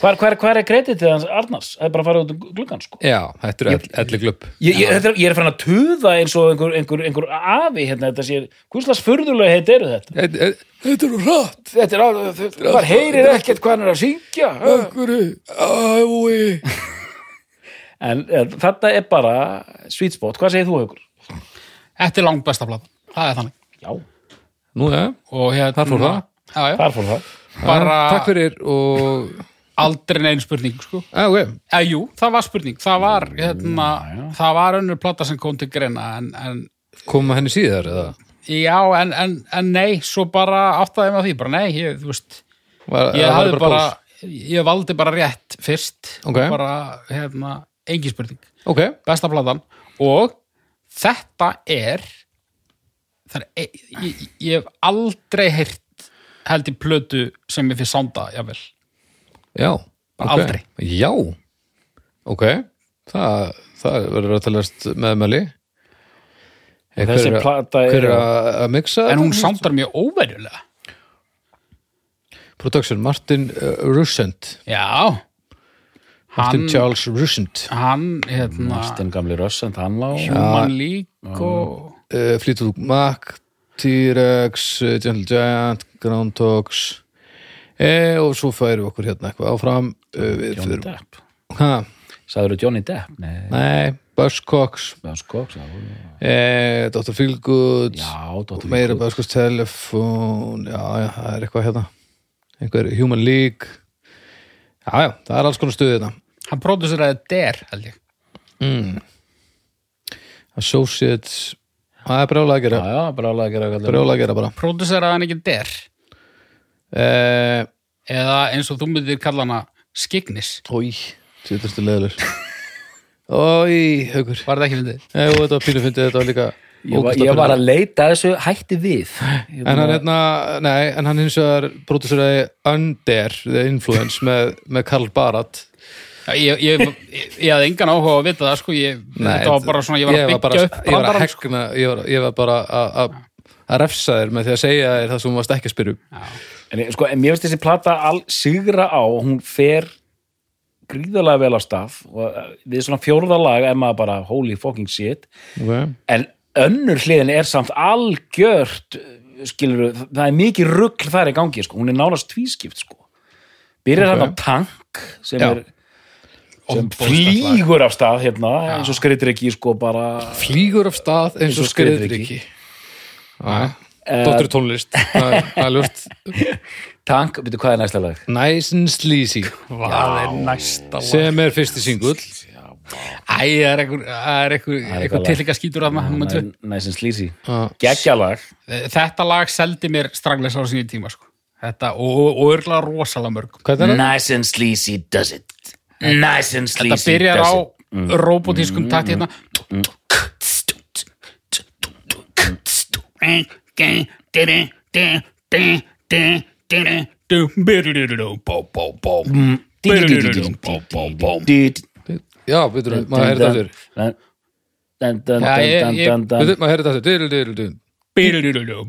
[SPEAKER 2] hvar, hvar, hvar er kreditið hans Arnars? það er bara að fara út um gluggan sko.
[SPEAKER 1] já þetta er elli glöpp.
[SPEAKER 2] ég, ég, þetta er- ég er farin að tuða eins og einhver, einhver, einhver afi hérna, þetta sé, hvurslags furðulega heit eru þetta?
[SPEAKER 1] Þetta er rætt.
[SPEAKER 2] þetta er alveg, maður heyrir ekkert hvað hann er að syngja
[SPEAKER 1] Akkurri. Ævui.
[SPEAKER 2] en, en þetta er bara sweet spot, hvað segir þú haukur?
[SPEAKER 3] Þetta er langt besta plata. Það er þannig.
[SPEAKER 2] já,
[SPEAKER 1] Nú, já.
[SPEAKER 3] Og hérna...
[SPEAKER 1] Þar fór það.
[SPEAKER 3] Já, já.
[SPEAKER 2] þar fór það
[SPEAKER 3] Bara...
[SPEAKER 1] Takk fyrir og...
[SPEAKER 3] aldrei neinn spurning sko.
[SPEAKER 1] Já, ok.
[SPEAKER 3] eða jú, það var spurning það var, hérna, það var önnur plata sem kom til greina en, en,
[SPEAKER 1] Koma henni síðar eða?
[SPEAKER 3] já, en, en, en nei svo bara áttaði ég með því bara nei, ég, þú veist
[SPEAKER 1] Var,
[SPEAKER 3] ég
[SPEAKER 1] eða var
[SPEAKER 3] hafði
[SPEAKER 1] þetta
[SPEAKER 3] bara, ég valdi bara rétt fyrst
[SPEAKER 1] Ok.
[SPEAKER 3] og bara, hérna, engin spurning
[SPEAKER 1] pós? Ok.
[SPEAKER 3] besta platan og þetta er það er, ég, ég, ég hef aldrei heyrt held í plötu sem ég fyrir sánda, jável
[SPEAKER 1] Já. ok.
[SPEAKER 3] Bara aldrei.
[SPEAKER 1] Já. Ok. Það, það verður að talast meðmæli. Eh,
[SPEAKER 2] Þessi
[SPEAKER 1] hver er að-
[SPEAKER 2] plata er-
[SPEAKER 1] Hver er að að mixa?
[SPEAKER 3] en hún
[SPEAKER 1] þetta?
[SPEAKER 3] sándar mjög óverjulega
[SPEAKER 1] Production, Martin uh, Russent.
[SPEAKER 3] já
[SPEAKER 1] Martin
[SPEAKER 3] Hann-
[SPEAKER 1] Charles Russent.
[SPEAKER 3] hann, hérna,
[SPEAKER 2] Martin gamli rössend, hann lá
[SPEAKER 3] Human League og
[SPEAKER 1] uh, Fleetwood Mac T-Rex, uh, Gentle Giant Groundhogs e, og svo færum við okkur hérna eitthvað áfram uh, við
[SPEAKER 2] Johnny
[SPEAKER 1] fyrir
[SPEAKER 2] Depp,
[SPEAKER 1] ha,
[SPEAKER 2] sagður Johnny Depp? nei,
[SPEAKER 1] nei, Buzz Cox
[SPEAKER 2] Björn Skoks, já, sko,
[SPEAKER 1] e, Dr. Feelgood
[SPEAKER 2] já, Dóttir
[SPEAKER 1] meira Buzz Cox Telephone já, já, það er eitthvað hérna einhver Human League já, já, það er alls konar hérna. stuðið þetta
[SPEAKER 3] hann próduseraði Der, held ég
[SPEAKER 1] Associates, það er brjálega að gera
[SPEAKER 2] Já, já, bara alveg að gera kallar.
[SPEAKER 1] brjálega að gera bara
[SPEAKER 3] próduseraði hann ekki Der
[SPEAKER 1] e,
[SPEAKER 3] eða eins og þú myndir kalla hana Skignis,
[SPEAKER 1] Ói, [laughs] þetta er leðilegur Ói, haukur
[SPEAKER 3] var það ekki myndið?
[SPEAKER 1] Nei, og þetta var pínu fyndið, þetta var líka
[SPEAKER 2] Ég var, ég var að leita að þessu hætti [laughs] við. Ég
[SPEAKER 1] En hann,
[SPEAKER 2] meina-
[SPEAKER 1] hérna, nei, en hann hins vegar pródúseraði Under the Influence með, með Karl Barat
[SPEAKER 3] ég, ég, ég, ég hafði engan áhuga á að vita það sko, ég, þetta var bara svona, ég var að byggja
[SPEAKER 1] bara, ég
[SPEAKER 3] upp
[SPEAKER 1] var að
[SPEAKER 3] brandarann, sko.
[SPEAKER 1] hegna, ég var, ég var bara að- að að refsa þér með því að segja þér það sem þú varst ekki að spyrja um.
[SPEAKER 2] En, ég- sko, en mér finnst þessi plata all sigra á, hún fer gríðarlega vel á stað og eh, við svona fjórða lag er maður bara holy fucking shit
[SPEAKER 1] okay.
[SPEAKER 2] en önnur hliðin er samt algjört eh, skilur, það er mikið rugl þar í gangi sko. hún er nánast tvískipt sko. byrjar
[SPEAKER 1] Ok.
[SPEAKER 2] okay. þetta tank sem
[SPEAKER 1] Já.
[SPEAKER 2] er sem
[SPEAKER 3] Ofboðslegt lag.
[SPEAKER 2] flýgur af stað hérna eins og skritir ekki sko bara
[SPEAKER 1] flýgur af stað eins og
[SPEAKER 2] og
[SPEAKER 1] skriðriki Dóttur tónlist [laughs] það er- það er ljóst
[SPEAKER 2] tank, veitu hvað er næsta lag?
[SPEAKER 1] Nice and Sleazy
[SPEAKER 3] það er næsta lag.
[SPEAKER 1] sem er fyrsti singull
[SPEAKER 3] Æ, það er einhver, það er einhver, einhver
[SPEAKER 2] lag.
[SPEAKER 3] tilhengja skítur að maður
[SPEAKER 2] Næ- Nice and Sleazy
[SPEAKER 1] Já.
[SPEAKER 2] geggjalag
[SPEAKER 3] þetta lag seldi mér strangleis á sínu tíma sko. þetta, og, og, og örgulega rosalega mörg
[SPEAKER 1] Hvað er það?
[SPEAKER 2] Nice and Sleazy does it Nice and Sleazy
[SPEAKER 3] þetta byrjar á
[SPEAKER 2] does it.
[SPEAKER 3] robotískum takt hérna
[SPEAKER 2] Dude.
[SPEAKER 1] Já, veitur, maður heyrði það þurr
[SPEAKER 2] Dun, dun, dun,
[SPEAKER 3] Já, ég-
[SPEAKER 2] dun,
[SPEAKER 3] ég-
[SPEAKER 2] dun, dun.
[SPEAKER 1] Veitur, maður heyrði það þurr Dyrl, dyrl, dyrl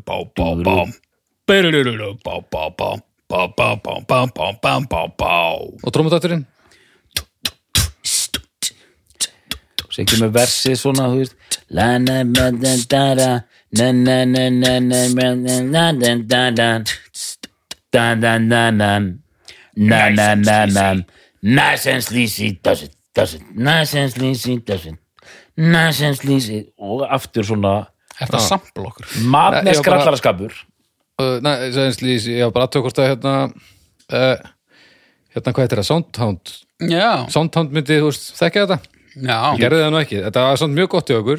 [SPEAKER 1] Og trómatatturinn?
[SPEAKER 2] Svo kemur versið svona, þú veist La na na na da da Na na na na na na na na na da da Da da na na Na na na na Nice and Sleazy does it does it Nice and Sleazy does it Nice and Sleazy og aftur svona
[SPEAKER 3] þetta sampl okkur
[SPEAKER 1] Nei,
[SPEAKER 2] matnes
[SPEAKER 1] ég var bara-
[SPEAKER 2] grallaraskapur
[SPEAKER 1] Uh, Nei, Nice and Sleazy, ég var bara aðtöku hvort að hérna uh, Hérna, hvað heitir það? Soundhound
[SPEAKER 3] já,
[SPEAKER 1] Soundhound myndi, þú veist, þekkja þetta?
[SPEAKER 3] já,
[SPEAKER 1] Gerði það nú ekki, þetta var samt mjög gott í okkur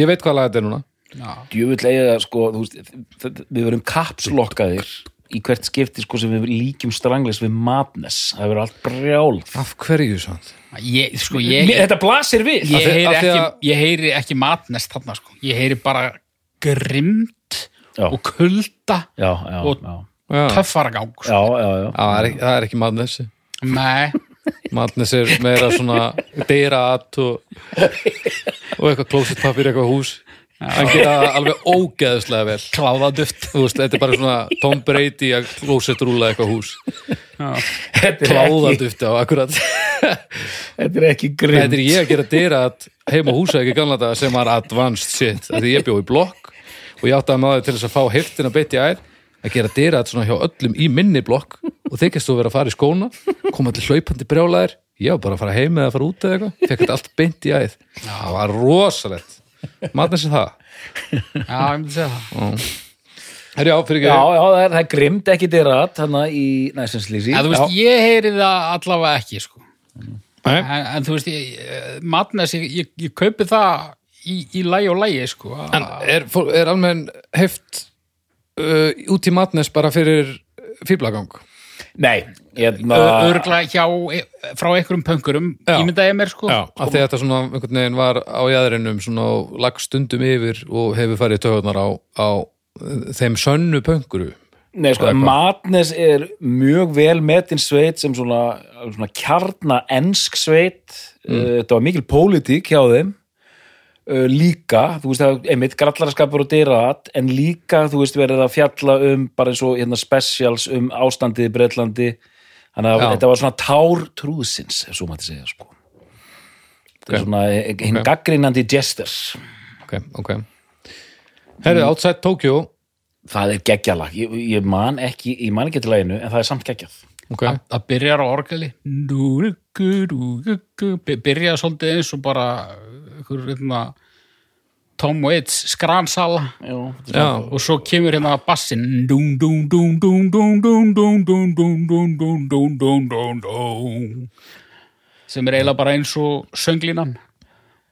[SPEAKER 1] Ég veit hvað laga þetta er núna
[SPEAKER 3] já.
[SPEAKER 2] djöfull eiga sko, þú veist, þ- þ- við verum kapslokkaðir í hvert skipti sko, sem við líkjum stranglis við madness, það verður allt brjál
[SPEAKER 1] Af hverju svona?
[SPEAKER 3] Ég, sko,
[SPEAKER 2] Mér-
[SPEAKER 3] ég,
[SPEAKER 2] þetta blasir við
[SPEAKER 1] Af því-
[SPEAKER 3] ég,
[SPEAKER 1] af
[SPEAKER 3] heyri
[SPEAKER 1] því
[SPEAKER 3] ekki,
[SPEAKER 1] að-
[SPEAKER 3] ég heyri ekki matnest þarna sko. ég heyri bara grimt
[SPEAKER 2] Já.
[SPEAKER 3] og kulda
[SPEAKER 2] já, já,
[SPEAKER 3] Og-
[SPEAKER 2] já,
[SPEAKER 1] Já, Já,
[SPEAKER 3] töffara gang sko.
[SPEAKER 2] já, já, já.
[SPEAKER 1] það er ekki- það er ekki madnessi
[SPEAKER 3] Nei,
[SPEAKER 1] Madness er meira svona deyra at og, og eitthvað klósitpapir, eitthvað hús hann gera það alveg ógeðslega vel kláðaduft þú veist, þetta er bara svona Tom Brady að klósitrúla eitthvað hús
[SPEAKER 3] já.
[SPEAKER 2] Þetta, er ekki,
[SPEAKER 1] kláðaduft á akkurat þetta
[SPEAKER 2] þetta er ekki grimm
[SPEAKER 1] er ég að gera deyra at heima húsa ekki gamla þetta sem var advanced shit af því ég bjó í blokk og ég átti að maður til þess að fá heiltina beitt í ær að gera dyra svona hjá öllum í minni blokk og þykist þú vera að fara í skóna koma allir hlaupandi brjálæðir ég var bara að fara heim eða að fara út eða eitthvað fekk þetta allt beint í æð það var rosalegt matnir sem það
[SPEAKER 3] já, ég myndi segja það
[SPEAKER 1] herri á fyrir
[SPEAKER 2] já,
[SPEAKER 1] ekki
[SPEAKER 2] já, það er, það er grimmt ekki dyrat þannig í næstinslýsi
[SPEAKER 3] En þú veist, ég heyri það allavega ekki sko.
[SPEAKER 1] Nei.
[SPEAKER 3] en, en þú veist, ég, eh, matnest ég, ég, ég kaupi það í, í lægi og lægi sko.
[SPEAKER 1] en er, fór- er almenn heft uh, út í matnes bara fyrir fýblagang
[SPEAKER 2] nei, hérna
[SPEAKER 3] örgla hjá e- frá einhverjum pönkurum,
[SPEAKER 1] Já.
[SPEAKER 3] ímynda ég mér sko.
[SPEAKER 1] af því að þetta svona einhvern veginn var á jæðrinum svona og lagd stundum yfir og hefur farið í töðunar á, á eh, þeim sönnu pönguru
[SPEAKER 2] Nei, sko,
[SPEAKER 1] Eða hvað?
[SPEAKER 2] Madness er mjög vel metin sveit sem svona, svona kjarna ensk sveit
[SPEAKER 1] Mm.
[SPEAKER 2] uh, þetta var mikil pólitík hjá þeim uh, líka, þú veist það einmitt grallaraskapur og dyrat en líka, þú veist, verið að fjalla um bara eins og hérna specials um ástandið í Breitlandi þannig að
[SPEAKER 1] Já.
[SPEAKER 2] þetta var svona tár trúðsins ef svo mætti segja, sko þetta
[SPEAKER 1] Ok.
[SPEAKER 2] er svona eh, hinn
[SPEAKER 1] Ok.
[SPEAKER 2] gaggrinandi gestur
[SPEAKER 1] ok, ok Herrið, Outside Tokyo
[SPEAKER 2] það er geggjalag, ég, ég man ekki ég man ekki til læginu, en það er samt geggjað
[SPEAKER 1] ok,
[SPEAKER 3] að það byrjar á orgeli byrjar svolítið eins og bara ykkur hérna Tom Waits skransala
[SPEAKER 2] Jú, þetta er
[SPEAKER 1] já,
[SPEAKER 3] og svo kemur hérna bassin dún dún dún dún dún dún dún dún dún dún dún dún dún dún dún sem er eiginlega bara eins og sönglínan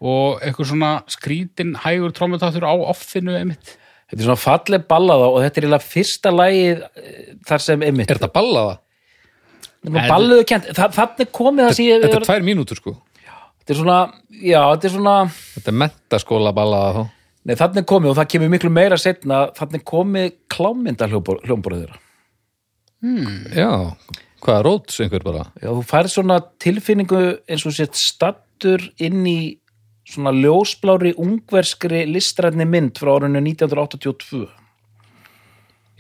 [SPEAKER 3] og eitthvað svona skrítin hægur trómutáttur á offinu einmitt
[SPEAKER 2] Þetta er svona falleg ballaða og þetta er eiginlega fyrsta lagið eh, þar sem einmitt.
[SPEAKER 1] er þetta ballaða?
[SPEAKER 2] Þetta er balluðu kent, Þa, þannig komið það sem ég...
[SPEAKER 1] Þetta er tvær mínútur sko
[SPEAKER 2] Þetta er svona, já, þetta er svona,
[SPEAKER 1] Þetta er mentaskóla ballaða þá
[SPEAKER 2] Nei, þannig er komið og það kemur miklu meira setna þannig er komið klámynda hljómborð þeirra.
[SPEAKER 1] Já, hvaða rót einhver bara
[SPEAKER 2] Já, þú færð svona tilfinningu eins og sett stattur inn í svona ljósblári ungverskri listrætni mynd frá árinu 1982.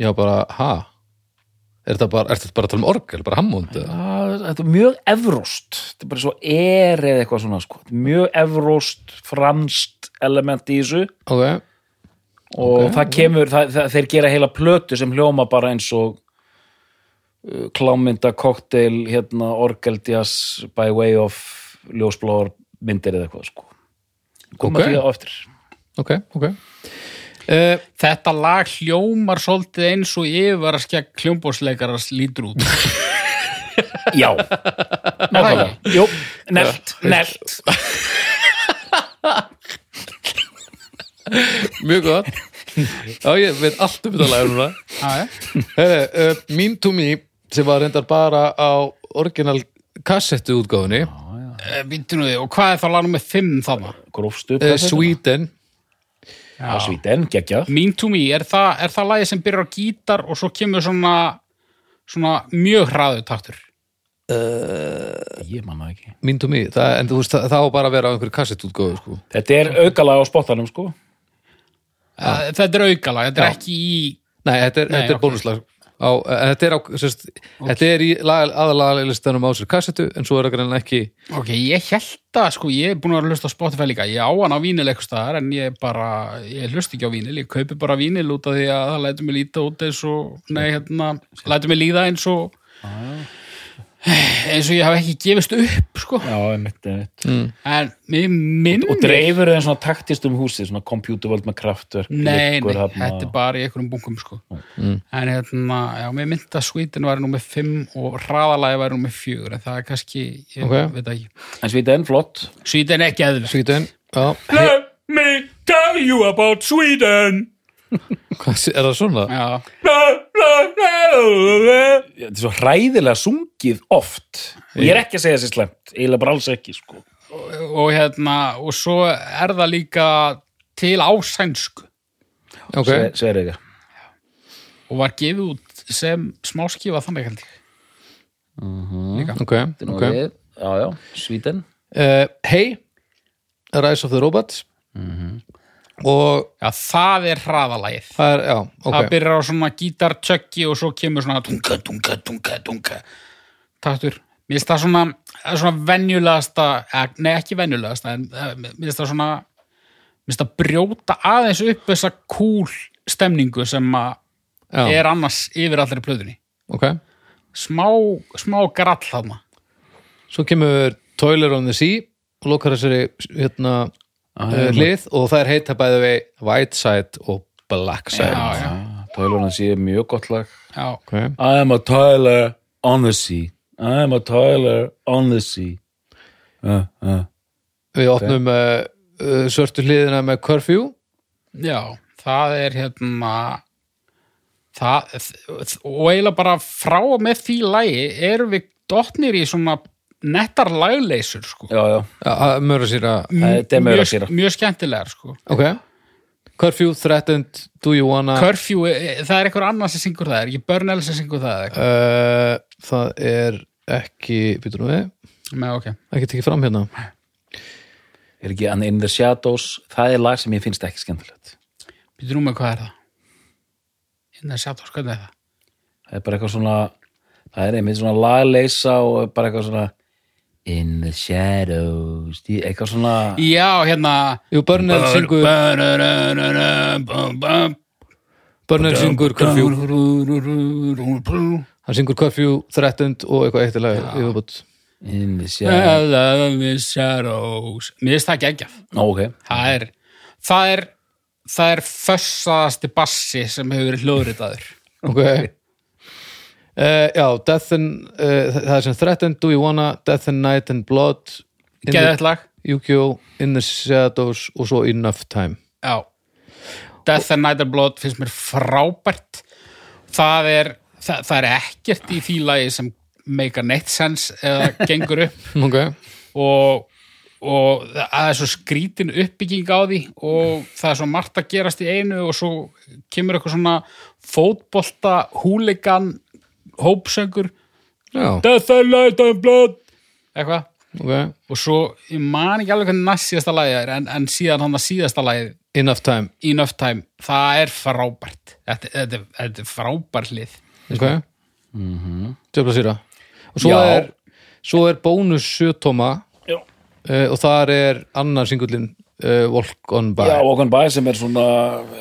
[SPEAKER 1] Já, bara, ha? Er þetta bara, er þetta bara að tala um orgel, bara hammond? eða?
[SPEAKER 2] Það, þetta er mjög evróst. Þetta er bara svo er eða eitthvað svona, sko. Þetta er Mjög evróst, franskt element í þessu
[SPEAKER 1] Ok,
[SPEAKER 2] og það kemur, það, það, þeir gera heila plötu sem hljóma bara eins og uh, klámynda, kokteil, hérna, orgeldjas by way of ljósbláar myndir eða eitthvað, sko.
[SPEAKER 1] Ok.
[SPEAKER 2] Koma okay. því á eftir.
[SPEAKER 1] ok, ok.
[SPEAKER 3] Eh.
[SPEAKER 1] Uh,
[SPEAKER 3] Þetta lag hljómar svolítið eins og yfirvaraskja kljómbósleikaras lítur [laughs] út.
[SPEAKER 2] Já, nákvæmlega Jú, nelt, nelt
[SPEAKER 1] mjög [laughs] gott. Já, ég veit allt um þetta lagur núna.
[SPEAKER 3] Já, já.
[SPEAKER 1] Heri, uh, mín to me, sem var reyndar bara á orginal kassettu útgáfunni,
[SPEAKER 3] Eh, Býttu nú þig, og hvað er þá lagnum með fimm þarna?
[SPEAKER 2] Grófstu upp
[SPEAKER 1] uh,
[SPEAKER 2] hvað þetta?
[SPEAKER 1] Sweden,
[SPEAKER 2] Já, Svíten, geggja
[SPEAKER 3] Mean to me, er það, er það lagið sem byrjar á gítar og svo kemur svona, svona mjög hraðu taktur?
[SPEAKER 2] Ég manna ekki
[SPEAKER 1] mín to me, það, en þú veist, það, það á bara að vera á einhverju kassettu útgáfu, sko.
[SPEAKER 2] Þetta er aukalega á spottanum, sko
[SPEAKER 3] Eh, Þetta er aukalag, þetta er ekki í...
[SPEAKER 1] Nei, þetta er,
[SPEAKER 3] Nei,
[SPEAKER 1] þetta er
[SPEAKER 3] ok.
[SPEAKER 1] bónuslag. Á, eh, þetta, er á, sérst, þetta er í aðalagalistanum á sér kassettu, en svo er það greinlega ekki
[SPEAKER 3] Ok, ég held að, sko, ég er búin að vera að hlusta á Spotify líka. Ég á hann á vínil eitthvað staðar, en ég bara, ég hlusta ekki á vínil. Ég kaupi bara vínil út af því að það lætur mig líta út eins og, nei, hérna, lætur mig líða eins og,
[SPEAKER 2] Ah.
[SPEAKER 3] eins og ég hafi ekki gefist upp, sko.
[SPEAKER 2] Já, einmitt, einmitt
[SPEAKER 3] En mér minnir...
[SPEAKER 2] Og dreifur þeim svona taktist um húsið Svona computervöld með kraftverk
[SPEAKER 3] Nei, nei,
[SPEAKER 2] liggur þarna.
[SPEAKER 3] þetta er bara í einhverjum bunkum sko. en hérna, já, mér myndi að svítin væri númer 5 og hraðalagi væri númer 4, en það er kannski ég
[SPEAKER 1] Ok.
[SPEAKER 3] veit það ekki,
[SPEAKER 2] En Svíten, flott
[SPEAKER 3] svítin er ekki eðl
[SPEAKER 1] Sweden. Já,
[SPEAKER 3] Let me tell you about Sweden
[SPEAKER 1] hvað, er það svona?
[SPEAKER 3] Já,
[SPEAKER 2] Þetta er svo hræðilega sungið oft Og ég er ekki að segja sér slemt Eila bara alls ekki, sko
[SPEAKER 3] og hérna og svo er það líka til ásænsku
[SPEAKER 1] Ok,
[SPEAKER 2] okay. Sveir ekki
[SPEAKER 3] og var gefið út sem smáskifa þannig held ég
[SPEAKER 1] ok, ok.
[SPEAKER 2] Já, já, Svíten
[SPEAKER 1] Uh, hey, Rise of the Robots og
[SPEAKER 3] Já, það er hraðalagið
[SPEAKER 1] það er, já,
[SPEAKER 3] það
[SPEAKER 1] ok
[SPEAKER 3] byrjar á svona gítartjöggi og svo kemur svona dunga, dunga, dunga, dunga taktur, mér finnst það svona það er svona venjulegasta eh, nei ekki venjulegasta, en eh, mér finnst það svona mér finnst það brjóta aðeins upp þessa cool stemningu sem að
[SPEAKER 1] já,
[SPEAKER 3] er annars yfir allri plöðunni
[SPEAKER 1] ok,
[SPEAKER 3] smá, smá grall þarna
[SPEAKER 1] svo kemur Toiler on the Sea og lokar þessari hérna uh, lið og það er heita bæði við White Side og Black Side
[SPEAKER 3] já, já,
[SPEAKER 2] Tæluna sé mjög gott lag
[SPEAKER 3] já,
[SPEAKER 1] ok,
[SPEAKER 2] I am a Tyler on the sea. I am a Tyler on the sea. Uh, uh.
[SPEAKER 1] við opnum uh, uh, svörtu hliðina með Curfew
[SPEAKER 3] já það er hérna það og eiginlega bara frá og með því lægi erum við dottnir í svona nettar lagleysur sko
[SPEAKER 2] Já, já.
[SPEAKER 1] uh, mörg sér að,
[SPEAKER 2] Þetta er meira
[SPEAKER 3] mjög,
[SPEAKER 2] sér.
[SPEAKER 3] mjög skemmtilegar sko.
[SPEAKER 1] ok Curfew, Threatened, Do You Wanna
[SPEAKER 3] Curfew, eh, það er einhver annað sem syngur það er ekki Burnell sem syngur það er,
[SPEAKER 1] uh, það er ekki, býtum við
[SPEAKER 3] með, okay.
[SPEAKER 1] ekki tekið fram hérna
[SPEAKER 2] Er ekki hann In the Shadows? Það er lag sem ég finnst ekki skemmtilegt.
[SPEAKER 3] Býtu rúmið hvað er það Inna Shadows, hvernig er það
[SPEAKER 2] Það er bara eitthvað svona, það er einmitt svona lagleysa og bara eitthvað svona In the Shadows, Í- eitthvað svona,
[SPEAKER 3] Já, hérna
[SPEAKER 1] Jú, Börnel syngur Börnel syngur Curfew hann syngur Curfew, Threatened og eitthvað eitt lag yfirbútt
[SPEAKER 2] In the Shadows.
[SPEAKER 3] Curfew Shadows Mér finnst það geggjaf
[SPEAKER 2] Ná, ok.
[SPEAKER 3] Það er það er, það er fössaðasti bassi sem hefur verið hljóðritaður
[SPEAKER 1] ok uh, já, Death and uh, það er sem Threatened, Do You Wanna Death and Night and Blood In the-
[SPEAKER 3] Geðvægt lag
[SPEAKER 1] Yu-Gi-Oh! In the Shadows og svo Enough Time
[SPEAKER 3] Já Death and Night and Blood finnst mér frábært það er það, það er ekkert í því lagi sem make a neitt sense eða gengur upp
[SPEAKER 1] ok,
[SPEAKER 3] og og það er svo skrítin uppbygging á því og það er svo margt að gerast í einu og svo kemur eitthvað svona fótbolta húligan hópsöngur
[SPEAKER 1] Já,
[SPEAKER 3] Death and Light and Blood eitthvað
[SPEAKER 1] ok.
[SPEAKER 3] og svo, ég man ekki alveg hvernig næst síðasta lagið er en, en síðan hann að síðasta lagið
[SPEAKER 1] Enough time.
[SPEAKER 3] Enough Time, það er frábært þetta, þetta, þetta er frábært lið
[SPEAKER 1] Ok. Mhm. Djöfla sýra. Og svo
[SPEAKER 2] Já.
[SPEAKER 1] er, svo er bónus sjötóma
[SPEAKER 2] Já.
[SPEAKER 1] uh, og þar er annar singullin uh, Walk on by.
[SPEAKER 2] Já, Walk on By sem er svona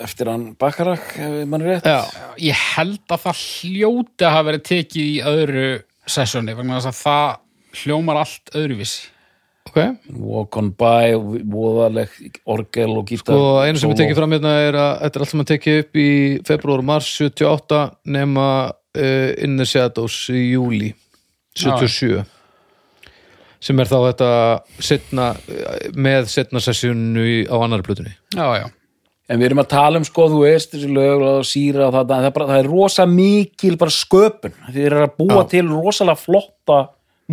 [SPEAKER 2] eftir hann Bakarak, ef mann er rétt.
[SPEAKER 1] Já.
[SPEAKER 3] ég held að það hljóti að hafa verið tekið í öðru sessjóni vegna þess að það hljómar allt öðruvísi
[SPEAKER 1] Ok.
[SPEAKER 2] Walk on By, voðaleg, orgel og gítar.
[SPEAKER 1] Og Sko, einu sem við
[SPEAKER 2] sóló.
[SPEAKER 1] tekið fram hérna er að þetta er allt sem að tekið upp í februar og mars 78 nema uh, In the Shadows í júli 77 sem er þá þetta setna, eh, með setna sessjónu á annar plötunni.
[SPEAKER 3] já, já,
[SPEAKER 2] En við erum að tala um, sko, þú veist, þessi lög og síra og það, það, er bara, það er rosa mikil bara sköpun. Þið eru að búa til rosalega flotta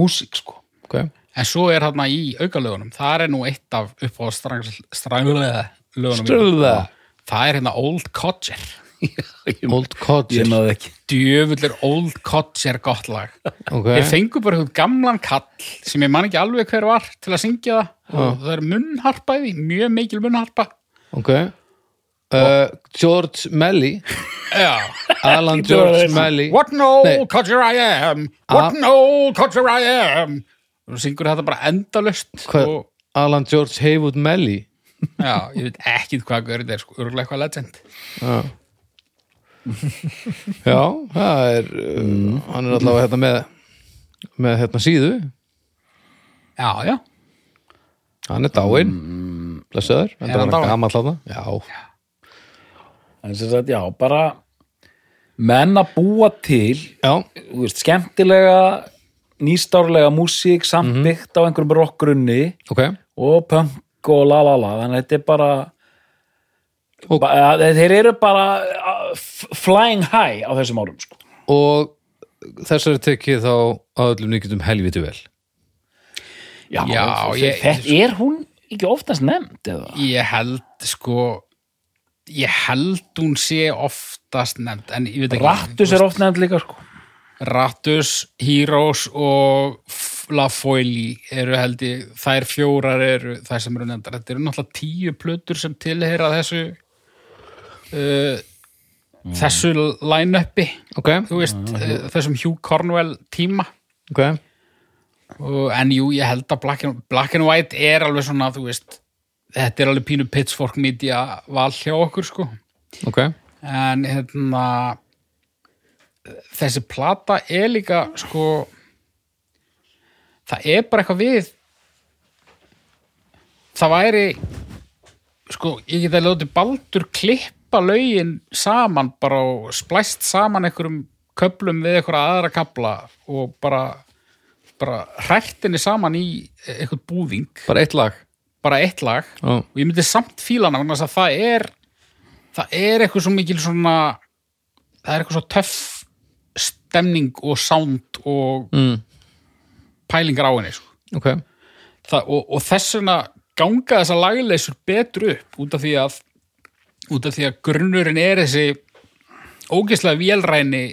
[SPEAKER 2] músík, sko.
[SPEAKER 1] Ok.
[SPEAKER 3] en svo er þarna í aukalögunum það er nú eitt af upp á strangulega lögunum
[SPEAKER 1] Stranglega.
[SPEAKER 3] það er hérna Old Codger
[SPEAKER 1] Old Codger.
[SPEAKER 2] Ég náði ekki.
[SPEAKER 3] djöfull er Old Codger gott lag
[SPEAKER 1] Ok.
[SPEAKER 3] ég fengu bara einhvern gamlan kall sem ég man ekki alveg hver var til að syngja það og það er munnharpa í því, mjög mikil munnharpa
[SPEAKER 1] Ok uh, George
[SPEAKER 3] [laughs]
[SPEAKER 1] Melly
[SPEAKER 3] já
[SPEAKER 1] Alan George Melly
[SPEAKER 3] What an old
[SPEAKER 1] Nei.
[SPEAKER 3] codger I am
[SPEAKER 1] Ah.
[SPEAKER 3] What an old codger I am og syngur þetta bara endalust
[SPEAKER 1] Hva-
[SPEAKER 3] og
[SPEAKER 1] Alan George Haywood Melly
[SPEAKER 3] já, ég veit ekki hvað görið er sko, örgulega eitthvað legend
[SPEAKER 1] Já Já, það er
[SPEAKER 3] Mm.
[SPEAKER 1] uh, hann er allavega hérna með með hérna síðu
[SPEAKER 3] já, já,
[SPEAKER 1] hann er dáinn mm. blessaður, en
[SPEAKER 3] Er hann
[SPEAKER 1] það var
[SPEAKER 3] dáinn?
[SPEAKER 1] gammal hlána Já,
[SPEAKER 2] En sem sagt, já, bara menn að búa til,
[SPEAKER 1] já,
[SPEAKER 2] þú veist, skemmtilega, nýstárlega músík, samt byggt á einhverjum rockgrunni
[SPEAKER 1] ok
[SPEAKER 2] og punk og la la la þannig að þetta er bara
[SPEAKER 1] Og-
[SPEAKER 2] ba að, þeir eru bara uh, f- flying high á þessum árum sko.
[SPEAKER 1] og þessari tekið þá að öllum nýkjöndum helviti vel
[SPEAKER 2] já,
[SPEAKER 3] Já,
[SPEAKER 2] þe-
[SPEAKER 3] ég-
[SPEAKER 2] þetta er hún ekki oftast nefnd eða?
[SPEAKER 3] ég held sko ég held hún sé oftast nefnd en ég veit ekki
[SPEAKER 2] Rattus er oft nefnd líka sko.
[SPEAKER 3] Rattus, Heroes og F- La Foili eru held ég, þær fjórar eru þær sem eru nefndar, þetta eru náttúrulega tíu plötur sem tilheyra þessu uh, þessu line-upi
[SPEAKER 1] Ok,
[SPEAKER 3] þú veist, uh, þessum Hugh Cornwell tíma
[SPEAKER 1] ok
[SPEAKER 3] og, en jú, ég held að Black and, Black and White er alveg svona, þú veist þetta er alveg pínu pitchfork media val hjá okkur sko
[SPEAKER 1] Ok,
[SPEAKER 3] en hérna þessi plata er líka sko það er bara eitthvað við það væri sko, ég geta ljóti baldur klippa lögin saman bara og splæst saman einhverjum köplum við einhverja aðra kapla og bara, bara hrættinni saman í einhvern búðing
[SPEAKER 1] bara eitt lag
[SPEAKER 3] bara eitt lag
[SPEAKER 1] Já,
[SPEAKER 3] og ég myndi samt fíla hana vegna þess að það er það er eitthvað svo mikil svona það er eitthvað svo töff stemning og sound og
[SPEAKER 1] mm.
[SPEAKER 3] pælingar á henni sko.
[SPEAKER 1] ok
[SPEAKER 3] það, og, og þess vegna ganga þessar lagleysur betur upp út af því að út af því að grunnurinn er þessi ógeðslega vélræni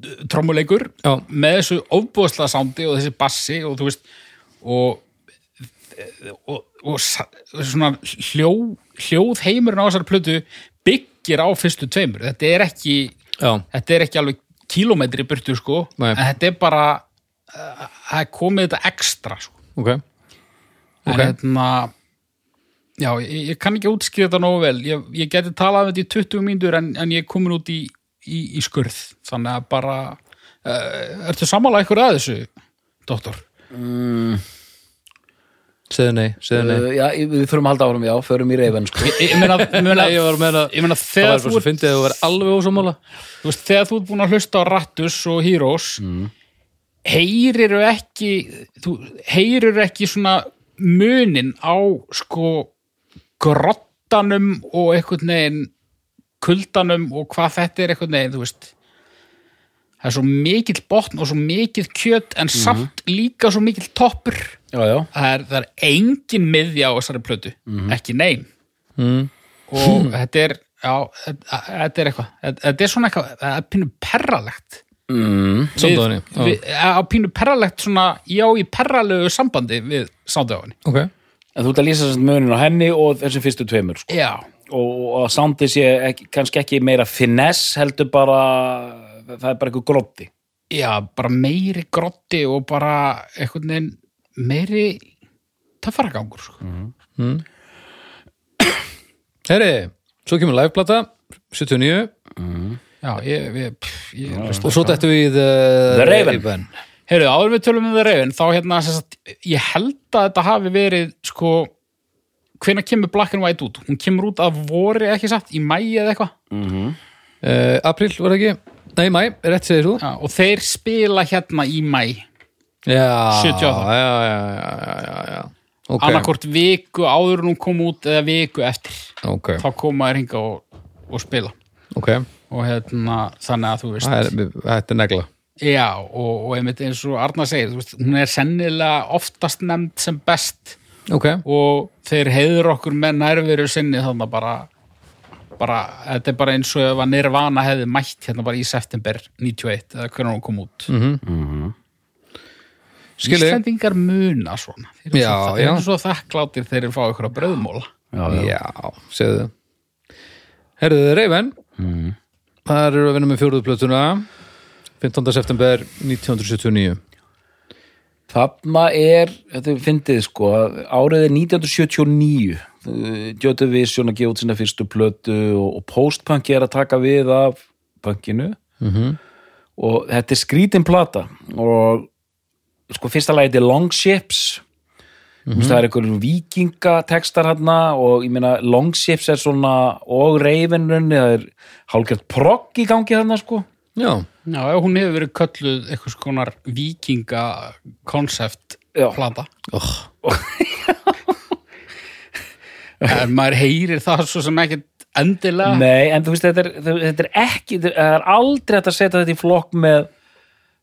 [SPEAKER 3] eh, trommuleikur
[SPEAKER 1] Já,
[SPEAKER 3] með þessu ofbúðslega sándi og þessi bassi og þú veist og, og, og, sa- svona hljó, hljóð heimurinn á þessari plötu byggir á fyrstu tveimur þetta er ekki,
[SPEAKER 1] já,
[SPEAKER 3] þetta er ekki alveg kílómetri í burtu sko
[SPEAKER 1] Nei.
[SPEAKER 3] en þetta er bara eh, það er komið þetta ekstra sko.
[SPEAKER 1] ok
[SPEAKER 3] en hérna já, ég, ég kann ekki útskýra þetta nógu vel ég, ég geti talað um þetta í 20 mínútur en, en ég er komin út í, í, í skurð þannig að bara uh, ertu sammála ykkur að þessu, doktor?
[SPEAKER 1] Segðu nei, segðu nei
[SPEAKER 3] Eh,
[SPEAKER 2] uh, já, við þurfum að halda áfram já, förum í reyfin sko.
[SPEAKER 3] ég ég meina, ég meina,
[SPEAKER 1] Nei, ég var að meina-
[SPEAKER 3] ég meina
[SPEAKER 1] Það
[SPEAKER 3] þegar
[SPEAKER 1] var bara
[SPEAKER 3] þú,
[SPEAKER 1] svo fyndið að þú verið alveg ósámála
[SPEAKER 3] ert- þú veist, þegar þú ert búin að hlusta á Rattus og Heroes heyriru ekki þú heyriru ekki svona munin á sko grottanum og einhvern veginn kuldanum og hvað þetta er einhvern veginn, þú veist það er svo mikill botn og svo mikill kjöt en samt líka svo mikill toppur
[SPEAKER 2] já, já,
[SPEAKER 3] það er, það er engin miðja á þessari plötu ekki nein Mhm. og þetta er já, þetta þetta er eitthvað þetta þetta er svona eitthvað, það er pínu perralegt Mhm.
[SPEAKER 1] Sound of Honey, já.
[SPEAKER 3] við, á pínu perralegt svona, já, í perralegu sambandi við sándagáðinni
[SPEAKER 1] ok,
[SPEAKER 2] en þú ert að lýsa þessum munin á henni og þessum fyrstu tveimur sko.
[SPEAKER 3] já,
[SPEAKER 2] og, og sándið sé ekki, kannski ekki meira finess heldur bara það er bara eitthvað grótti
[SPEAKER 3] já, bara meiri grotti og bara einhvern veginn meiri töffaragangur sko.
[SPEAKER 1] herri svo kemur liveplata, 79
[SPEAKER 3] já, ég, ég, pff, ég
[SPEAKER 1] og svo dættu við uh,
[SPEAKER 2] The Raven.
[SPEAKER 3] Heyrðu, áður við tölum um það reyfin, þá hérna, sem sagt, ég held að þetta hafi verið, sko, hvenær kemur Black and White út? Hún kemur út að vori, ekki satt, í mæi eða eitthvað.
[SPEAKER 1] Uh, april var það ekki, nei mæ, rétt segir þú
[SPEAKER 3] Já, og þeir spila hérna í mæi,
[SPEAKER 1] já,
[SPEAKER 3] 78.
[SPEAKER 1] já, já, já, já, já, já. ok,
[SPEAKER 3] okay. annarkvort viku áður en hún kom út eða viku eftir.
[SPEAKER 1] ok,
[SPEAKER 3] Þá koma þær hinga og, og spila.
[SPEAKER 1] ok
[SPEAKER 3] Og hérna, þannig að þú veist,
[SPEAKER 1] Það er- þetta er negla
[SPEAKER 3] já, og, og einmitt eins og Arna segir, þú veist, hún er sennilega oftast nefnd sem best
[SPEAKER 1] ok,
[SPEAKER 3] og þeir heiður okkur með nærveru sinni þannig að bara, bara þetta er bara eins og ef að Nirvana hefði mætt hérna bara í september 91 eða hvernig hún kom út mm
[SPEAKER 1] Mhm. skilji
[SPEAKER 3] Íslendingar muna svona þeir eru
[SPEAKER 1] Já,
[SPEAKER 3] svo, þeir
[SPEAKER 1] já.
[SPEAKER 3] eru svo þakklátir þegar þeir fá ykkur að bröðmóla
[SPEAKER 1] Já, segðu Herðu, Reyven
[SPEAKER 2] Mm.
[SPEAKER 1] Það eru að vinna með fjóruðu plötuna 15. september 1979
[SPEAKER 2] Þarna er, þetta er fyndið sko, árið er 1979, Eh, Joy Division að gefa út sína fyrstu plötu og, og postpunk er að taka við af punkinu -hmm. og þetta er skrítin plata og sko fyrsta lagi þetta er Longships, mm -hmm. það er einhverjum vikingatextar hérna og ég meina Longships er svona og reyfinrunni, það er hálfgjart progg í gangi hérna sko.
[SPEAKER 1] Já,
[SPEAKER 3] Já, já, hún hefur verið kölluð einhvers konar vikinga konsept
[SPEAKER 2] Já.
[SPEAKER 3] plata
[SPEAKER 1] Oh.
[SPEAKER 3] en maður heyrir það svo sem ekkert endilega
[SPEAKER 2] Nei, en þú veist, þetta er, þetta er ekki það er aldrei hægt að setja þetta í flokk með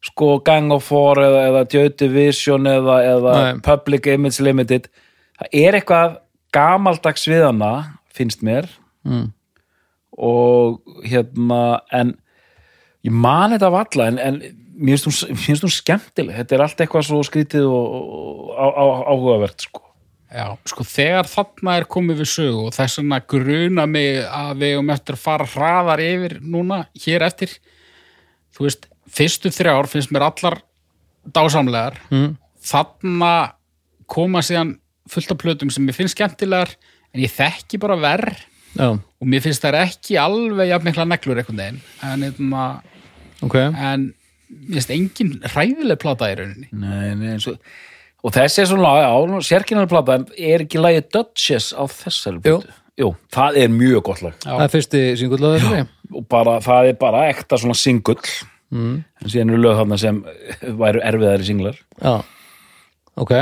[SPEAKER 2] sko Gang of Four eða, eða Joy Division eða, eða
[SPEAKER 1] Nei.
[SPEAKER 2] Public Image Limited það er eitthvað gamaldags við hana finnst mér
[SPEAKER 1] Mm.
[SPEAKER 2] og hérna en ég man þetta valla en, en mér finnst hún, mér finnst hún skemmtileg þetta er allt eitthvað svo skrítið og, og, og á, á, áhugavert sko
[SPEAKER 3] Já, sko þegar þarna er komið við sögu og þess vegna gruna mig að við um eftir að fara hraðar yfir núna, hér eftir þú veist, fyrstu þrjár finnst mér allar dásamlegar mm. þarna koma síðan fullt af plötum sem mér finnst skemmtilegar en ég þekki bara verð
[SPEAKER 1] já,
[SPEAKER 3] og mér finnst þær ekki alveg jafn mikla neglur einhvern veginn en, einna,
[SPEAKER 1] ok
[SPEAKER 3] en mér finnst engin hræðileg plata í rauninni
[SPEAKER 2] Nei, nei, eins og og þessi er svona, já, sérkynnar plata en er ekki lagi Duchess á þessari plötu? Jú, það er mjög gott lag
[SPEAKER 1] Það er fyrsti singullaður
[SPEAKER 2] og bara, það er bara ekta svona singull mm. en síðan eru lög þarna sem væru erfiðari singlar
[SPEAKER 1] Já, ok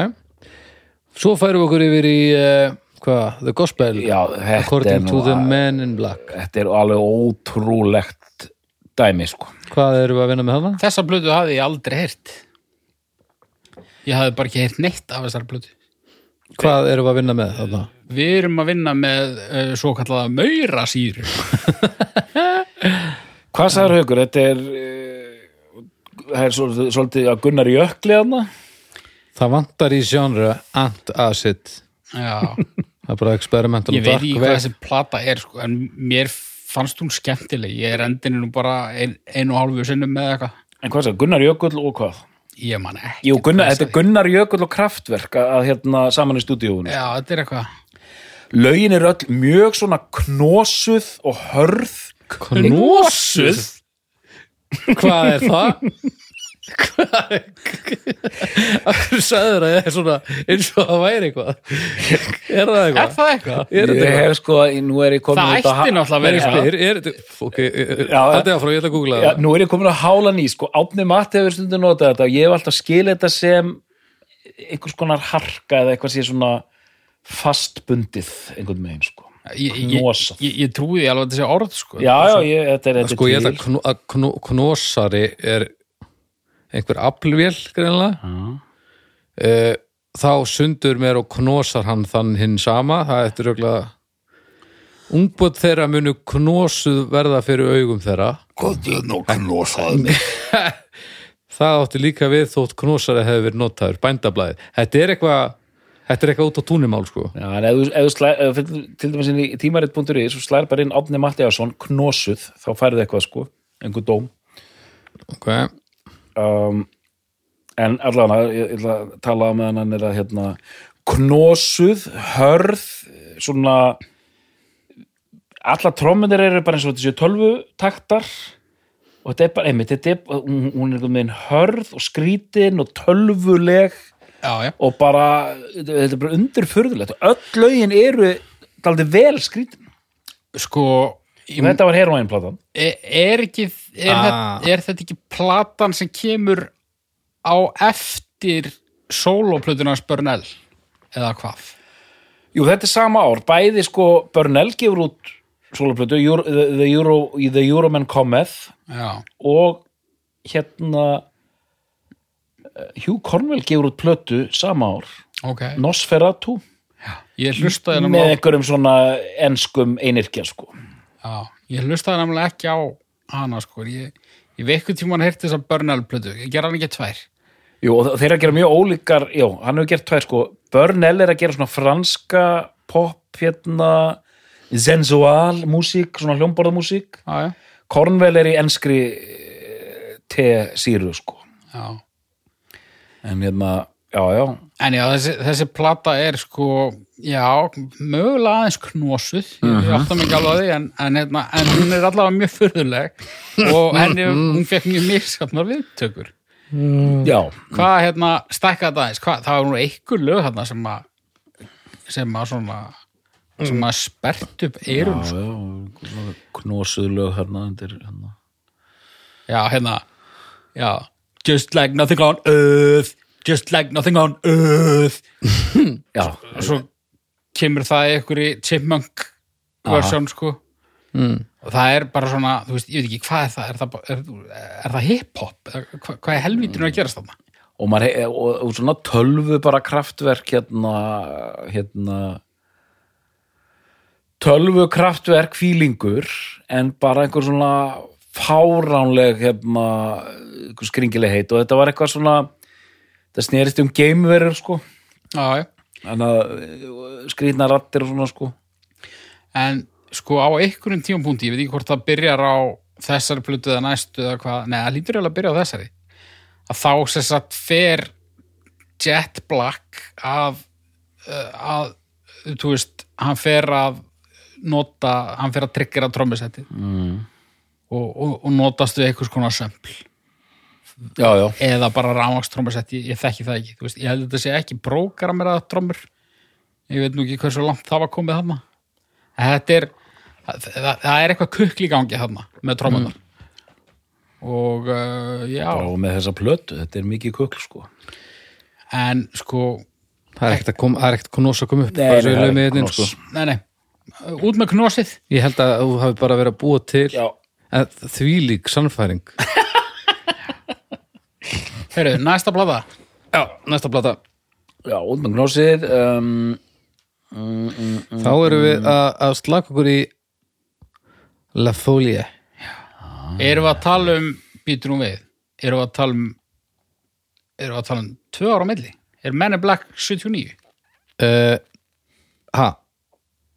[SPEAKER 1] Svo færum við okkur yfir í uh, hvað, The Gospel
[SPEAKER 2] Já, þetta er
[SPEAKER 1] According
[SPEAKER 2] nú
[SPEAKER 1] to the
[SPEAKER 2] að-
[SPEAKER 1] Men in Black
[SPEAKER 2] Þetta er alveg ótrúlegt dæmi, sko
[SPEAKER 1] Hvað erum við að vinna með hana?
[SPEAKER 3] Þessa blötu hafði ég aldrei heyrt Ég hafði bara ekki heyrt neitt af þessar blötu
[SPEAKER 1] Hvað erum við að vinna með þarna?
[SPEAKER 3] Við erum að vinna með uh, svo kallaða maurasýru
[SPEAKER 2] Hvað sagður
[SPEAKER 1] Mm.
[SPEAKER 2] haukur, þetta er eh, það er svo- svolítið að Gunnar Jökli þarna
[SPEAKER 1] Það vantar í genre Antacid
[SPEAKER 3] Já,
[SPEAKER 1] Það er bara experimental
[SPEAKER 3] ég veit ekki
[SPEAKER 1] dark
[SPEAKER 3] hvað
[SPEAKER 1] web.
[SPEAKER 3] þessi plata er sko, en mér fannst hún skemmtileg Ég er endinu nú bara ein, ein og hálfu sinnum með eitthvað
[SPEAKER 2] En hvað sagður, Gunnar Jökull og hvað?
[SPEAKER 3] Ég man ekki
[SPEAKER 2] Jú, Gunnar, þetta er Gunnar Jökull og Kraftverk að, að hérna saman í stúdíóinu
[SPEAKER 3] Já, þetta er eitthvað
[SPEAKER 2] Laugin er öll mjög svona knosuð og hörð
[SPEAKER 1] Knosuð? Hvað er það? Hvað er Akkur sagður að það er svona eins og það væri eitthvað Er það
[SPEAKER 3] Er
[SPEAKER 1] eitthvað?
[SPEAKER 3] það eitthvað?
[SPEAKER 1] Er þetta
[SPEAKER 2] Ég
[SPEAKER 1] eitthvað?
[SPEAKER 2] hef sko, nú er ég komin út
[SPEAKER 3] Það
[SPEAKER 2] á
[SPEAKER 3] ætti
[SPEAKER 2] ha-
[SPEAKER 1] Ég
[SPEAKER 3] náttúrulega að vera eitthvað
[SPEAKER 1] spyr, er þetta Ok,
[SPEAKER 2] Já,
[SPEAKER 1] þetta er áfram, ég ætla að googla
[SPEAKER 2] Já,
[SPEAKER 1] það
[SPEAKER 2] Nú er ég komin að hála ný, sko Átni Matti hefur stundum notað þetta og ég hef alltaf skilið þetta sem einhvers konar harka eða eitthvað sé svona fastbundið einhvern veginn, sko
[SPEAKER 3] ég, ég,
[SPEAKER 2] Knosa.
[SPEAKER 3] ég, ég trúi því alveg að þetta sé orð sko.
[SPEAKER 2] já, já, ég, þetta er þetta
[SPEAKER 1] Sko ég
[SPEAKER 2] er
[SPEAKER 1] held að
[SPEAKER 2] til.
[SPEAKER 1] kno- að kno- knosari er einhver aflvél greinlega uh, þá sundur mér og knosar hann þann hinn sama það eftir auðvitað ungbótt þeirra munu knosuð verða fyrir augum þeirra
[SPEAKER 4] Góðið nú knosaði mig.
[SPEAKER 1] það átti líka við þótt knosari hefur verið notaður, bændablaðið þetta er eitthvað þetta er eitthvað út á túnimál sko
[SPEAKER 2] Já, en ef þú, ef þú slæ, ef, þú- til dæmis inn í tímarit.is og slær bara inn Átni Mattiasson, knosuð, þá færðu eitthvað sko, einhver dóm.
[SPEAKER 1] okay.
[SPEAKER 2] um, en allan ég, ég ætla að tala með hann er að hérna, knosuð, hörð svona alla trómmunir eru bara eins og þessi tölvu taktar og þetta er bara, einmitt, þetta er, hún, hún er einhvern veginn hörð og skrítin og tölvuleg
[SPEAKER 3] já, já.
[SPEAKER 2] og bara, þetta er bara undirfurðulegt öll lögin eru daldið vel skrítin,
[SPEAKER 3] Sko, ég,
[SPEAKER 2] þetta var heroinplatan
[SPEAKER 3] er, E, er ekki er,
[SPEAKER 1] Ah.
[SPEAKER 3] þetta, er þetta ekki platan sem kemur á eftir soloplötunars Börnell eða hvað?
[SPEAKER 2] Jú, þetta er sama ár, bæði sko Börnell gefur út soloplötu Euro, the, the, Euro, the Euroman Cometh
[SPEAKER 3] Já,
[SPEAKER 2] og hérna eh, Hugh Cornwell gefur út plötu sama ár,
[SPEAKER 3] ok
[SPEAKER 2] Nosferatu
[SPEAKER 3] Ég
[SPEAKER 2] með
[SPEAKER 3] hlustaði namlega,
[SPEAKER 2] einhverjum svona enskum einirkja sko
[SPEAKER 3] já, ég hlustaði namlega ekki á hana sko Ég, ég vekku tímann heyrti þess að Börnell-plötu Ég gera hann ekki tvær
[SPEAKER 2] Jú, og þeir eru að gera mjög ólíkar Jú, hann hefur gert tvær sko Börnell er að gera svona franska pop hérna sensual músík, svona hljómborðamúsík
[SPEAKER 3] Já, já,
[SPEAKER 2] Cornwell er í enskri eh, T-síru sko
[SPEAKER 3] já
[SPEAKER 2] en hérna, já, já
[SPEAKER 3] En já, þessi, þessi plata er sko, já, mögulega aðeins knosuð, ég átta mig ekki alveg á því, en, en, hérna, en hún er allavega mjög furðuleg og henni, hún fekk mjög misgjarnar viðtökur.
[SPEAKER 2] já,
[SPEAKER 3] Hvað, hérna, stækka þetta aðeins, hvað, það var nú einhver lög hérna sem að, sem að svona, sem að spert upp eyrun, sko.
[SPEAKER 2] já knosuðlög hérna undir hérna
[SPEAKER 3] Já, hérna, já, just like nothing on earth, just like nothing on earth,
[SPEAKER 2] já,
[SPEAKER 3] og svo kemur það í einhverju chipmunk versjón sko og það er bara svona, þú veist, ég veit ekki hvað er það, er það, bara- er, er það hip-hop Eða hvað, hvað er helvítinu að gerast þarna
[SPEAKER 2] og, maður, he- og, og svona tölvu bara kraftverk hérna hérna tölvu kraftverk fílingur en bara einhver svona fáránleg hérna einhver skringileg heit og þetta var eitthvað svona þetta snerist um gameverur sko
[SPEAKER 3] já, já.
[SPEAKER 2] en að skrýtna rattir og svona sko
[SPEAKER 3] en sko á einhverjum tímapunkti ég veit ekki hvort það byrjar á þessari plötu eða næstu eða hvað, nei það lítur eiginlega að byrja á þessari að þá sem sagt fer Jet Black af uh, að, þú veist, hann fer að nota, hann fer að triggera trommisetti mm. og, og, og notast við einhvers konar sömpl
[SPEAKER 2] já, já,
[SPEAKER 3] eða bara rámaks trommisetti, ég, ég þekki það ekki þú veist, ég held að þetta sé ekki prógramerað trommur ég veit nú ekki hversu langt það var komið þarna En þetta er það, það, það er eitthvað kukl í gangi þarna með trommunar og uh, já,
[SPEAKER 2] og með þessa plötu, þetta er mikið kukl sko
[SPEAKER 3] en sko
[SPEAKER 1] það er ekkert að kom, það er ekkert knos að koma upp
[SPEAKER 2] Nei,
[SPEAKER 1] bara svo
[SPEAKER 2] nei,
[SPEAKER 1] ég
[SPEAKER 2] það
[SPEAKER 1] laumi
[SPEAKER 2] er
[SPEAKER 1] þetta inn,
[SPEAKER 2] knos.
[SPEAKER 1] sko.
[SPEAKER 3] nei, nei, út með knosið
[SPEAKER 1] ég held að þú hafi bara verið að búa til
[SPEAKER 2] já,
[SPEAKER 1] En þvílík sannfæring
[SPEAKER 3] Heru, næsta blada
[SPEAKER 1] Já, næsta plata
[SPEAKER 2] já, út með gnósið um,
[SPEAKER 1] Þá erum við að, að slaka okkur í La Folie
[SPEAKER 3] erum við að tala um, býtur hún við erum við að tala um erum við að tala um tvö ára á milli er Men in Black 79
[SPEAKER 1] uh, Ha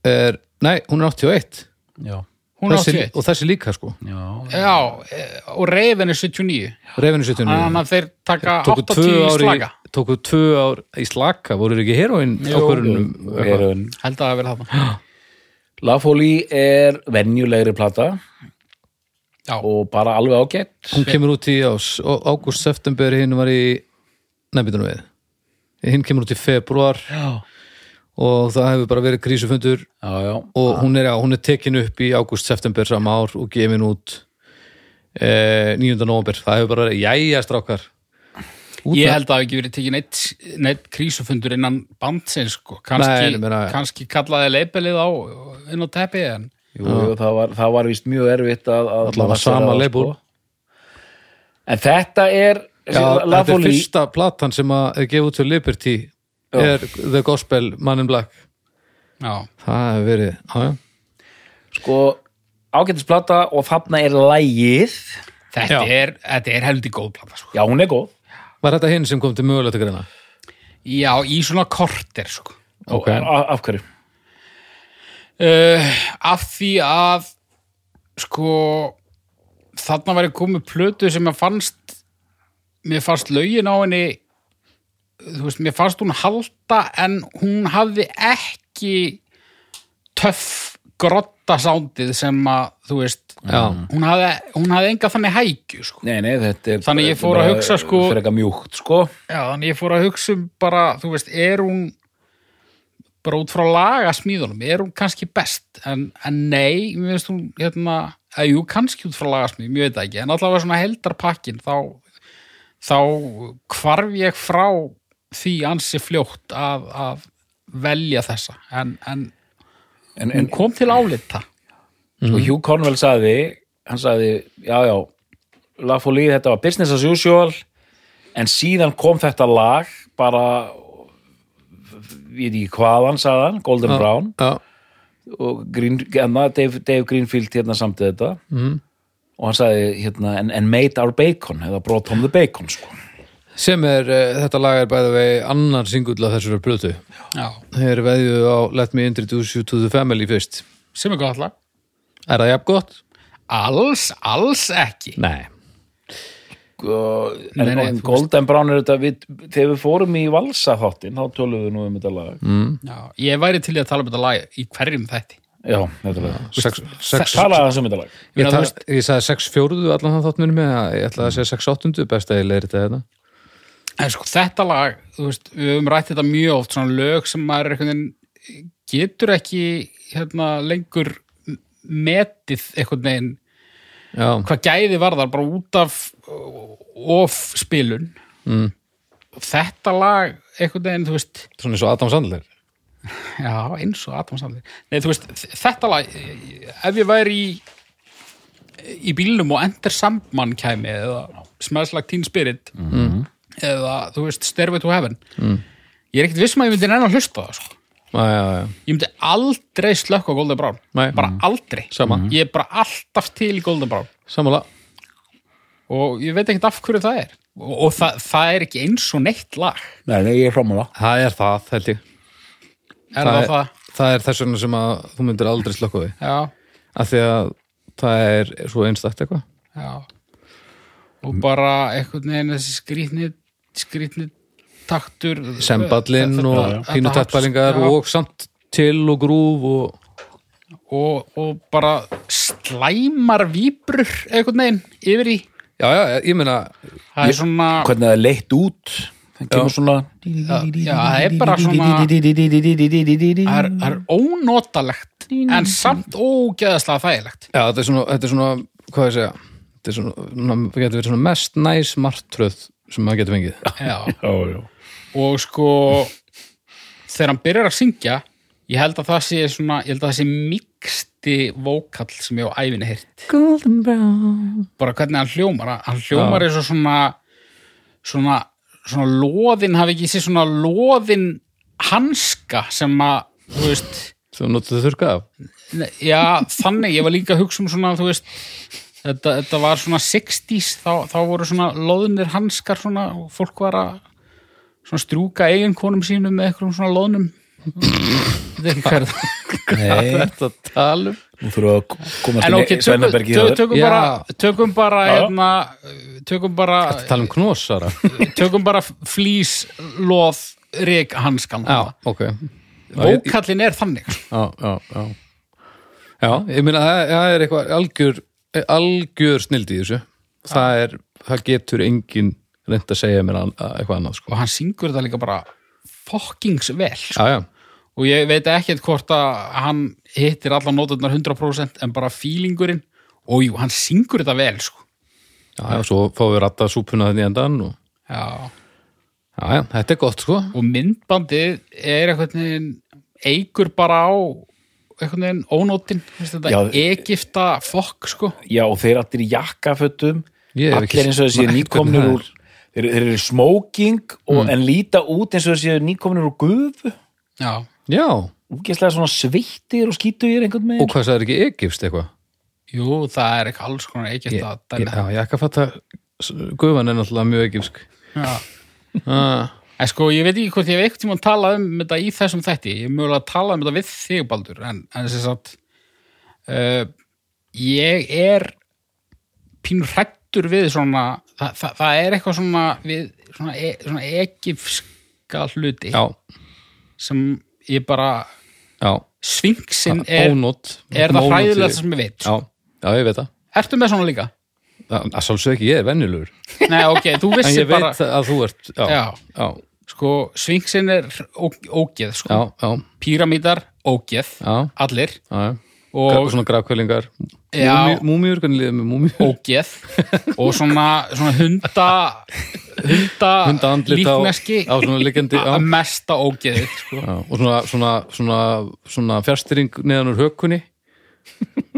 [SPEAKER 1] er, Nei, hún er 81
[SPEAKER 2] já,
[SPEAKER 3] hún er
[SPEAKER 1] þessi,
[SPEAKER 3] 81
[SPEAKER 1] Og þessi líka sko
[SPEAKER 2] já,
[SPEAKER 3] já, eh, og Raven er 79
[SPEAKER 1] Refinu 79
[SPEAKER 3] þannig að þeir taka
[SPEAKER 1] Tóku
[SPEAKER 3] 80
[SPEAKER 1] tvö ár í
[SPEAKER 3] slaga
[SPEAKER 1] Tóku tvö ár í slaka Voru ekki heroinn ákvörunum eitthvað?
[SPEAKER 2] Erun.
[SPEAKER 3] held að það verið þarna
[SPEAKER 2] La Folie er venjulegri plata
[SPEAKER 3] Já.
[SPEAKER 2] og bara alveg ágætt
[SPEAKER 1] Hún kemur út í ás Ágúst, september, hinn var í Nefnbytunum við Hinn kemur út í februar
[SPEAKER 2] já,
[SPEAKER 1] Og það hefur bara verið krísufundur
[SPEAKER 2] já, já,
[SPEAKER 1] og hún er, já, hún er tekin upp í ágúst, september sama ár og gefin út eh, 9. november það hefur bara, jæja strákar
[SPEAKER 3] Ég held að það hafi ekki verið tekin neitt, neitt krísufundur innan bandsins sko.
[SPEAKER 1] Nei,
[SPEAKER 3] kannski,
[SPEAKER 1] ég meina-
[SPEAKER 3] kannski kallaði leipelið á inn á teppi en
[SPEAKER 2] Jú, jú, það var, það var víst mjög erfitt að, að
[SPEAKER 1] Allavega
[SPEAKER 2] að-
[SPEAKER 1] sama
[SPEAKER 2] að-
[SPEAKER 1] label.
[SPEAKER 2] En þetta er
[SPEAKER 1] Já, þetta er
[SPEAKER 2] Lafoli
[SPEAKER 1] fyrsta platan sem að er gefið út til Liberty er The Gospel Man in Black
[SPEAKER 3] já,
[SPEAKER 1] það hefur verið já, já.
[SPEAKER 2] sko ágættisplata og þarna er lægið
[SPEAKER 3] þetta,
[SPEAKER 1] Já.
[SPEAKER 3] Er, þetta er heldig góð plata sko.
[SPEAKER 2] Já, hún er góð
[SPEAKER 1] var þetta hinn sem kom til mögulegt að greina
[SPEAKER 3] Já, í svona korter sko.
[SPEAKER 1] Ok.
[SPEAKER 2] og, a, Af hverju?
[SPEAKER 3] uh, af því að sko þarna var ég komið plötu sem að fannst mér fannst lögin á henni þú veist, mér fannst hún halda en hún hafði ekki töff grotta sándið sem að þú veist,
[SPEAKER 1] Já.
[SPEAKER 3] hún hafði, hún hafði enga þannig hækju sko.
[SPEAKER 2] Nei, nei, þetta er
[SPEAKER 3] Þannig ég
[SPEAKER 2] þetta er
[SPEAKER 3] fór að
[SPEAKER 2] bara
[SPEAKER 3] hugsa, sko-
[SPEAKER 2] Freka mjúkt, sko
[SPEAKER 3] Já, þannig ég fór að hugsa um bara, þú veist, er hún bara út frá lagasmíðunum, er hún kannski best, en, en nei, mér finnst hún, hérna, að jú, kannski út frá lagasmíðum, ég veit það ekki, en allavega svona heldarpakkin, þá, þá hvarf ég frá því ansi fljótt að, að velja þessa, en, en
[SPEAKER 2] En, en
[SPEAKER 3] hún kom til álita.
[SPEAKER 2] sko, Hugh Conwell sagði hann sagði, já, já Lafoli, þetta var business as usual en síðan kom þetta lag bara við í hvaðan, sagðan Golden Brown
[SPEAKER 1] já,
[SPEAKER 2] og Green, enna, Dave, Dave Greenfield hérna samt þetta mm. og hann sagði hérna and, and made our bacon eða brought home the bacon sko.
[SPEAKER 1] sem er, uh, þetta lag er bæði vegi annar singull af þessari plötu
[SPEAKER 3] Já,
[SPEAKER 1] þeir veðju á Let Me Introduce You to the Family fyrst
[SPEAKER 3] sem er gott lag.
[SPEAKER 1] er það jafn gott?
[SPEAKER 3] Alls, alls ekki.
[SPEAKER 1] Nei
[SPEAKER 2] og, Sko, en,
[SPEAKER 3] Nei, nei,
[SPEAKER 2] en
[SPEAKER 3] þú
[SPEAKER 2] Golden Brown er þetta við, þegar við fórum í Valsa þáttinn þá tölum við nú um þetta lag mm.
[SPEAKER 3] Já, ég væri til í að tala um þetta lag í hverjum þætti.
[SPEAKER 2] já, þetta lag
[SPEAKER 1] sex, sex,
[SPEAKER 2] talaði þessu um þetta lag
[SPEAKER 1] ég,
[SPEAKER 3] meina,
[SPEAKER 1] tal,
[SPEAKER 3] þú veist-
[SPEAKER 1] ég sagði 6 fjóruðu allan það þátt mér með ég ætlaði að segja 6 áttundu best að ég leir þetta hérna.
[SPEAKER 3] En sko þetta lag, þú veist, við höfum rætt þetta mjög oft, svona lög sem maður einhvern veginn getur ekki hérna lengur metið einhvern veginn
[SPEAKER 1] já,
[SPEAKER 3] hvað gæði varðar bara út af of spilun mm. þetta lag einhvern veginn, þú veist
[SPEAKER 1] svona eins og Adam Sandler
[SPEAKER 3] já, eins og Adam Sandler Nei, þú veist, þetta lag ef ég væri í, í bílnum og Ender Sandman kæmi eða Smells Like Teen Spirit eða, þú veist, Stairway to Heaven Mhm. mm. ég er ekkert viss um að ég myndi enn að hlusta á það, sko
[SPEAKER 1] já, já, já.
[SPEAKER 3] Ég myndi aldrei slökka á Golden Brown
[SPEAKER 1] Nei.
[SPEAKER 3] bara aldrei, Mhm.
[SPEAKER 1] Sama.
[SPEAKER 3] ég er bara alltaf til í Golden Brown
[SPEAKER 1] sammála
[SPEAKER 3] og ég veit ekkert af hverju það er og, og það, það er ekki eins og neitt lag
[SPEAKER 2] nei, nei, ég er hrómala
[SPEAKER 1] Það er það, held ég
[SPEAKER 3] er það, það?
[SPEAKER 1] það er þess vegna sem að þú myndir aldrei slökka við
[SPEAKER 3] Já,
[SPEAKER 1] af því að það er svo einstakt eitthvað
[SPEAKER 3] já og bara einhvern veginn þessi skrýtni skrýtni taktur
[SPEAKER 1] semballinn
[SPEAKER 3] Þetta-
[SPEAKER 1] og
[SPEAKER 3] þetta- þetta
[SPEAKER 1] pínutattpælingar
[SPEAKER 3] haps- já,
[SPEAKER 1] og samt til og grúf og
[SPEAKER 3] og, og bara slæmar víbrur einhvern veginn yfir í
[SPEAKER 1] já, já, ég meina
[SPEAKER 3] það er svona
[SPEAKER 2] hvernig það er leitt út það kemur svona
[SPEAKER 3] já, það er bara svona- það er, það er ónotalegt en samt ógeðaslega þægilegt
[SPEAKER 1] já, þetta er svona, þetta er svona hvað ég segja þetta er svona, svona- það getur verið svona mest næs martröð sem maður getur fengið
[SPEAKER 3] Já.
[SPEAKER 2] já, já.
[SPEAKER 3] og sko þegar hann byrjar að syngja ég held að það sé svona ég held að það sé miksti vókall sem ég á ævinni heyrt
[SPEAKER 1] Golden Brown
[SPEAKER 3] bara hvernig hann hljómar Hann- hann hljómar eins og svona svona, svona loðin hafi ekki sé svona loðin hanska sem að þú veist
[SPEAKER 1] þú notuðu þurrka af
[SPEAKER 3] Nei, Já, þannig, ég var líka að hugsa um svona, þú veist, þetta, þetta var svona 60s, þá, þá voru svona loðnir hanskar svona og fólk var að svona strjúka eiginkonum sínum með eitthvað svona loðnum. Þetta er ekki hverð.
[SPEAKER 2] Nei, [laughs]
[SPEAKER 1] þetta talum
[SPEAKER 2] nú þurfum við að komast
[SPEAKER 3] En
[SPEAKER 2] inn
[SPEAKER 3] ok,
[SPEAKER 2] í
[SPEAKER 3] tökum,
[SPEAKER 2] Svennabergi
[SPEAKER 3] tökum, tökum
[SPEAKER 1] Já.
[SPEAKER 3] bara, tökum bara,
[SPEAKER 2] Já.
[SPEAKER 3] hérna, tökum bara,
[SPEAKER 1] talum knósara
[SPEAKER 3] tökum bara flýs, loð, reik hanskan.
[SPEAKER 1] já, ok ég-
[SPEAKER 3] Bókallin er þannig.
[SPEAKER 1] já, já, já já, ég meina það, það er eitthvað algjör, algjör snild í þessu það er, það getur engin reynd að segja mér an, að- eitthvað annað
[SPEAKER 3] Og
[SPEAKER 1] sko.
[SPEAKER 3] hann syngur þetta líka bara fokkings vel, sko.
[SPEAKER 1] já, já,
[SPEAKER 3] og ég veit ekkert hvort að hann hittir allar nóturnar 100% en bara fílingurinn og jú, hann syngur þetta vel sko.
[SPEAKER 1] já, já, svo fáum við ratta súpuna þenni endan og
[SPEAKER 3] já,
[SPEAKER 1] Já, já, þetta er gott sko
[SPEAKER 3] og myndbandið er eitthvað neginn, eigur bara á eitthvað neginn ónótin veist, þetta
[SPEAKER 2] Já.
[SPEAKER 3] Egipta fokk sko
[SPEAKER 2] Já, og þeir allir í jakkafötum
[SPEAKER 1] Ég hef ekki
[SPEAKER 2] allir eins og þessi
[SPEAKER 1] nefnt
[SPEAKER 2] nýkomnir
[SPEAKER 1] hvernig
[SPEAKER 2] úr þeir, þeir eru smoking og, en líta út eins og þessi nýkomnir úr gufu
[SPEAKER 3] já,
[SPEAKER 1] Já,
[SPEAKER 2] úgeslega svona sveittir og skítugir einhvern
[SPEAKER 1] og
[SPEAKER 2] veginn
[SPEAKER 1] hvað það er ekki Egipst eitthvað
[SPEAKER 3] jú, það er eitthvað alls konar Egipta
[SPEAKER 1] Ég-
[SPEAKER 3] dæmi.
[SPEAKER 1] Já, ég ekki að fatta Guðvan er náttúrulega mjög egipsk
[SPEAKER 3] Já.
[SPEAKER 1] ah,
[SPEAKER 3] en sko, ég veit ekki hvort ég hef eitthvað tíma að tala um þetta í þessum þætti, ég er mögulega að tala um þetta við þig Baldur, en, en þess að uh, ég er pínur hrættur við svona, það, það, það er eitthvað svona við svona, e, svona egifska hluti
[SPEAKER 1] Já,
[SPEAKER 3] sem ég bara
[SPEAKER 1] já
[SPEAKER 3] svingsinn er,
[SPEAKER 1] Ónót
[SPEAKER 3] er það
[SPEAKER 1] Mónót
[SPEAKER 3] hræðilegast
[SPEAKER 1] fyrir-
[SPEAKER 3] sem ég veit
[SPEAKER 1] Já, já, ég veit það
[SPEAKER 3] ertu með svona líka?
[SPEAKER 1] Það það sálsög ekki, ég er venjulegur
[SPEAKER 3] Nei, ok, þú
[SPEAKER 1] En
[SPEAKER 3] vissir
[SPEAKER 1] ég veit
[SPEAKER 3] bara
[SPEAKER 1] að þú ert Já, já,
[SPEAKER 3] Já.
[SPEAKER 1] já,
[SPEAKER 3] sko, svingsinn er ó-
[SPEAKER 1] já,
[SPEAKER 3] ógeð sko. píramítar, ógeð
[SPEAKER 1] já,
[SPEAKER 3] allir
[SPEAKER 1] já. Og
[SPEAKER 3] og
[SPEAKER 1] svona grafkvælingar
[SPEAKER 3] Já.
[SPEAKER 1] Múmiur, hvernig liðið með múmiur
[SPEAKER 3] ógeð og svona, svona hunda hunda,
[SPEAKER 1] [laughs] Hunda andlit á,
[SPEAKER 3] líkneski
[SPEAKER 1] á svona
[SPEAKER 3] [laughs]
[SPEAKER 1] liggjandi já,
[SPEAKER 3] að mesta ógeðið sko.
[SPEAKER 1] já, Og svona, svona, svona, svona fjárstyring neðan úr hökunni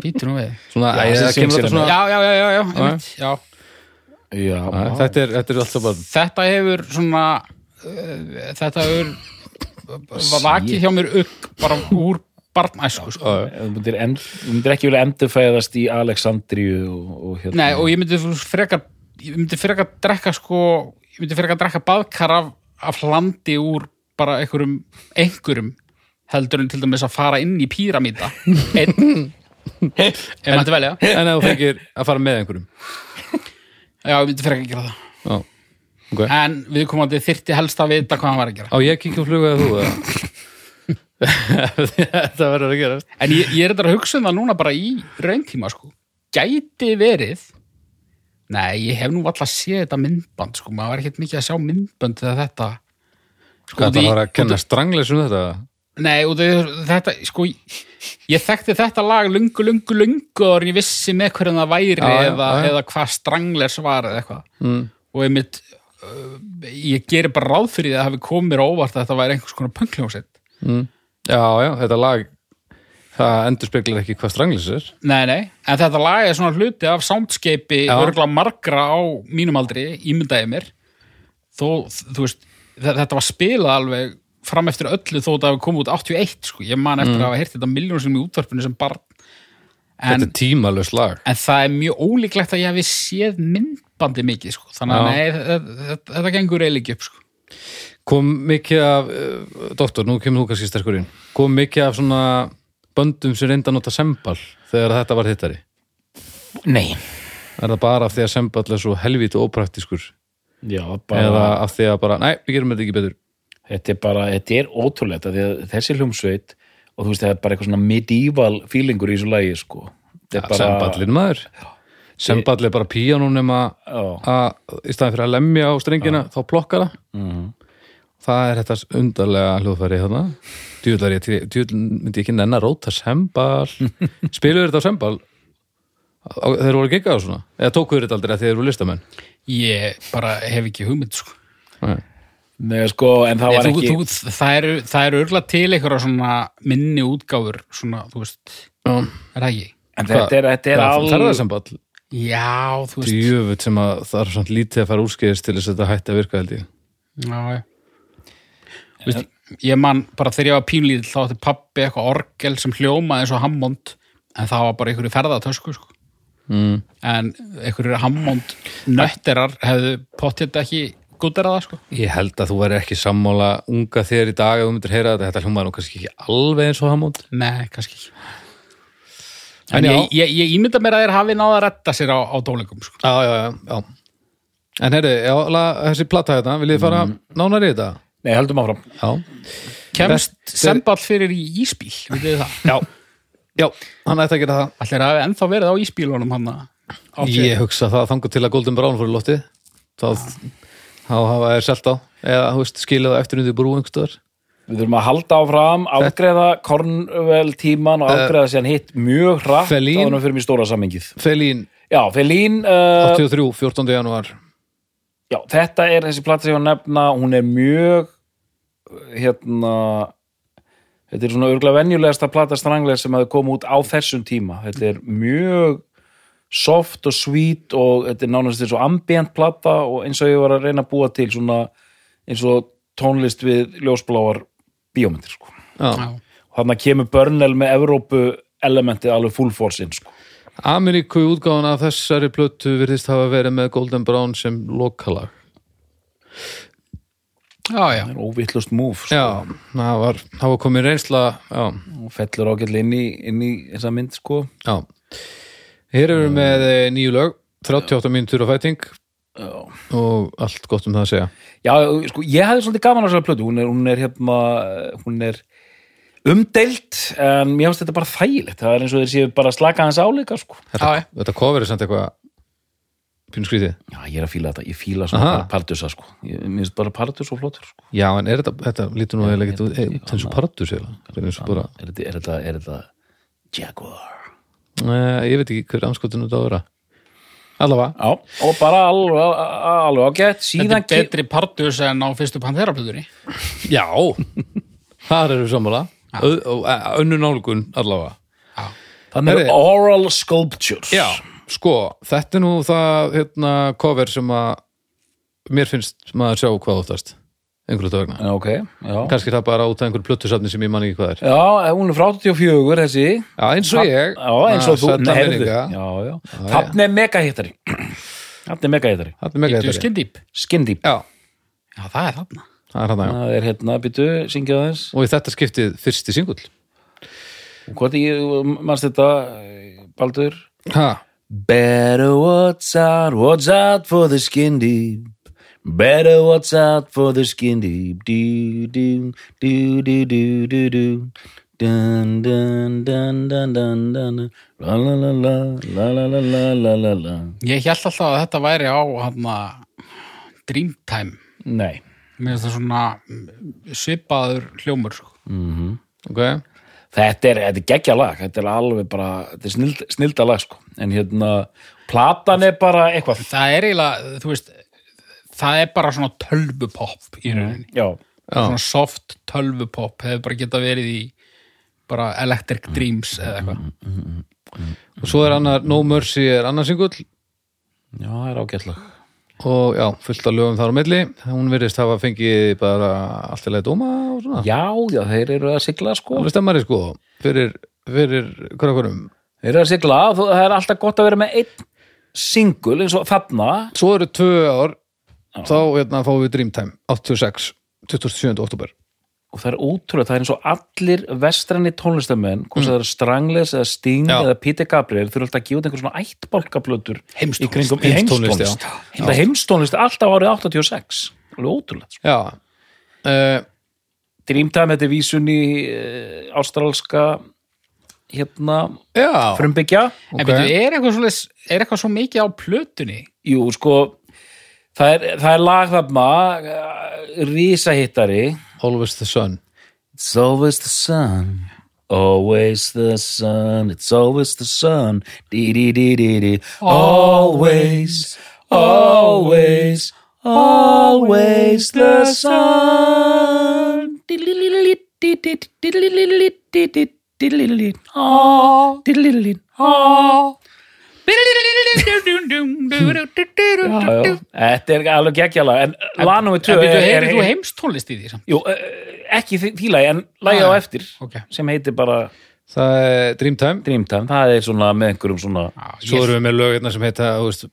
[SPEAKER 3] býtur nú við
[SPEAKER 1] Svona,
[SPEAKER 2] Já,
[SPEAKER 1] æ,
[SPEAKER 2] sem
[SPEAKER 1] það kemur
[SPEAKER 2] syngsir
[SPEAKER 1] þetta svona
[SPEAKER 3] já, já, já, já, já, einmitt, já.
[SPEAKER 2] Já,
[SPEAKER 1] Æ, Þetta er, þetta er alltaf bara
[SPEAKER 3] þetta hefur svona uh, þetta hefur vakið hjá mér upp bara úr barnæsku sko.
[SPEAKER 2] þú myndir, en, þú myndir ekki vilja endurfæðast í Alexandríu og, og hérna
[SPEAKER 3] Nei, og ég myndi frekar ég myndi frekar drekka sko ég myndi frekar drekka baðkar af, af hlandi úr bara einhverjum einhverjum heldur en til dæmis að fara inn í píramíta einn ef maður velja
[SPEAKER 1] En ef þú fengir að fara með einhverjum
[SPEAKER 3] já, ég myndi frekar að gera það
[SPEAKER 1] Já, ok
[SPEAKER 3] en við komandi þyrti helst að vita hvað hann var að gera
[SPEAKER 1] Á ég ekki ekki að fluga að þú það? Þetta verður að gera
[SPEAKER 3] en ég, ég er þetta að hugsa um það núna bara í rauntíma sko gæti verið nei, ég hef nú alltaf séð þetta myndband sko, maður var ekkert mikið að sjá myndband þegar þetta sko,
[SPEAKER 1] Hvað
[SPEAKER 3] út í-
[SPEAKER 1] það var að kenna strangleis um þetta?
[SPEAKER 3] Nei, og þau- þetta, sko, ég þekkti þetta lag lungu, lungu, lungu og ég vissi með hverjum það væri
[SPEAKER 1] Já, já,
[SPEAKER 3] eða,
[SPEAKER 1] já, já.
[SPEAKER 3] eða hvað stranglers var eða eitthvað.
[SPEAKER 1] Mm.
[SPEAKER 3] Og ég mitt, ég geri bara ráð fyrir því að það hafi komið mér á óvart að þetta væri einhvers konar pöngljómsett.
[SPEAKER 1] Já, já, þetta lag það endur speklar ekki hvað strangleis er
[SPEAKER 3] Nei, nei, en þetta lag er svona hluti af soundscapei
[SPEAKER 1] Já.
[SPEAKER 3] örgla margra á mínum aldri, ímyndaði mér. Þó, þú veist, þe- þetta var spilað alveg fram eftir öllu þó þetta hafi komið út 81, sko. Ég man eftir að hafa heyrt þetta miljónsum í útvarpinu sem barn. En-
[SPEAKER 1] Mm. Þetta er tímalös lag
[SPEAKER 3] en það er mjög ólíklegt að ég hefði séð myndbandi mikið sko. þannig að
[SPEAKER 1] Já.
[SPEAKER 3] nei, þetta, þetta, þetta gengur eiginlega ekki upp sko.
[SPEAKER 1] Kom mikið af, uh, doktor, nú kemur þú kannski sterkur inn Kom mikið af svona böndum sem reynda að nota sembal þegar þetta var hittari
[SPEAKER 2] Nei.
[SPEAKER 1] Er það bara af því að sembal er svo helvíti ópraktískur
[SPEAKER 2] Já, bara,
[SPEAKER 1] eða af því að bara, nei, við gerum þetta ekki betur
[SPEAKER 2] þetta er bara, þetta er ótrúlegt að að þessi hljómsveit og þú veist, það er bara eitthvað svona medieval feelingur í þessu lagi, sko Þetta er
[SPEAKER 1] bara... Semballin maður Semball er bara píanónum að
[SPEAKER 2] Já,
[SPEAKER 1] að í staðan fyrir að lemja á strengina þá plokkar það það er þetta undarlega hljóðfæri þarna djúðlar ég, til- djúðl myndi ég ekki nenn að róta [laughs] sembal spiluðu þetta á sembal Á- þeir voru gegga á svona eða tókuðu þetta aldrei að þeir eru listamenn
[SPEAKER 3] ég bara hef ekki hugmynd sko.
[SPEAKER 1] Nei.
[SPEAKER 2] Nei, sko, en það
[SPEAKER 3] Nei,
[SPEAKER 2] var
[SPEAKER 3] þú,
[SPEAKER 2] ekki
[SPEAKER 3] þú, það eru það eru örgulega til einhverja svona minni útgáfur svona, þú veist,
[SPEAKER 1] Já.
[SPEAKER 3] er það ekki?
[SPEAKER 2] en þetta er, þetta er
[SPEAKER 1] það er
[SPEAKER 2] all
[SPEAKER 1] það sembal
[SPEAKER 3] Já, þú veist
[SPEAKER 1] djöfut sem að það er svona lítið að fara úrskeiðis til þess að þetta hætti að virka held ég
[SPEAKER 3] Já, já. Þú veist, ég man bara þegar ég var pínlítill þá átti pabbi eitthvað orgel sem hljómaði eins og Hammond en það var bara einhverju ferðatösku sko.
[SPEAKER 1] mm.
[SPEAKER 3] en einhverju Hammond nötterar hefðu pottið ekki gútterað það sko.
[SPEAKER 1] ég held að þú væri ekki sammála unga þér í dag ef þú myndir heyra þetta, þetta hljómaður nú kannski ekki alveg eins og hamónd
[SPEAKER 3] Nei, kannski ekki.
[SPEAKER 1] En
[SPEAKER 3] En ég,
[SPEAKER 1] já.
[SPEAKER 3] ég, ég ímynda mér að þeir hafi náða að retta sér á, á tónleikum. Sko.
[SPEAKER 1] já, já, já, já. En herri, já, la, þessi platta þetta, viljið þið fara nánar í þetta?
[SPEAKER 2] Nei, heldum áfram
[SPEAKER 1] Já.
[SPEAKER 3] Kemst
[SPEAKER 1] Rett-
[SPEAKER 3] semball fyrir í ísbíl, veitum við það? Já.
[SPEAKER 1] Já, hann ætti að gera það.
[SPEAKER 3] Allir hafi ennþá verið á ísbílunum hann að
[SPEAKER 1] Ég hugsa það þangur til að Golden Brown fór í lotti. Þá, þá hafa þær selt á. Eða, þú veist, skilja það eftir undir brú einhverstaðar.
[SPEAKER 2] Við þurfum að halda áfram, afgreða Cornwell tíman
[SPEAKER 3] Eh,
[SPEAKER 2] og afgreða sér hitt mjög hratt
[SPEAKER 1] Feline.
[SPEAKER 2] ánum fyrir mér stóra samengið
[SPEAKER 1] Felín,
[SPEAKER 2] Já, Felín uh,
[SPEAKER 1] 83, 14. janúar.
[SPEAKER 2] Já, þetta er þessi plata sem ég var að nefna, hún er mjög hérna þetta er svona örgulega venjulegasta plata stranglega sem hafi komið út á þessum tíma þetta er mjög soft og sweet og þetta er nánast eins og ambient plata og eins og ég var að reyna að búa til svona eins og tónlist við ljósbláar bíómyndir sko.
[SPEAKER 1] Já.
[SPEAKER 2] og þarna kemur Börnel með Evrópu elementið alveg full force inn sko.
[SPEAKER 1] Ameríku útgáðan af þessari plötu virðist hafa verið með Golden Brown sem lokalag.
[SPEAKER 3] já, já,
[SPEAKER 2] óvittlust move sko.
[SPEAKER 1] Já, það var, það var komið reynsla, já,
[SPEAKER 2] og fellur ágætlega inn í, inn í þessa mynd sko.
[SPEAKER 1] já. Hér erum við með eh, nýju lög, 38 mínútur á fæting
[SPEAKER 2] Já.
[SPEAKER 1] og allt gott um það að segja.
[SPEAKER 2] Já, sko, ég hefði svolítið gaman á þessari plötu hún er, hún er hérna hún er umdeilt en mér finnst þetta bara þægilegt það er eins og þeir séu bara að slaka hans áleika sko.
[SPEAKER 1] Þetta,
[SPEAKER 3] Já, já.
[SPEAKER 1] þetta cover er samt eitthvað pínu skrítið.
[SPEAKER 2] Já, ég er að fíla þetta, ég fíla
[SPEAKER 1] Aha.
[SPEAKER 2] svona bara partusa sko. ég mér finnst bara partus og flottur sko.
[SPEAKER 1] Já, en er þetta, þetta lítur nú eða ekkert út eh, út eins og partur sér. Það er eins og bara,
[SPEAKER 2] er þetta, er þetta, er þetta Jaguar
[SPEAKER 1] eh, ég veit ekki hver anskotinu þetta á að vera. Allavega.
[SPEAKER 2] Já, og bara alveg, alveg ágætt
[SPEAKER 3] þetta
[SPEAKER 2] síðan
[SPEAKER 3] er betri partus en á fyrstu Pantera-plöðunni
[SPEAKER 1] Já. Þar eru sammála. Ö- og, eh, Önnur nálgun allavega.
[SPEAKER 2] þannig
[SPEAKER 1] Herri.
[SPEAKER 2] er oral sculptures
[SPEAKER 1] Já, sko, þetta er nú það hérna, cover sem að mér finnst maður sjá hvað óttast einhverju þetta vegna.
[SPEAKER 2] Já, ok, já
[SPEAKER 1] Kannski það bara út af einhverju plötusafni sem ég man ekki hvað er.
[SPEAKER 2] Já, hún er frá 84 þessi
[SPEAKER 1] Já, eins og ég.
[SPEAKER 2] Já, eins og þú,
[SPEAKER 1] sæll
[SPEAKER 2] nei, heyrðu
[SPEAKER 1] Ameríka.
[SPEAKER 2] Já, já, þannig er [clears throat] megahittari Þannig er megahittari
[SPEAKER 1] Þarna er mega
[SPEAKER 3] Þetta er
[SPEAKER 1] þetta.
[SPEAKER 3] skindýp
[SPEAKER 2] Skin Deep
[SPEAKER 1] Já,
[SPEAKER 3] Já, það er
[SPEAKER 1] það er hann já.
[SPEAKER 3] þarna
[SPEAKER 2] Það Ah, er nou, hérna, býtu, syngja aðeins
[SPEAKER 1] Og í þetta skiptið fyrsti singull.
[SPEAKER 2] Hvort ég, manst þetta, Baldur
[SPEAKER 1] Ha,
[SPEAKER 2] eh, Better watch out, watch out for the skin deep Better watch out for the skin deep Do, do, do, do, do, do, do Dun, dun, dun, dun, dun, dun dun. La, la, la, la, la, la, la, la, la, la, la
[SPEAKER 3] Ég held alltaf að þetta væri á hana, Dreamtime
[SPEAKER 2] Nei
[SPEAKER 3] Mér finnst það svona mm, svipaður hljómur sko.
[SPEAKER 1] ok.
[SPEAKER 2] Þetta er, þetta er geggja lag, þetta er alveg bara, þetta er snild, snilda lag sko. En hérna, platan er bara eitthvað.
[SPEAKER 3] Það er eiginlega, þú veist það er bara svona tölvupopp í rauninni
[SPEAKER 2] Mm. Já,
[SPEAKER 3] svona soft tölvupopp hefur bara geta verið í bara
[SPEAKER 2] Mm.
[SPEAKER 3] Electric Dreams eða eitthvað
[SPEAKER 1] Og svo er annar, No Mercy er annar singull
[SPEAKER 2] já, það er ágætt lag.
[SPEAKER 1] og já, fullt af lögum þar á milli. Hún virðist hafa fengið bara allt í leið dóma og svona.
[SPEAKER 2] Já, já, þeir eru að sigla sko.
[SPEAKER 1] Alveg stemmari sko, fyrir, fyrir krakurum.
[SPEAKER 2] Þeir eru að sigla, þú- það er alltaf gott að vera með einn singul eins og þarna.
[SPEAKER 1] svo eru tvö ár þá hérna, fáum við Dreamtime 86, 27. oktober
[SPEAKER 2] Og það er ótrúlega, það er eins og allir vestræni tónlistamenn, hvort sem það eru Strangles eða Sting
[SPEAKER 1] Já.
[SPEAKER 2] eða Peter Gabriel, þurfa alltaf að gefa út einhver svona ættbálkablötur
[SPEAKER 3] Heimstónlist.
[SPEAKER 2] Kringum,
[SPEAKER 1] Heimstónlist,
[SPEAKER 2] heimstónlist,
[SPEAKER 1] já.
[SPEAKER 2] heimstónlist, heimstónlist alltaf árið 86. Alveg ótrúlega, sko.
[SPEAKER 1] já uh,
[SPEAKER 2] Dreamtime, þetta er vísun í uh, ástralska hérna
[SPEAKER 1] já,
[SPEAKER 2] frumbyggja
[SPEAKER 3] En veitum, er eitthvað, svoleiðis, er eitthvað svo mikið á plötunni?
[SPEAKER 2] Jú, sko það er, það er lag þarna uh, risahittari
[SPEAKER 1] Always the Sun
[SPEAKER 2] It's always the sun Always the sun It's always the sun dee, dee, dee, dee, dee. Always Always Always the sun [laughs] Já, já. Þetta er alveg geggjala en lag nummer
[SPEAKER 3] En
[SPEAKER 2] 2
[SPEAKER 3] veitum,
[SPEAKER 2] er,
[SPEAKER 3] heyrðu þú
[SPEAKER 2] er,
[SPEAKER 3] heimstónlist í því samt?
[SPEAKER 2] Jú, eh, ekki fílaði en lagið á eftir
[SPEAKER 3] Ah, ok.
[SPEAKER 2] sem heitir bara
[SPEAKER 1] það er Dreamtime
[SPEAKER 2] Dreamtime, það er svona með einhverjum svona
[SPEAKER 3] Já,
[SPEAKER 1] svo erum við með lögirna sem heita þú veist,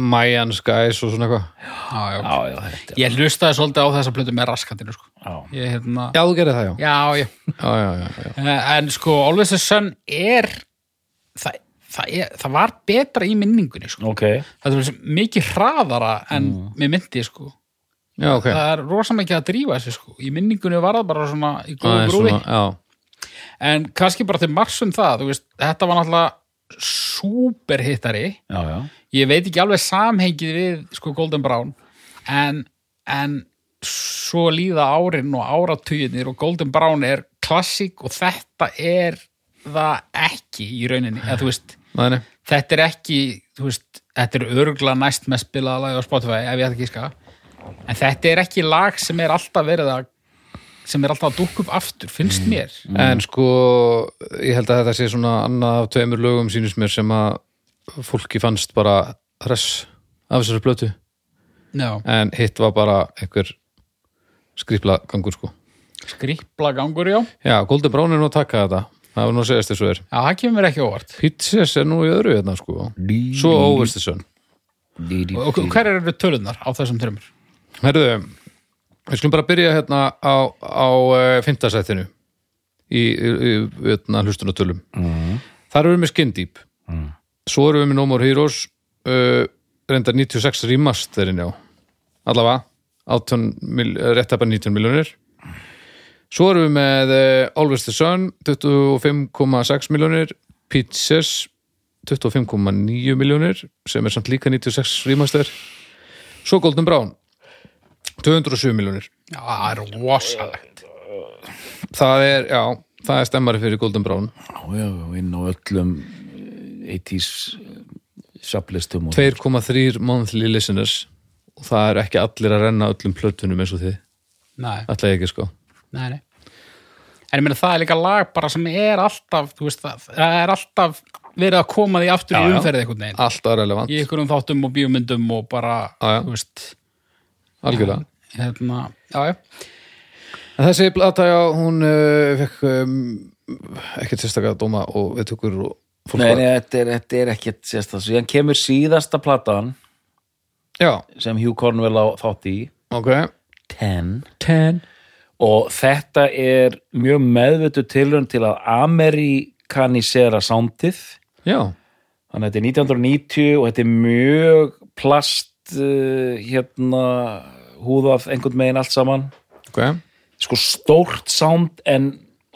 [SPEAKER 1] Mayan Skies og svona eitthvað
[SPEAKER 3] já, já.
[SPEAKER 2] Já, já, þetta er
[SPEAKER 3] Ég hlustaði svolítið á þessa plötu með raskatinu sko.
[SPEAKER 2] já.
[SPEAKER 3] Ég, hérna,
[SPEAKER 1] já, þú gerir það já,
[SPEAKER 3] já, já.
[SPEAKER 1] já, já, já, já.
[SPEAKER 3] Eh, En sko, Always the Sun er það, það, er, það var betra í minningunni sko.
[SPEAKER 2] Ok,
[SPEAKER 3] Það er mikið hraðara en mér myndi sko.
[SPEAKER 1] já ok
[SPEAKER 3] Það er rosa mikið að drífa þessu sko. Í minningunni var það bara svona í góðu
[SPEAKER 1] Aðeins
[SPEAKER 3] grúfi
[SPEAKER 1] svona, já,
[SPEAKER 3] En kannski bara til marsum það, þú veist, þetta var náttúrulega superhittari
[SPEAKER 2] já, já
[SPEAKER 3] ég veit ekki alveg samhengið við sko Golden Brown en, en svo líða árin og áratuginir og Golden Brown er klassik og þetta er það ekki í rauninni eða, þú veist,
[SPEAKER 1] Nei, nei.
[SPEAKER 3] þetta er ekki þú veist, þetta er örgla næst með spilaða lag á Spotify ef ég ætla ekki ska en þetta er ekki lag sem er alltaf verið að sem er alltaf að dúkka upp aftur, finnst mér
[SPEAKER 1] En sko, ég held að þetta sé svona annað af tveimur lögum sínist mér sem að fólki fannst bara hress af þessari blötu
[SPEAKER 3] Já,
[SPEAKER 1] en hitt var bara einhver skrýpla gangur sko
[SPEAKER 3] skripla gangur, já
[SPEAKER 1] Já, Golden Brown er nú að taka þetta það var nú að segjast þessu er
[SPEAKER 3] Já, það kemur ekki óvart
[SPEAKER 1] Pizzas er nú í öðru hérna sko Svo óvistisön
[SPEAKER 3] Og og hver eru tölunar á þessum þrömmur?
[SPEAKER 1] Herðu, við skulum bara byrja hérna á, á eh, fimmta sætinu í, í, í hérna, hlustunatölum Þar erum við með Skin Deep Svo erum við með No More Heroes uh, reyndar 96 remasterin já allavega 18, mil- eh, rétt að bara 19 miljonir Svo erum við með eh, Always the Sun 25,6 miljonir Pizzas 25,9 miljonir sem er samt líka 96 remaster Svo Golden Brown 207 miljonir
[SPEAKER 3] Já, það er rosalegt
[SPEAKER 1] það er, já, það er stemmari fyrir Golden Brown
[SPEAKER 2] Já, já, inn á öllum eh, 80s saplistum og
[SPEAKER 1] 2,3 monthly listeners og það er ekki allir að renna öllum plötunum eins og þið,
[SPEAKER 3] Nei,
[SPEAKER 1] ætla ég ekki sko
[SPEAKER 3] nei, nei En ég meina það er líka lag bara sem er alltaf, þú veist það, það er alltaf verið að koma því
[SPEAKER 1] Já,
[SPEAKER 3] aftur í
[SPEAKER 1] já.
[SPEAKER 3] umferðið einhvern veginn
[SPEAKER 1] alltaf relevant,
[SPEAKER 3] í einhverjum þáttum og bíómyndum og bara,
[SPEAKER 1] Já, já.
[SPEAKER 3] þú veist
[SPEAKER 1] algjörlega
[SPEAKER 3] hérna, já, já,
[SPEAKER 1] en þessi plata, já, hún uh, fekk um, ekkert sérstaklega dóma og við tökur og fólk
[SPEAKER 2] Nei,
[SPEAKER 1] var-
[SPEAKER 2] nei, þetta er, þetta er ekkert sérstæð Síðan kemur síðasta platan
[SPEAKER 1] já,
[SPEAKER 2] sem Hugh Cornwell á þátt í
[SPEAKER 1] ok
[SPEAKER 2] Ten
[SPEAKER 1] ten,
[SPEAKER 2] og þetta er mjög meðvötu tilhörn til að amerikanisera sándið
[SPEAKER 1] já,
[SPEAKER 2] þannig að þetta er 1990 og þetta er mjög plast uh, hérna húðað einhvern megin allt saman
[SPEAKER 1] ok
[SPEAKER 2] sko stórt sound en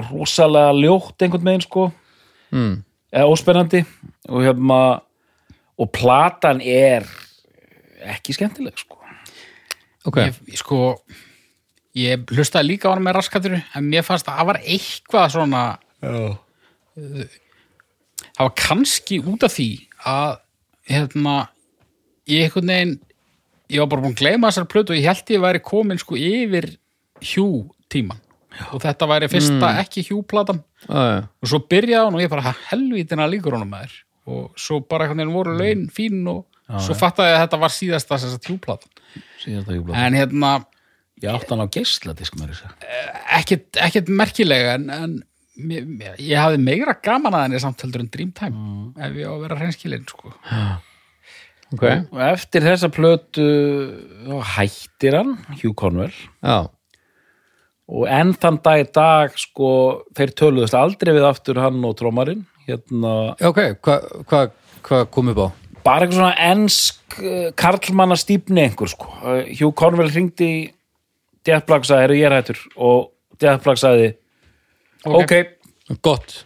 [SPEAKER 2] rosalega ljótt einhvern megin sko
[SPEAKER 1] mm.
[SPEAKER 2] eða óspennandi og hérna og platan er ekki skemmtileg sko
[SPEAKER 1] ok,
[SPEAKER 3] ég, sko ég hlustaði líka á hann með raskatur en mér fannst að það var eitthvað svona já. það var kannski út af því að hérna ég einhvern veginn ég var bara búin að gleyma þessar plötu og ég held ég væri komin sko yfir hjú tíman og þetta væri fyrsta ekki hjú platan
[SPEAKER 1] aðeins
[SPEAKER 3] og svo byrjaði hann og ég bara "Ha, helvítina líkur honum maður og svo bara hvernig voru laun
[SPEAKER 2] Mm.
[SPEAKER 3] fín og svo fattaði ég að þetta var síðasta þess að hjúplatan
[SPEAKER 2] síðasta júblad
[SPEAKER 3] en hérna,
[SPEAKER 2] ég átti hann á geisladisk með þess að
[SPEAKER 3] ekkert, ekkert merkilega en, en mér, mér, ég hafði meira gaman að henni samt heldur en Dreamtime
[SPEAKER 2] Mm.
[SPEAKER 3] ef ég á að vera hreinskilinn sko.
[SPEAKER 1] ok,
[SPEAKER 2] og eftir þessa plötu þá hættir hann Hugh Conwell
[SPEAKER 1] já,
[SPEAKER 2] og enn þann dag í dag sko þeir töluðust aldrei við aftur hann og trómarinn hérna
[SPEAKER 1] Já, ok hvað hva, hva kom upp á?
[SPEAKER 2] bara eitthvað svona ensk karlmanna stýpni einhver sko. Eh, Hugh Conwell hringdi í Death Black og sagði, eru ég er hættur og Death Black sagði, ok,
[SPEAKER 1] gott,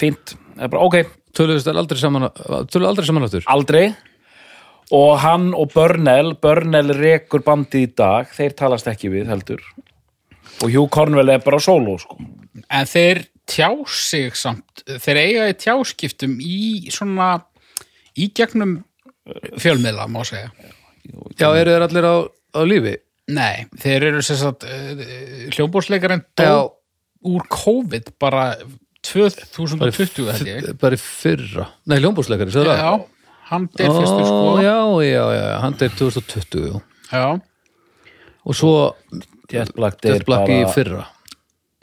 [SPEAKER 2] fínt Það er bara, ok,
[SPEAKER 1] töluðust þær aldrei saman töluðu aldrei saman áttur?
[SPEAKER 2] aldrei og hann og Börnell Börnell rekur bandið í dag þeir talast ekki við heldur og Hugh Conwell er bara sóló sko.
[SPEAKER 3] en þeir tjá sig samt þeir eiga í tjáskiptum í svona í gegnum
[SPEAKER 2] Eh.
[SPEAKER 3] fjölmiðla má segja
[SPEAKER 1] Já, eru þeir allir á, á lífi?
[SPEAKER 3] Nei, þeir eru sem sagt hljómbórsleikarinn dó
[SPEAKER 1] Já.
[SPEAKER 3] úr COVID bara 2020 held ég
[SPEAKER 1] Bara í fyrra Nei, ljónbúrsleikari, sagði það?
[SPEAKER 3] Já, hann deyr fyrstur sko
[SPEAKER 1] Já, já, já, já, hann deyr 2020 já.
[SPEAKER 3] Já.
[SPEAKER 1] og svo
[SPEAKER 2] Death Black, deyr
[SPEAKER 1] Death Black í
[SPEAKER 2] bara,
[SPEAKER 1] fyrra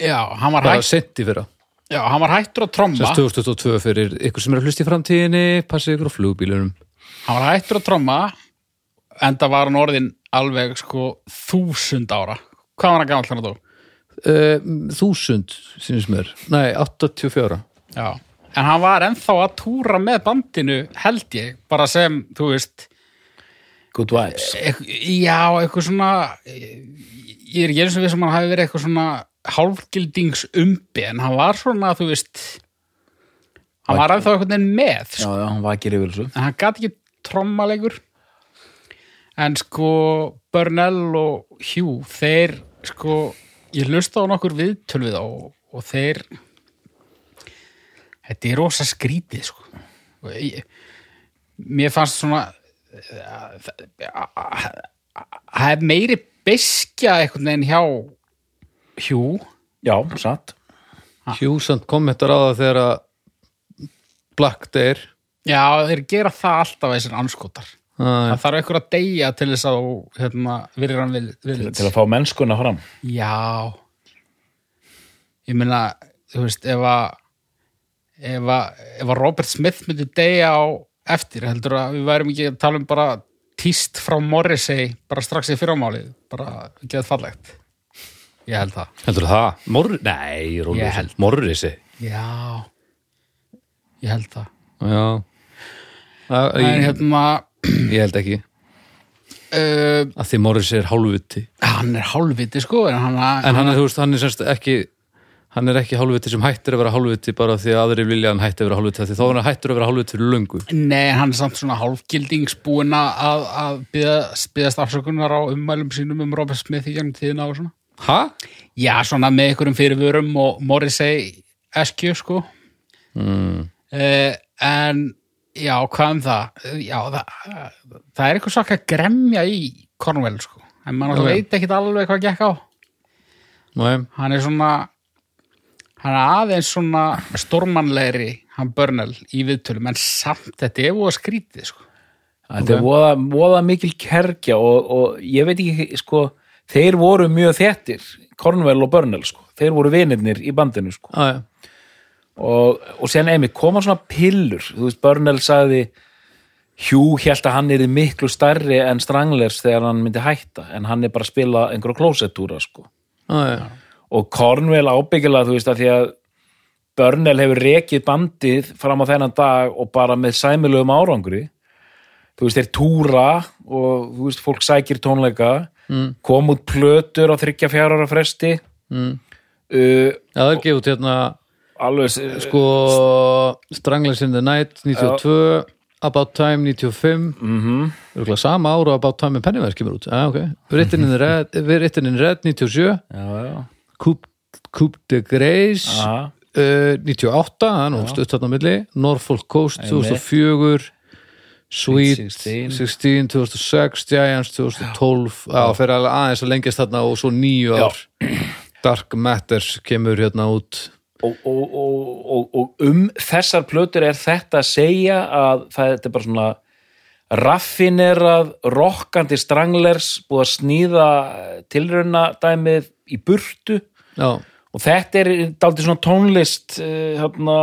[SPEAKER 3] Já, hann var,
[SPEAKER 1] bara
[SPEAKER 3] hætt,
[SPEAKER 1] sent í fyrra
[SPEAKER 3] já, hann var hættur að tromma
[SPEAKER 1] Sess 2022 fyrir ykkur sem er að hlusta í framtíðinni passið ykkur á flugbílunum
[SPEAKER 3] hann var hættur að tromma en það var hann orðin alveg sko þúsund ára Hvað var hann gamall hann að dó?
[SPEAKER 1] uh, Þúsund, sínum sem er Nei, 84
[SPEAKER 3] Já, en hann var ennþá að túra með bandinu held ég, bara sem, þú veist
[SPEAKER 2] Good Vibes
[SPEAKER 3] Eitth- Já, eitthvað svona ég ég er ekki eins og við sem hann hafi verið eitthvað svona hálfgildingsumbi en hann var svona, þú veist hann var ennþá eitthvað neginn með
[SPEAKER 2] já,
[SPEAKER 3] sko,
[SPEAKER 2] já, hann vakir yfir þessu
[SPEAKER 3] en hann gat ekki trommalegur en sko Burnell og Hugh þeir sko, ég hlusta á nokkur viðtöl við þá og, og þeir þetta er rosa skrítið sko Og ég, mér fannst svona það er meiri beskja einhvern veginn hjá hjú
[SPEAKER 2] já, satt
[SPEAKER 1] Hjúsand kom þetta ráða þegar að Black Day
[SPEAKER 3] já, þeir gera það alltaf þessir anskotar
[SPEAKER 1] Æ,
[SPEAKER 3] það þarf einhver að deyja til þess að þú, hérna, virðir hann við, við
[SPEAKER 2] til að fá mennskuna fram
[SPEAKER 3] já ég meina, þú veist, ef að ef að, ef að Robert Smith myndi deyja á eftir, heldur að við værum ekki að tala um bara tíst frá Morrissey bara strax í fyrramálið, bara geðað fallegt ég held það
[SPEAKER 1] heldur það? Morri? Nei,
[SPEAKER 3] Ég
[SPEAKER 1] Rólusson,
[SPEAKER 3] held-
[SPEAKER 1] Morrisi
[SPEAKER 3] Já, ég held það.
[SPEAKER 1] Já Æ,
[SPEAKER 3] Það er
[SPEAKER 1] ég,
[SPEAKER 3] hérna,
[SPEAKER 1] ég held ekki
[SPEAKER 3] uh,
[SPEAKER 1] að því Morrisi er hálfviti
[SPEAKER 3] hann er hálfviti sko, en hann,
[SPEAKER 1] en hann er, þú veist, hann er semst ekki hann er ekki hálfviti sem hættir að vera hálfviti bara því að aðrir vilja hann hætti að vera hálfviti af því þá er hann hættur að vera hálfviti fyrir löngu
[SPEAKER 3] nei, hann er samt svona hálfgildingsbúin að, að byðast, byðast afsökunar á ummælum sínum um Robert Smith í gegnum tíðina og svona.
[SPEAKER 1] ha?
[SPEAKER 3] Já, svona með einhverjum fyrirvörum og Morrissey eskju sko. Mm. en já, hvað um það? Eh, Já, það, það er eitthvað svaka gremja í Cornwell sko. En mann
[SPEAKER 1] Já, já.
[SPEAKER 3] veit ekki alveg hvað gekk á.
[SPEAKER 1] Nei,
[SPEAKER 3] hann er svona hann er aðeins svona stormanlegri hann Börnel í viðtölum en samt þetta er voða skrítið sko.
[SPEAKER 2] Þetta er voða, voða mikil kergja og, og ég veit ekki, sko, þeir voru mjög þettir, Cornwell og Burnell, sko. Þeir voru vinirnir í bandinu, sko.
[SPEAKER 1] aðja
[SPEAKER 2] Og, og sen einmitt koma svona pillur, þú veist, Burnell sagði, Hugh held að hann er miklu stærri en Stranglers þegar hann myndi hætta, en hann er bara að spila einhverja klósettúra, sko.
[SPEAKER 1] aðja,
[SPEAKER 2] Og Cornwell ábyggilega, þú veist, að því að Burnell hefur rekið bandið fram á þennan dag og bara með sæmilegum árangri þú veist, þeir túra og þú veist, fólk sækir tónleika mm. kom út plötur á þryggja fjár ára fresti mm. uh,
[SPEAKER 1] það er gefið út hérna
[SPEAKER 2] alveg sko,
[SPEAKER 1] sko Stranglers in the Night 92 About Time 95 mm -hmm. sama ára About Time með Pennyverse kemur út ah, okay. Written in the Red, Written in Red 97
[SPEAKER 2] já, já,
[SPEAKER 1] Coupe, Coupe de Grace
[SPEAKER 2] já,
[SPEAKER 1] uh, 98 það er nú stutt þarna á milli Norfolk Coast 2004 Sweet
[SPEAKER 2] 16.
[SPEAKER 1] 16 2006, Giants 2012 já, fyrir alveg aðeins að lengjast þarna og svo nýju ár Dark Matters kemur hérna út
[SPEAKER 2] Og, og, og, og, og um þessar plötur er þetta að segja að það þetta er bara svona raffinerað, rokkandi stranglers búið að snýða tilrauna dæmið í burtu
[SPEAKER 1] já,
[SPEAKER 2] og þetta er daldið svona tónlist uh, hérna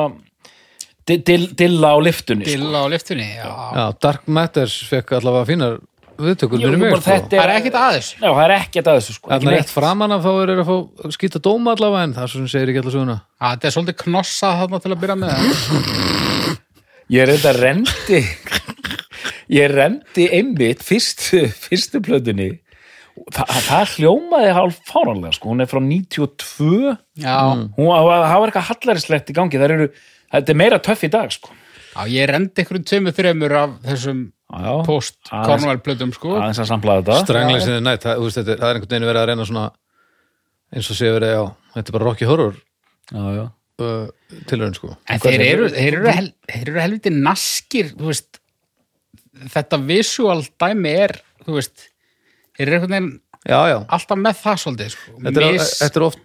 [SPEAKER 2] di- dil- dilla á liftunni sko.
[SPEAKER 3] Dilla á liftunni, já.
[SPEAKER 1] já, Dark Matters fekk allavega fínar viðtökur
[SPEAKER 2] Jú,
[SPEAKER 1] fyrir mig
[SPEAKER 2] bara
[SPEAKER 1] sko.
[SPEAKER 2] þetta
[SPEAKER 3] Það er ekkert aðeins.
[SPEAKER 2] Já, það er ekkert að þessu sko ekki
[SPEAKER 1] Þannig rétt
[SPEAKER 2] neitt.
[SPEAKER 1] framan af þá er að fá skýta dóma allavega en það er svo sem segir ekki allavega svona
[SPEAKER 3] Það er svolítið knossa þarna til að byrja
[SPEAKER 1] [laughs]
[SPEAKER 3] með.
[SPEAKER 2] Ég er þetta rendi Ég rendi einmitt fyrstu, fyrstu plötunni Þa, það hljómaði hálf fáranlega sko, hún er frá 92
[SPEAKER 3] Já,
[SPEAKER 1] Mm.
[SPEAKER 2] hún hafa eitthvað hallarislegt í gangi það eru, þetta er meira töff í dag sko
[SPEAKER 3] já ég rendi einhverjum tveimur þreimur af þessum
[SPEAKER 2] Já, já. Aðeins-
[SPEAKER 3] post-Cornwell-plötum sko.
[SPEAKER 2] aðeins að samplaða þetta
[SPEAKER 1] Stranglings in the Night, það, þú veist, þetta, er- það er einhvern veginn verið að reyna svona eins og sé verið, já, þetta er bara Rocky Horror
[SPEAKER 2] já, já.
[SPEAKER 1] uh, tilraun sko
[SPEAKER 3] En þeir eru, þeir, eru hel, þeir eru helviti naskir, þú veist, þetta visual dæmi er, þú veist, þeir eru einhvern veginn
[SPEAKER 1] já, já,
[SPEAKER 3] alltaf með það svolítið, sko.
[SPEAKER 1] þetta er,
[SPEAKER 3] Mis-
[SPEAKER 1] þetta er oft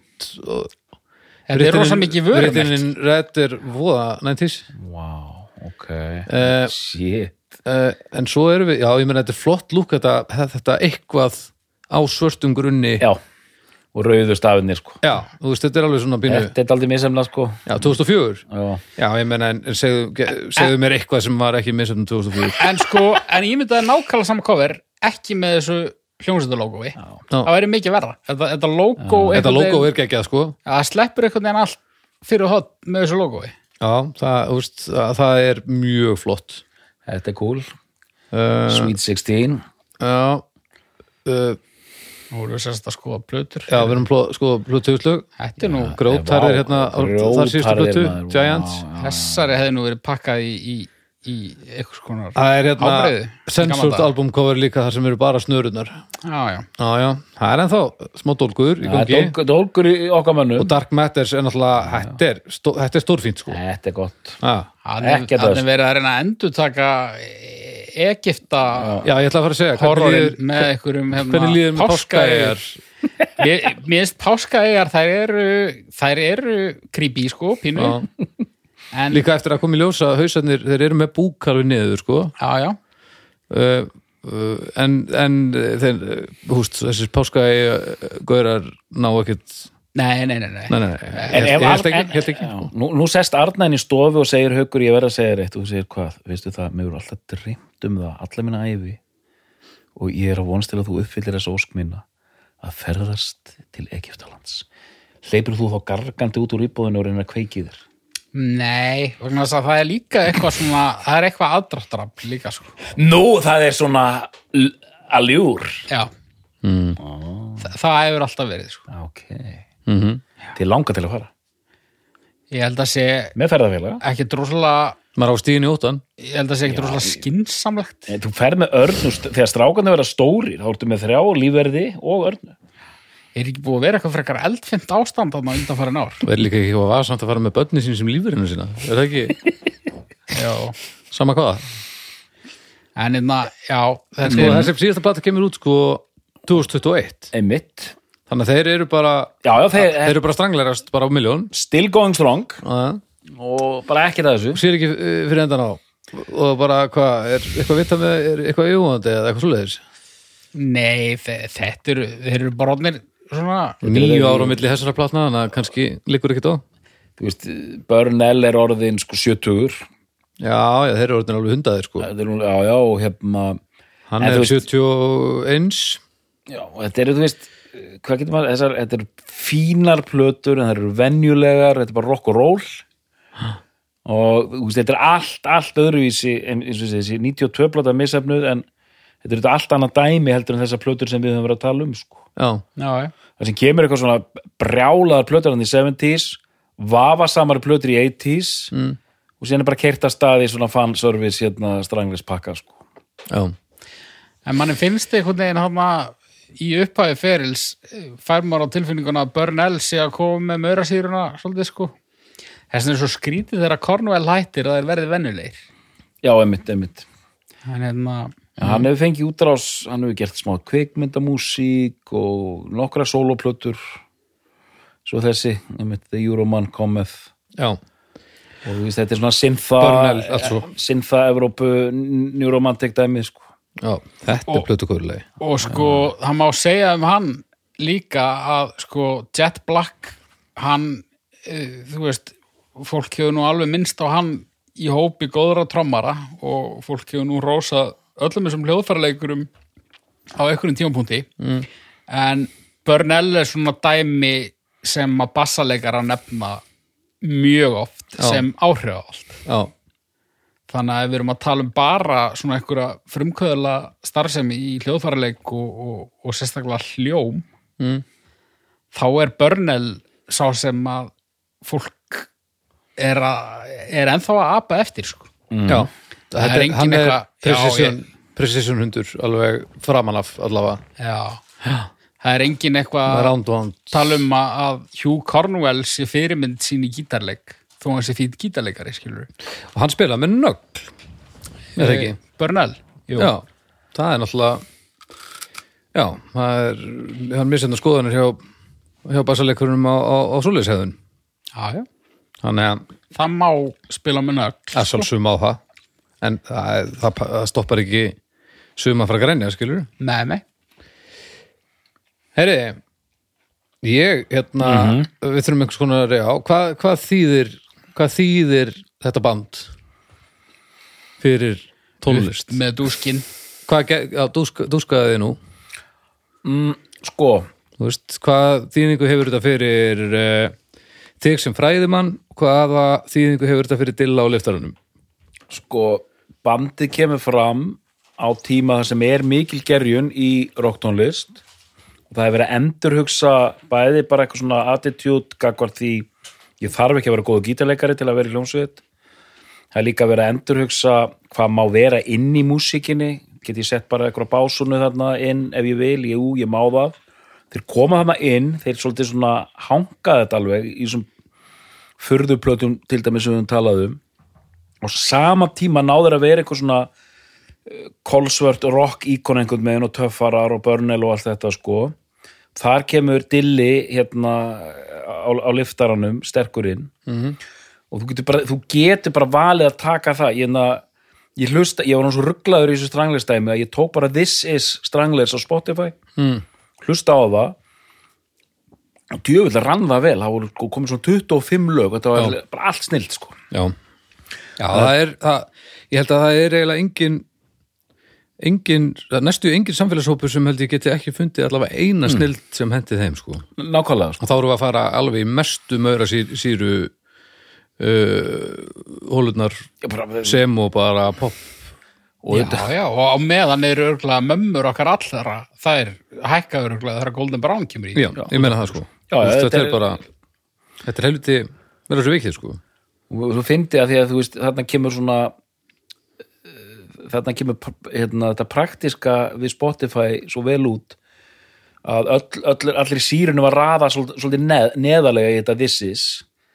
[SPEAKER 3] þetta er rosa mikið vörum.
[SPEAKER 1] Ritinin Red er voða 90s
[SPEAKER 2] Wow, ok
[SPEAKER 1] uh,
[SPEAKER 2] Shit
[SPEAKER 1] uh, en svo erum við, já, ég meina þetta er flott lúk þetta, þetta eitthvað á svörtum grunni
[SPEAKER 2] Já, og rauðu stafinir sko
[SPEAKER 1] Já, þú veist, þetta er alveg svona bínu
[SPEAKER 2] Þetta er aldrei misemna sko
[SPEAKER 1] Já, 2004
[SPEAKER 2] Já,
[SPEAKER 1] Já, ég meina, en, en segðu, ge- segðu mér eitthvað sem var ekki misöfnum 2004
[SPEAKER 3] en sko, en ég myndi að nákvæmlega sama cover ekki með þessu hljómsættalógói það væri mikið verra þetta, þetta logo,
[SPEAKER 1] Þetta logo er geggjað, sko
[SPEAKER 3] það sleppur einhvern veginn allt fyrir hot með þessu logoi
[SPEAKER 1] Já, það, þú veist, það, það er mjög flott
[SPEAKER 2] þetta er cool
[SPEAKER 1] Eh.
[SPEAKER 2] Sweet 16
[SPEAKER 1] Já, uh,
[SPEAKER 3] nú erum við sérst að skoða plötur
[SPEAKER 1] já við erum pló, sko plötuðslög
[SPEAKER 3] þetta er nú,
[SPEAKER 1] Grótar er hérna,
[SPEAKER 2] grjótharðir,
[SPEAKER 1] þar síðustu plötu
[SPEAKER 2] maður, vá.
[SPEAKER 1] Giants
[SPEAKER 3] þessari hefði nú verið pakkað í, í, í eitthvað konar
[SPEAKER 1] Það er hérna
[SPEAKER 3] Ábreiðu, í gamla
[SPEAKER 1] Censored
[SPEAKER 3] daga.
[SPEAKER 1] album cover líka þar sem eru bara snörunar
[SPEAKER 3] já, já,
[SPEAKER 1] Já, já, það er ennþá smá dólgur í gangi
[SPEAKER 2] Þetta er ólgur í okkar mönnu
[SPEAKER 1] og Dark Matters er náttúrulega, þetta er, stó, þetta er stórfínt sko
[SPEAKER 2] Þetta er gott
[SPEAKER 1] Já,
[SPEAKER 3] hann er
[SPEAKER 2] Ekkert að
[SPEAKER 3] hann
[SPEAKER 2] þessu.
[SPEAKER 3] er verið að reyna að endurtaka e, Egipta
[SPEAKER 1] Já, ég ætla að fara að segja hvernig
[SPEAKER 3] horrorin
[SPEAKER 1] líður-
[SPEAKER 3] með einhverjum hérna, hefna,
[SPEAKER 1] Hvernig líður með páskaeyjar?
[SPEAKER 3] Mér mér finnst páskaeyjar, þær eru þær eru creepy sko, pínu
[SPEAKER 1] Já.
[SPEAKER 3] en,
[SPEAKER 1] Líka eftir að koma í ljósa að hausarnir, þeir eru með búk alveg niður, sko.
[SPEAKER 3] já, já,
[SPEAKER 1] Uh, uh, en, en uh, þeir, uh, húst, þessir páskaði uh, gaurar ná ekkert
[SPEAKER 3] nei, nei, nei, nei.
[SPEAKER 1] Nei, nei, nei,
[SPEAKER 2] En
[SPEAKER 1] ég
[SPEAKER 2] ef
[SPEAKER 1] ég held
[SPEAKER 2] al-
[SPEAKER 1] ekki,
[SPEAKER 2] en-
[SPEAKER 1] held ekki.
[SPEAKER 2] Já, nú, nú sest Arnæn í stofu og segir haukur ég verð að segja rétt og þú segir hvað, veistu það, mér voru alltaf dreymt um það alla minna æfi og ég er að vonst til að þú uppfyllir þessa ósk minna að ferðast til Egiptalands hleypur þú þá gargandi út úr íbúðinu og reynir að kveiki í þér
[SPEAKER 3] Nei, vegna þess að það er líka eitthvað svona, það er eitthvað aðdráttarafl líka sko.
[SPEAKER 2] Nú, það er svona l- aljúr
[SPEAKER 3] Já. Mm. Þa, það hefur alltaf verið sko.
[SPEAKER 2] Ok, mm -hmm. þið langar til að fara
[SPEAKER 3] Ég held að sé
[SPEAKER 2] með ferðarfélaga
[SPEAKER 3] ekki droslega,
[SPEAKER 1] Maður á stíðin í óttan.
[SPEAKER 3] ég held að sé ekki droslega skinsamlegt.
[SPEAKER 2] Nei, Eh, Þú ferð með örnu, st- þegar strákarnir verða stórir þá ertu með þrjá lífverði og örnu
[SPEAKER 3] Er ekki búið að vera eitthvað frekar eldfint ástand þarna undanfærin ár?
[SPEAKER 1] Það er líka ekki hvað vasamt að fara með börnin sín sem lífurinu sína. Er það ekki
[SPEAKER 3] Já.
[SPEAKER 1] sama hvaða?
[SPEAKER 3] En einna, já, þetta
[SPEAKER 1] Sko,
[SPEAKER 3] er,
[SPEAKER 1] þessi síðasta plata kemur út, sko, 2021.
[SPEAKER 2] Einmitt
[SPEAKER 1] Þannig að þeir eru bara,
[SPEAKER 2] Já, já, þeir,
[SPEAKER 1] þeir eru bara stranglerast bara á miljón.
[SPEAKER 2] still going strong
[SPEAKER 1] Uh,
[SPEAKER 2] og bara ekkert að þessu
[SPEAKER 1] sér ekki uh, fyrir endan á. Og bara, hvað, er eitthvað vita með, er eitthvað yfgóðandi eða eitthvað svoleiðis?
[SPEAKER 3] nei, þe- þetta eru, þeir eru bara orðnir svona,
[SPEAKER 1] Nýju ára á milli þessara platna, þannig að kannski liggur ekkert á.
[SPEAKER 2] Þú veist, Börnell er orðin sko 70
[SPEAKER 1] Já, já, þeir eru orðin alveg hundaðir sko
[SPEAKER 2] Þetta er hún- já, já, og hérna
[SPEAKER 1] Hann
[SPEAKER 2] En
[SPEAKER 1] er
[SPEAKER 2] þú veist-
[SPEAKER 1] 71
[SPEAKER 2] já, og þetta eru, þú veist hvað getur maður, þessar, þetta eru fínar plötur en það eru venjulegar, þetta er bara rock og roll og þú veist, þetta er allt, allt öðruvísi en- eins og þessi, þessi 92 plöta misafnuð en þetta eru þetta allt annað dæmi heldur en þessar plötur sem við höfum verið að tala um sko.
[SPEAKER 1] Já,
[SPEAKER 3] já, já.
[SPEAKER 2] það sem kemur eitthvað svona brjálaðar plötur hann í 70s vafasamar plötur í 80s mm. og síðan er bara keirt að staði svona fanservice hérna stranglis pakka sko.
[SPEAKER 1] já,
[SPEAKER 3] En manni finnst einhvern veginn hana í upphæði ferils eh, fær maður á tilfinninguna að Burnell sé að koma með maurasýruna svolítið sko. Þessin er svo skrítið þegar Cornwell hættir að þeir verði vennulegir.
[SPEAKER 2] já, einmitt, einmitt Mm.
[SPEAKER 3] En hérna,
[SPEAKER 2] ja, hann hefur fengið útrás, hann hefur gert smá kvikmyndamúsík og nokkra soloplötur svo þessi, einmitt The Euroman Cometh
[SPEAKER 1] já,
[SPEAKER 2] og þú veist, þetta er svona eh, sinfa
[SPEAKER 1] Börnel, allt svo.
[SPEAKER 2] sinfa Evrópu nýromantik dæmi sko.
[SPEAKER 1] já Þetta er
[SPEAKER 3] Og-
[SPEAKER 1] plötu kórulegi
[SPEAKER 3] og sko, það má segja um hann líka að sko Jet Black, hann, eh, þú veist, fólk hefur nú alveg minnst á hann í hópi góðra trommara og fólk hefur nú rósað öllum þessum hljóðfæraleikurum á einhverjum tímapunkti en Burnell er svona dæmi sem að bassaleikar að nefna mjög oft
[SPEAKER 1] Já.
[SPEAKER 3] sem áhrifavald
[SPEAKER 1] Já,
[SPEAKER 3] þannig að ef við erum að tala um bara svona einhverja frumkvöðla starfsemi í hljóðfæraleik og, og, og sérstaklega hljóm
[SPEAKER 1] Mm.
[SPEAKER 3] þá er Burnell sá sem að fólk er, að, er ennþá að apa eftir sko.
[SPEAKER 1] já
[SPEAKER 3] Það er
[SPEAKER 1] Þetta-
[SPEAKER 3] engin
[SPEAKER 1] Hann er
[SPEAKER 3] eitthvað- já,
[SPEAKER 1] precision, precision hundur alveg framan af allavega
[SPEAKER 3] já, það er engin eitthvað
[SPEAKER 1] Round round
[SPEAKER 3] tala um að að Hugh Cornwell sé fyrirmynd sín í gítarleik þó hann sé fýtt gítarleikari, skilur
[SPEAKER 1] Og hann spila með nögl Er það ekki?
[SPEAKER 3] Börnal
[SPEAKER 1] Já, það er náttúrulega Já, það er hann misjönd skoðanir hjá hjá basaleikurunum á, á, á svoleiðshefðun
[SPEAKER 3] já, já.
[SPEAKER 1] Þannig að
[SPEAKER 3] það má spila með nögl
[SPEAKER 1] að sjálfsum á það en það, er- það, það stoppar ekki suma frá grænja, skilur
[SPEAKER 3] nei, nei,
[SPEAKER 1] Herri, ég hérna, við þurfum einhvers konar já, hvað, hvað þýðir hvað þýðir þetta band fyrir tónlist
[SPEAKER 3] með dúskin
[SPEAKER 1] hvað, ge- já, dúsk, dúskaði þið nú
[SPEAKER 2] sko,
[SPEAKER 1] þú veist, hvað þýðingu hefur þetta fyrir uh, þig sem fræðimann hvaða þýðingu hefur þetta fyrir Dilla og liftarunum
[SPEAKER 2] sko, bandið kemur fram á tíma þar sem er mikil gerjun í rocktónlist og það hefur verið að endurhugsa bæði bara eitthvað svona attitude gagvart því ég þarf ekki að vera góðu gítarleikari til að vera í hljómsveit það er líka verið að endurhugsa hvað má vera inn í músikinni get ég sett bara eitthvað básunu þarna inn ef ég vil, jú, ég má það þeir koma þarna inn, þeir svolítið svona hanga þetta alveg í þessum furðuplötum til dæmis sem við höfum talað um og sama tíma náður að vera eitthvað svona kolsvört rock íkon einhvern meginn og töffarar og börnel og allt þetta sko þar kemur Dilli hérna á, á liftaranum sterkurinn mm -hmm. og þú getur, bara, þú getur bara valið að taka það ég, na, ég hlusta, ég var nú svo rugglaður í þessu stranglerstæmi að ég tók bara This is Stranglers á Spotify mm. hlusta á það og djöfull rann það vel, það voru sko komið svona 25 lög, þetta var
[SPEAKER 1] Já.
[SPEAKER 2] bara allt snilt sko
[SPEAKER 1] Já, já það er það, ég held að það er eiginlega engin engin, það er næstu engin samfélagshópur sem held ég geti ekki fundið allavega eina snild sem hendi þeim sko og
[SPEAKER 2] nákvæmlega sko.
[SPEAKER 1] þá erum við að fara alveg í mestu möra síru, síru uh, hólurnar
[SPEAKER 2] Ég bara,
[SPEAKER 1] sem og bara pop
[SPEAKER 3] Já, já, og á meðan eru örgulega mömmur okkar allra, það er hækka örgulega þegar Golden Brown kemur í.
[SPEAKER 1] já, ég meina það sko
[SPEAKER 2] Já,
[SPEAKER 1] Þú veist,
[SPEAKER 2] þetta
[SPEAKER 1] þetta er
[SPEAKER 2] er-
[SPEAKER 1] bara þetta er helviti, verður svo vikið sko
[SPEAKER 2] og þú fyndi að því að þú veist þarna kemur svona eh, þarna kemur pr- hérna, þetta praktiska við Spotify svo vel út að öll, öll, allir sírunum var raða svol- svolítið neð, neðalega í þetta this is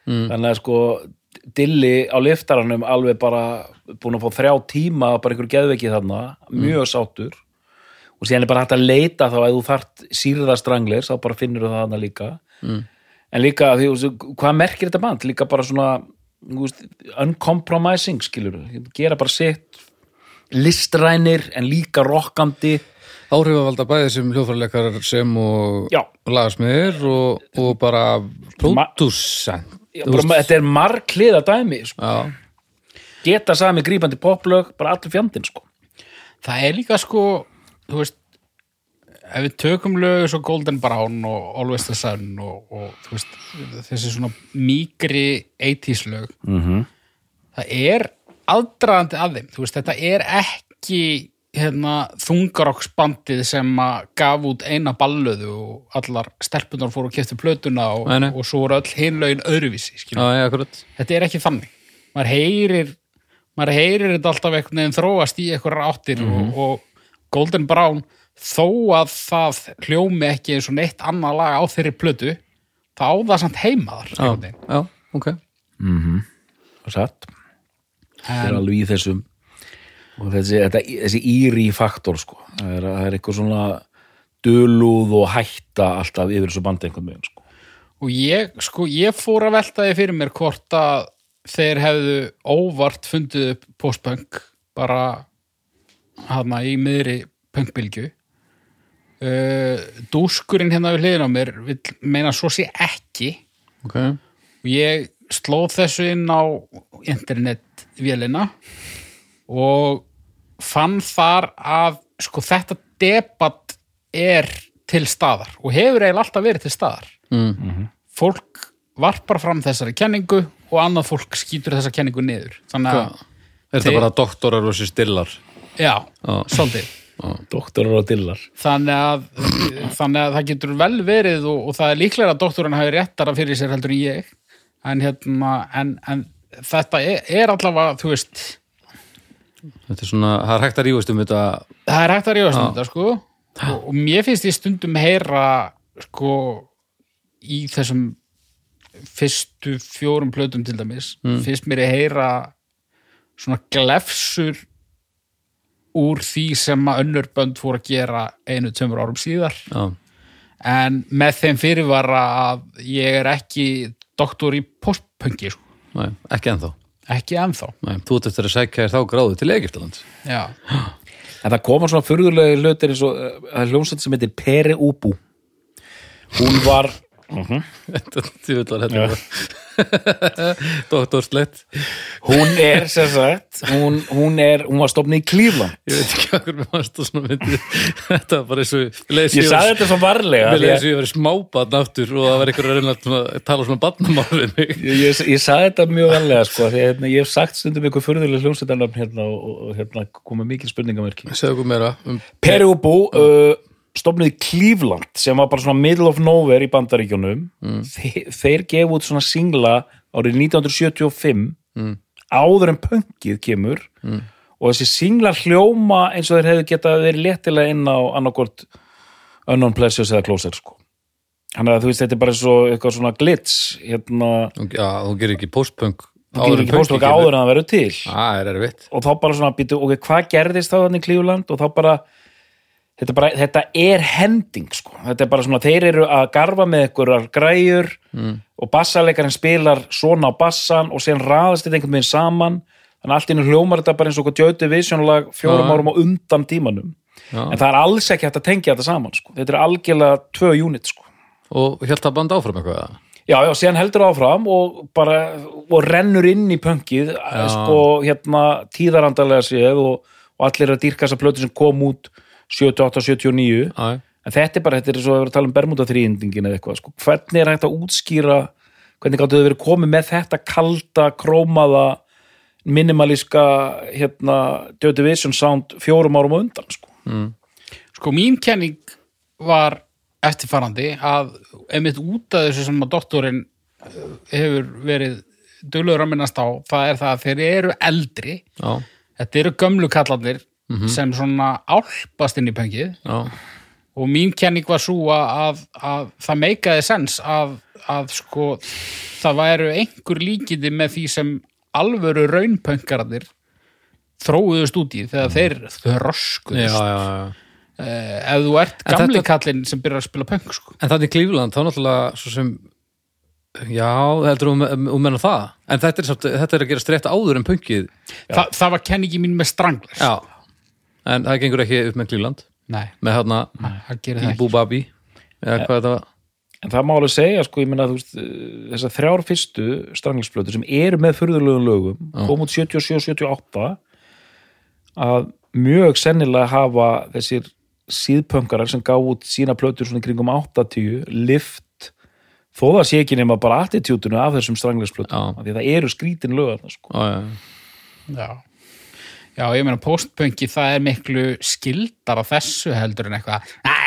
[SPEAKER 2] mm. þannig að sko Dilli á liftaranum alveg bara búin að fá þrjá tíma bara einhver geðveiki þarna, mjög sátur og síðan er bara hægt að leita þá að þú þart sírða stranglir þá bara finnur það þarna líka en líka, því, þú veist, hvað merkir þetta band líka bara svona þú veist, uncompromising skilur gera bara sitt listrænir en líka rokkandi
[SPEAKER 1] áhrifavaldar bæði sem hljóðfærarleikar sem og
[SPEAKER 2] Já.
[SPEAKER 1] og lagasmiðir og, og bara pródúsent
[SPEAKER 2] Já, bara, þetta er margliða dæmi sko.
[SPEAKER 1] Já,
[SPEAKER 2] geta sami grípandi poplög bara allir fjandinn sko.
[SPEAKER 3] Það er líka sko, þú veist, ef við tökum lögu svo Golden Brown og Always the Sun og, og þú veist, þessi svona mýgri 80s lög, -hmm.
[SPEAKER 1] Mhm.
[SPEAKER 3] það er aðdraðandi að þeim, þú veist, þetta er ekki hérna, þungarokksbandið sem að gaf út eina ballöðu og allar stelpunar fóru og keftu plötuna og,
[SPEAKER 1] Nei, nei.
[SPEAKER 3] og svo voru öll hinlaugin öðruvísi, skilur
[SPEAKER 1] já, já, akkurat
[SPEAKER 3] þetta er ekki þannig maður heyrir, maður heyrir þetta alltaf einhvern veginn þróast í einhverjar áttir og, og Golden Brown þó að það hljómi ekki eins og neitt annað lag á þeirri plötu þá á það samt heima þar einhvern
[SPEAKER 1] Já,
[SPEAKER 3] veginn.
[SPEAKER 1] já, ok
[SPEAKER 2] satt það er alveg í þessum og þessi, þetta, þessi íri faktor sko. það, er, það er eitthvað svona dulúð og hætta alltaf yfir þessu bandi einhvern veginn sko.
[SPEAKER 3] og ég, sko, ég fór að velta því fyrir mér hvort að þeir hefðu óvart fundið upp postpunk bara hana í miðri punkbylgju uh, dúskurinn hérna við hliðin á mér vill meina svo sé ekki
[SPEAKER 1] Ok,
[SPEAKER 3] og ég slóð þessu inn á internetvélina og fann þar að sko þetta debat er til staðar og hefur eiginlega alltaf verið til staðar
[SPEAKER 1] mm.
[SPEAKER 3] fólk varpar fram þessari kenningu og annað fólk skýtur þessa kenningu niður þannig að,
[SPEAKER 1] er
[SPEAKER 3] Þeir-
[SPEAKER 1] það bara doktorar og sér stillar
[SPEAKER 3] já,
[SPEAKER 1] Já.
[SPEAKER 3] svolítið
[SPEAKER 2] doktorar og dillar
[SPEAKER 3] þannig að, þannig að það getur vel verið og, og það er líklega að doktorinn hafi réttara fyrir sér heldur en ég en, hérna, en, en þetta er, er allavega, þú veist
[SPEAKER 1] Þetta er svona, það er hægt að rífast um þetta
[SPEAKER 3] það er hægt að rífast um þetta sko og, og mér finnst ég stundum heyra sko í þessum fyrstu fjórum plötum til dæmis finnst mér að heyra svona glefsur úr því sem að önnur bönd fóru að gera einu tömur árum síðar
[SPEAKER 1] Já,
[SPEAKER 3] en með þeim fyrirvara að ég er ekki doktor í postpunki sko.
[SPEAKER 1] næ, ekki ennþá
[SPEAKER 3] ekki ennþá
[SPEAKER 1] Nei, þú ert eftir að sækja þér þá gráðu til Egyptaland
[SPEAKER 3] já.
[SPEAKER 2] En það koma svona furðulegi hlutir eins og eh, það er hljómsveit sem heitir Pere Ubu Hún var
[SPEAKER 1] Þetta djöfull var þetta [laughs] Doktorslegt
[SPEAKER 2] hún er sem sagt hún, hún, er, hún var stofnið í Klífland
[SPEAKER 1] Ég veit ekki okkur með maður stóð svona myndið [laughs] Þetta var bara eins og leið
[SPEAKER 2] Ég saði þetta svo varlega
[SPEAKER 1] Mér
[SPEAKER 2] því
[SPEAKER 1] leiði
[SPEAKER 2] að-
[SPEAKER 1] þess að ég verið smábarn aftur og það var einhver að reyna að svona- tala svona barnamál við mig.
[SPEAKER 2] Ég, ég, ég saði þetta mjög varlega sko, því að hérna, ég hef sagt stundum ykkur furðulegi hljómsveitarnöfn hérna og, og- og hérna koma mikil spurningamerki
[SPEAKER 1] [laughs] Segðu okkur meira um...
[SPEAKER 2] Pere Ubu uh, stofnið í Klífland sem var bara svona middle of nowhere í bandaríkjunum þeir, þeir gefa út svona singla árið 1975 Mm. áður en pönkið kemur og þessi singlar hljóma eins og þeir hefðu geta verið léttilega inn á annarkort Unknown Pleasures eða Closer sko. þannig að þú veist þetta er bara svo eitthvað svona glitz hérna,
[SPEAKER 1] Já, þú gerir ekki postpunk
[SPEAKER 2] þú getur ekki póstlokk áður en það verður til
[SPEAKER 1] Það er erfitt
[SPEAKER 2] og þá bara svona býtu, ok, hvað gerðist þá þannig Klífuland og þá bara þetta, bara, þetta er hending sko. þetta er bara svona, þeir eru að garfa með einhverjar græjur og bassalekarinn spilar svona á bassan og sen raðast þetta einhvern veginn saman þannig að allt innu hljómar þetta bara eins og okkur djötu viðsjónulag fjórum
[SPEAKER 1] Já.
[SPEAKER 2] árum og undan tímanum
[SPEAKER 1] Já.
[SPEAKER 2] en það er alls ekki hægt að tengja þetta saman sko. þetta er algjörlega tvö unit sko.
[SPEAKER 1] Og held það band áfram eitthvað eða?
[SPEAKER 2] Já, já, síðan heldur áfram og bara og rennur inn í pönkið sko, hérna, tíðarandalega séð og, og allir að dýrka þessa plötu sem kom út 78, 79
[SPEAKER 1] Já, já.
[SPEAKER 2] en þetta er bara, þetta er svo að vera að tala um Bermuda þrýendingin eða eitthvað, sko, hvernig er hægt að útskýra hvernig gáttu þau verið komið með þetta kalda, krómaða minimalíska hérna, Dödu Vision sound fjórum árum á undan, sko
[SPEAKER 3] Sko, mín kenning var eftirfarandi að einmitt út af þessu sem að doktorinn eh, hefur verið dölur að minnast á, það er það að þeir eru eldri,
[SPEAKER 1] Já,
[SPEAKER 3] þetta eru gömlu kallarnir sem svona álpast inn í pöngið
[SPEAKER 1] já,
[SPEAKER 3] og mín kenning var svo að, að, að það meikaði sens að, að sko það væru einhver líkindi með því sem alvöru raunpöngararnir þróuðust út í þegar þeir
[SPEAKER 1] já,
[SPEAKER 3] þroskuðust
[SPEAKER 1] já, Mm. já.
[SPEAKER 3] uh, ef þú ert
[SPEAKER 1] En
[SPEAKER 3] gamli
[SPEAKER 1] þetta-
[SPEAKER 3] kallinn sem byrjar að spila punk sko.
[SPEAKER 1] En þannig Klífland, þá náttúrulega svo sem Já, heldur um, um, um menna það En þetta er, samt, þetta er að gera strétt áður en punkið
[SPEAKER 3] Þa, það var kenningi mín með stranglers
[SPEAKER 1] Já En það gengur ekki upp með Klífland
[SPEAKER 3] nei,
[SPEAKER 1] Með hérna
[SPEAKER 3] það gerir það
[SPEAKER 1] í
[SPEAKER 3] ekki Eh.
[SPEAKER 1] Bú Babi Eða hvað þetta var
[SPEAKER 2] en það má alveg segja sko, ég meina þú veist, eh, þessar þrjár fyrstu stranglingsblötu sem eru með furðulegum lögum kom út 77-78 að mjög sennilega hafa þessir síðpöngarar sem gá út sína plötur svona í kringum 80 lift þó það sé ekki nema bara attitútinu af þessum
[SPEAKER 1] Já.
[SPEAKER 2] stranglingsblötum því að það eru skrítin lögarna sko.
[SPEAKER 1] Já, já, já.
[SPEAKER 3] já. já, ég meina postpunki það er miklu skildar á þessu heldur en eitthvað Æ,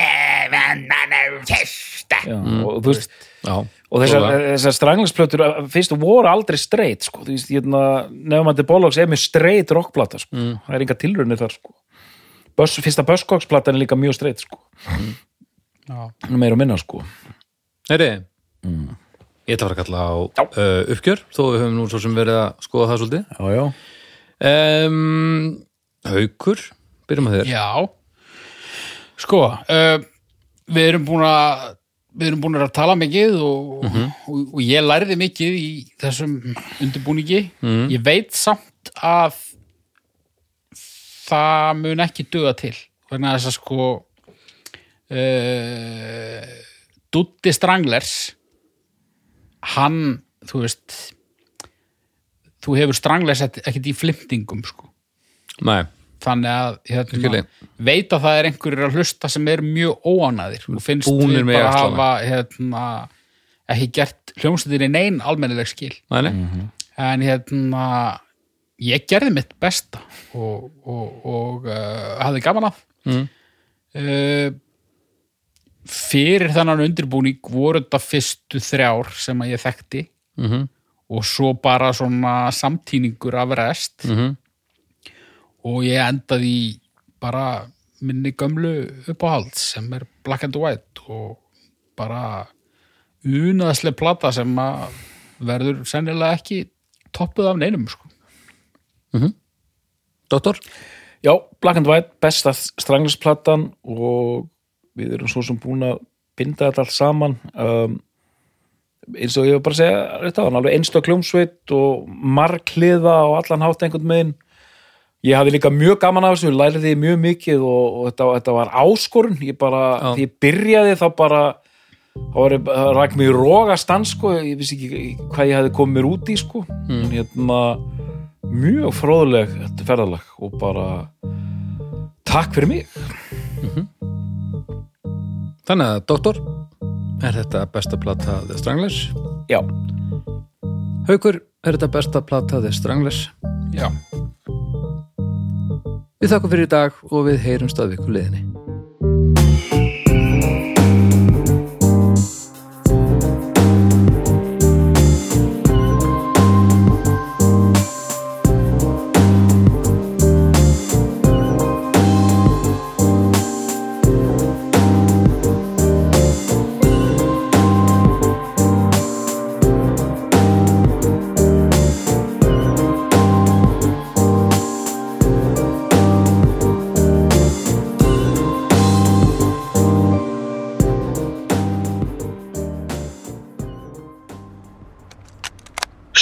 [SPEAKER 3] ég vann hann er fyrsta
[SPEAKER 2] Já, og Mm, þú veist,
[SPEAKER 1] Já,
[SPEAKER 2] og þessar,
[SPEAKER 1] klálega.
[SPEAKER 2] þessar stranglingsplötur að- að fyrst voru aldrei straight sko. þú veist, hérna, nefnandi Bollocks er mjög straight rockplata, sko. það er enga tilraunir þar sko. Böss, fyrsta Buzzcocks-platan er líka mjög straight, sko.
[SPEAKER 3] já.
[SPEAKER 2] Nú meira og minna, sko.
[SPEAKER 1] Heyri,
[SPEAKER 3] Mm.
[SPEAKER 1] ég ætla að fara að kalla á uh, uppgjör þó við höfum nú svo sem verið að skoða það svolítið
[SPEAKER 2] já, já.
[SPEAKER 1] um, Haukur, byrjum að þér
[SPEAKER 3] Já, sko, uh, við erum búin að við erum búin að tala mikið og, og, og ég lærði mikið í þessum undirbúningi. Ég veit samt að það mun ekki duga til. Þannig að þess að sko uh, Dutti Stranglers hann, þú veist þú hefur Stranglers ekkert í flimtingum sko
[SPEAKER 1] Nei,
[SPEAKER 3] þannig að hérna,
[SPEAKER 1] Skilji.
[SPEAKER 3] veit að það er einhverjir að hlusta sem er mjög óánæðir og finnst
[SPEAKER 1] Búnir
[SPEAKER 3] við
[SPEAKER 1] með
[SPEAKER 3] bara að
[SPEAKER 1] jaxlana.
[SPEAKER 3] hafa hérna, ekki gert hljómsveitinni nein almennileg skil
[SPEAKER 1] nei, nei
[SPEAKER 3] Mhm. en hérna ég gerði mitt besta og, og, og uh, hafði gaman af
[SPEAKER 1] Mm.
[SPEAKER 3] uh, fyrir þannan undirbúning voru þetta fyrstu þrjár sem að ég þekkti
[SPEAKER 1] Mhm,
[SPEAKER 3] og svo bara svona samtíningur af rest
[SPEAKER 1] mhm,
[SPEAKER 3] og ég endaði í bara minni gömlu uppáhald sem er Black and White og bara unaðslega plata sem að verður sennilega ekki toppuð af neinum sko.
[SPEAKER 1] Doktor?
[SPEAKER 2] Já, Black and White, besta stranglingsplattan og við erum svo sem búin að binda þetta allt saman um, eins og ég var bara að segja þetta var alveg einstök kljómsveit og margliða og allan hátt einhvern megin ég hafði líka mjög gaman af þessu, ég læriði mjög mikið og, og þetta, þetta var áskorun ég bara,
[SPEAKER 1] Já.
[SPEAKER 2] því ég byrjaði þá bara þá var ég það rak mig í rogastans sko, ég vissi ekki hvað ég hafði komið mér út í sko mm. hérna mjög fróðleg þetta ferðalag og bara takk fyrir mig
[SPEAKER 1] Þannig að Doktor er þetta besta plata The Stranglers
[SPEAKER 2] já,
[SPEAKER 1] Haukur, er þetta besta plata The Stranglers
[SPEAKER 3] Já.
[SPEAKER 1] Við þakkum fyrir í dag og við heyrum staðvíku liðinni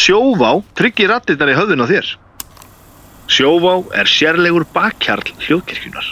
[SPEAKER 4] Sjóvá tryggir rattirnar í höfðun á þér. Sjóvá er sérlegur bakkjarl hljóðkirkjunar.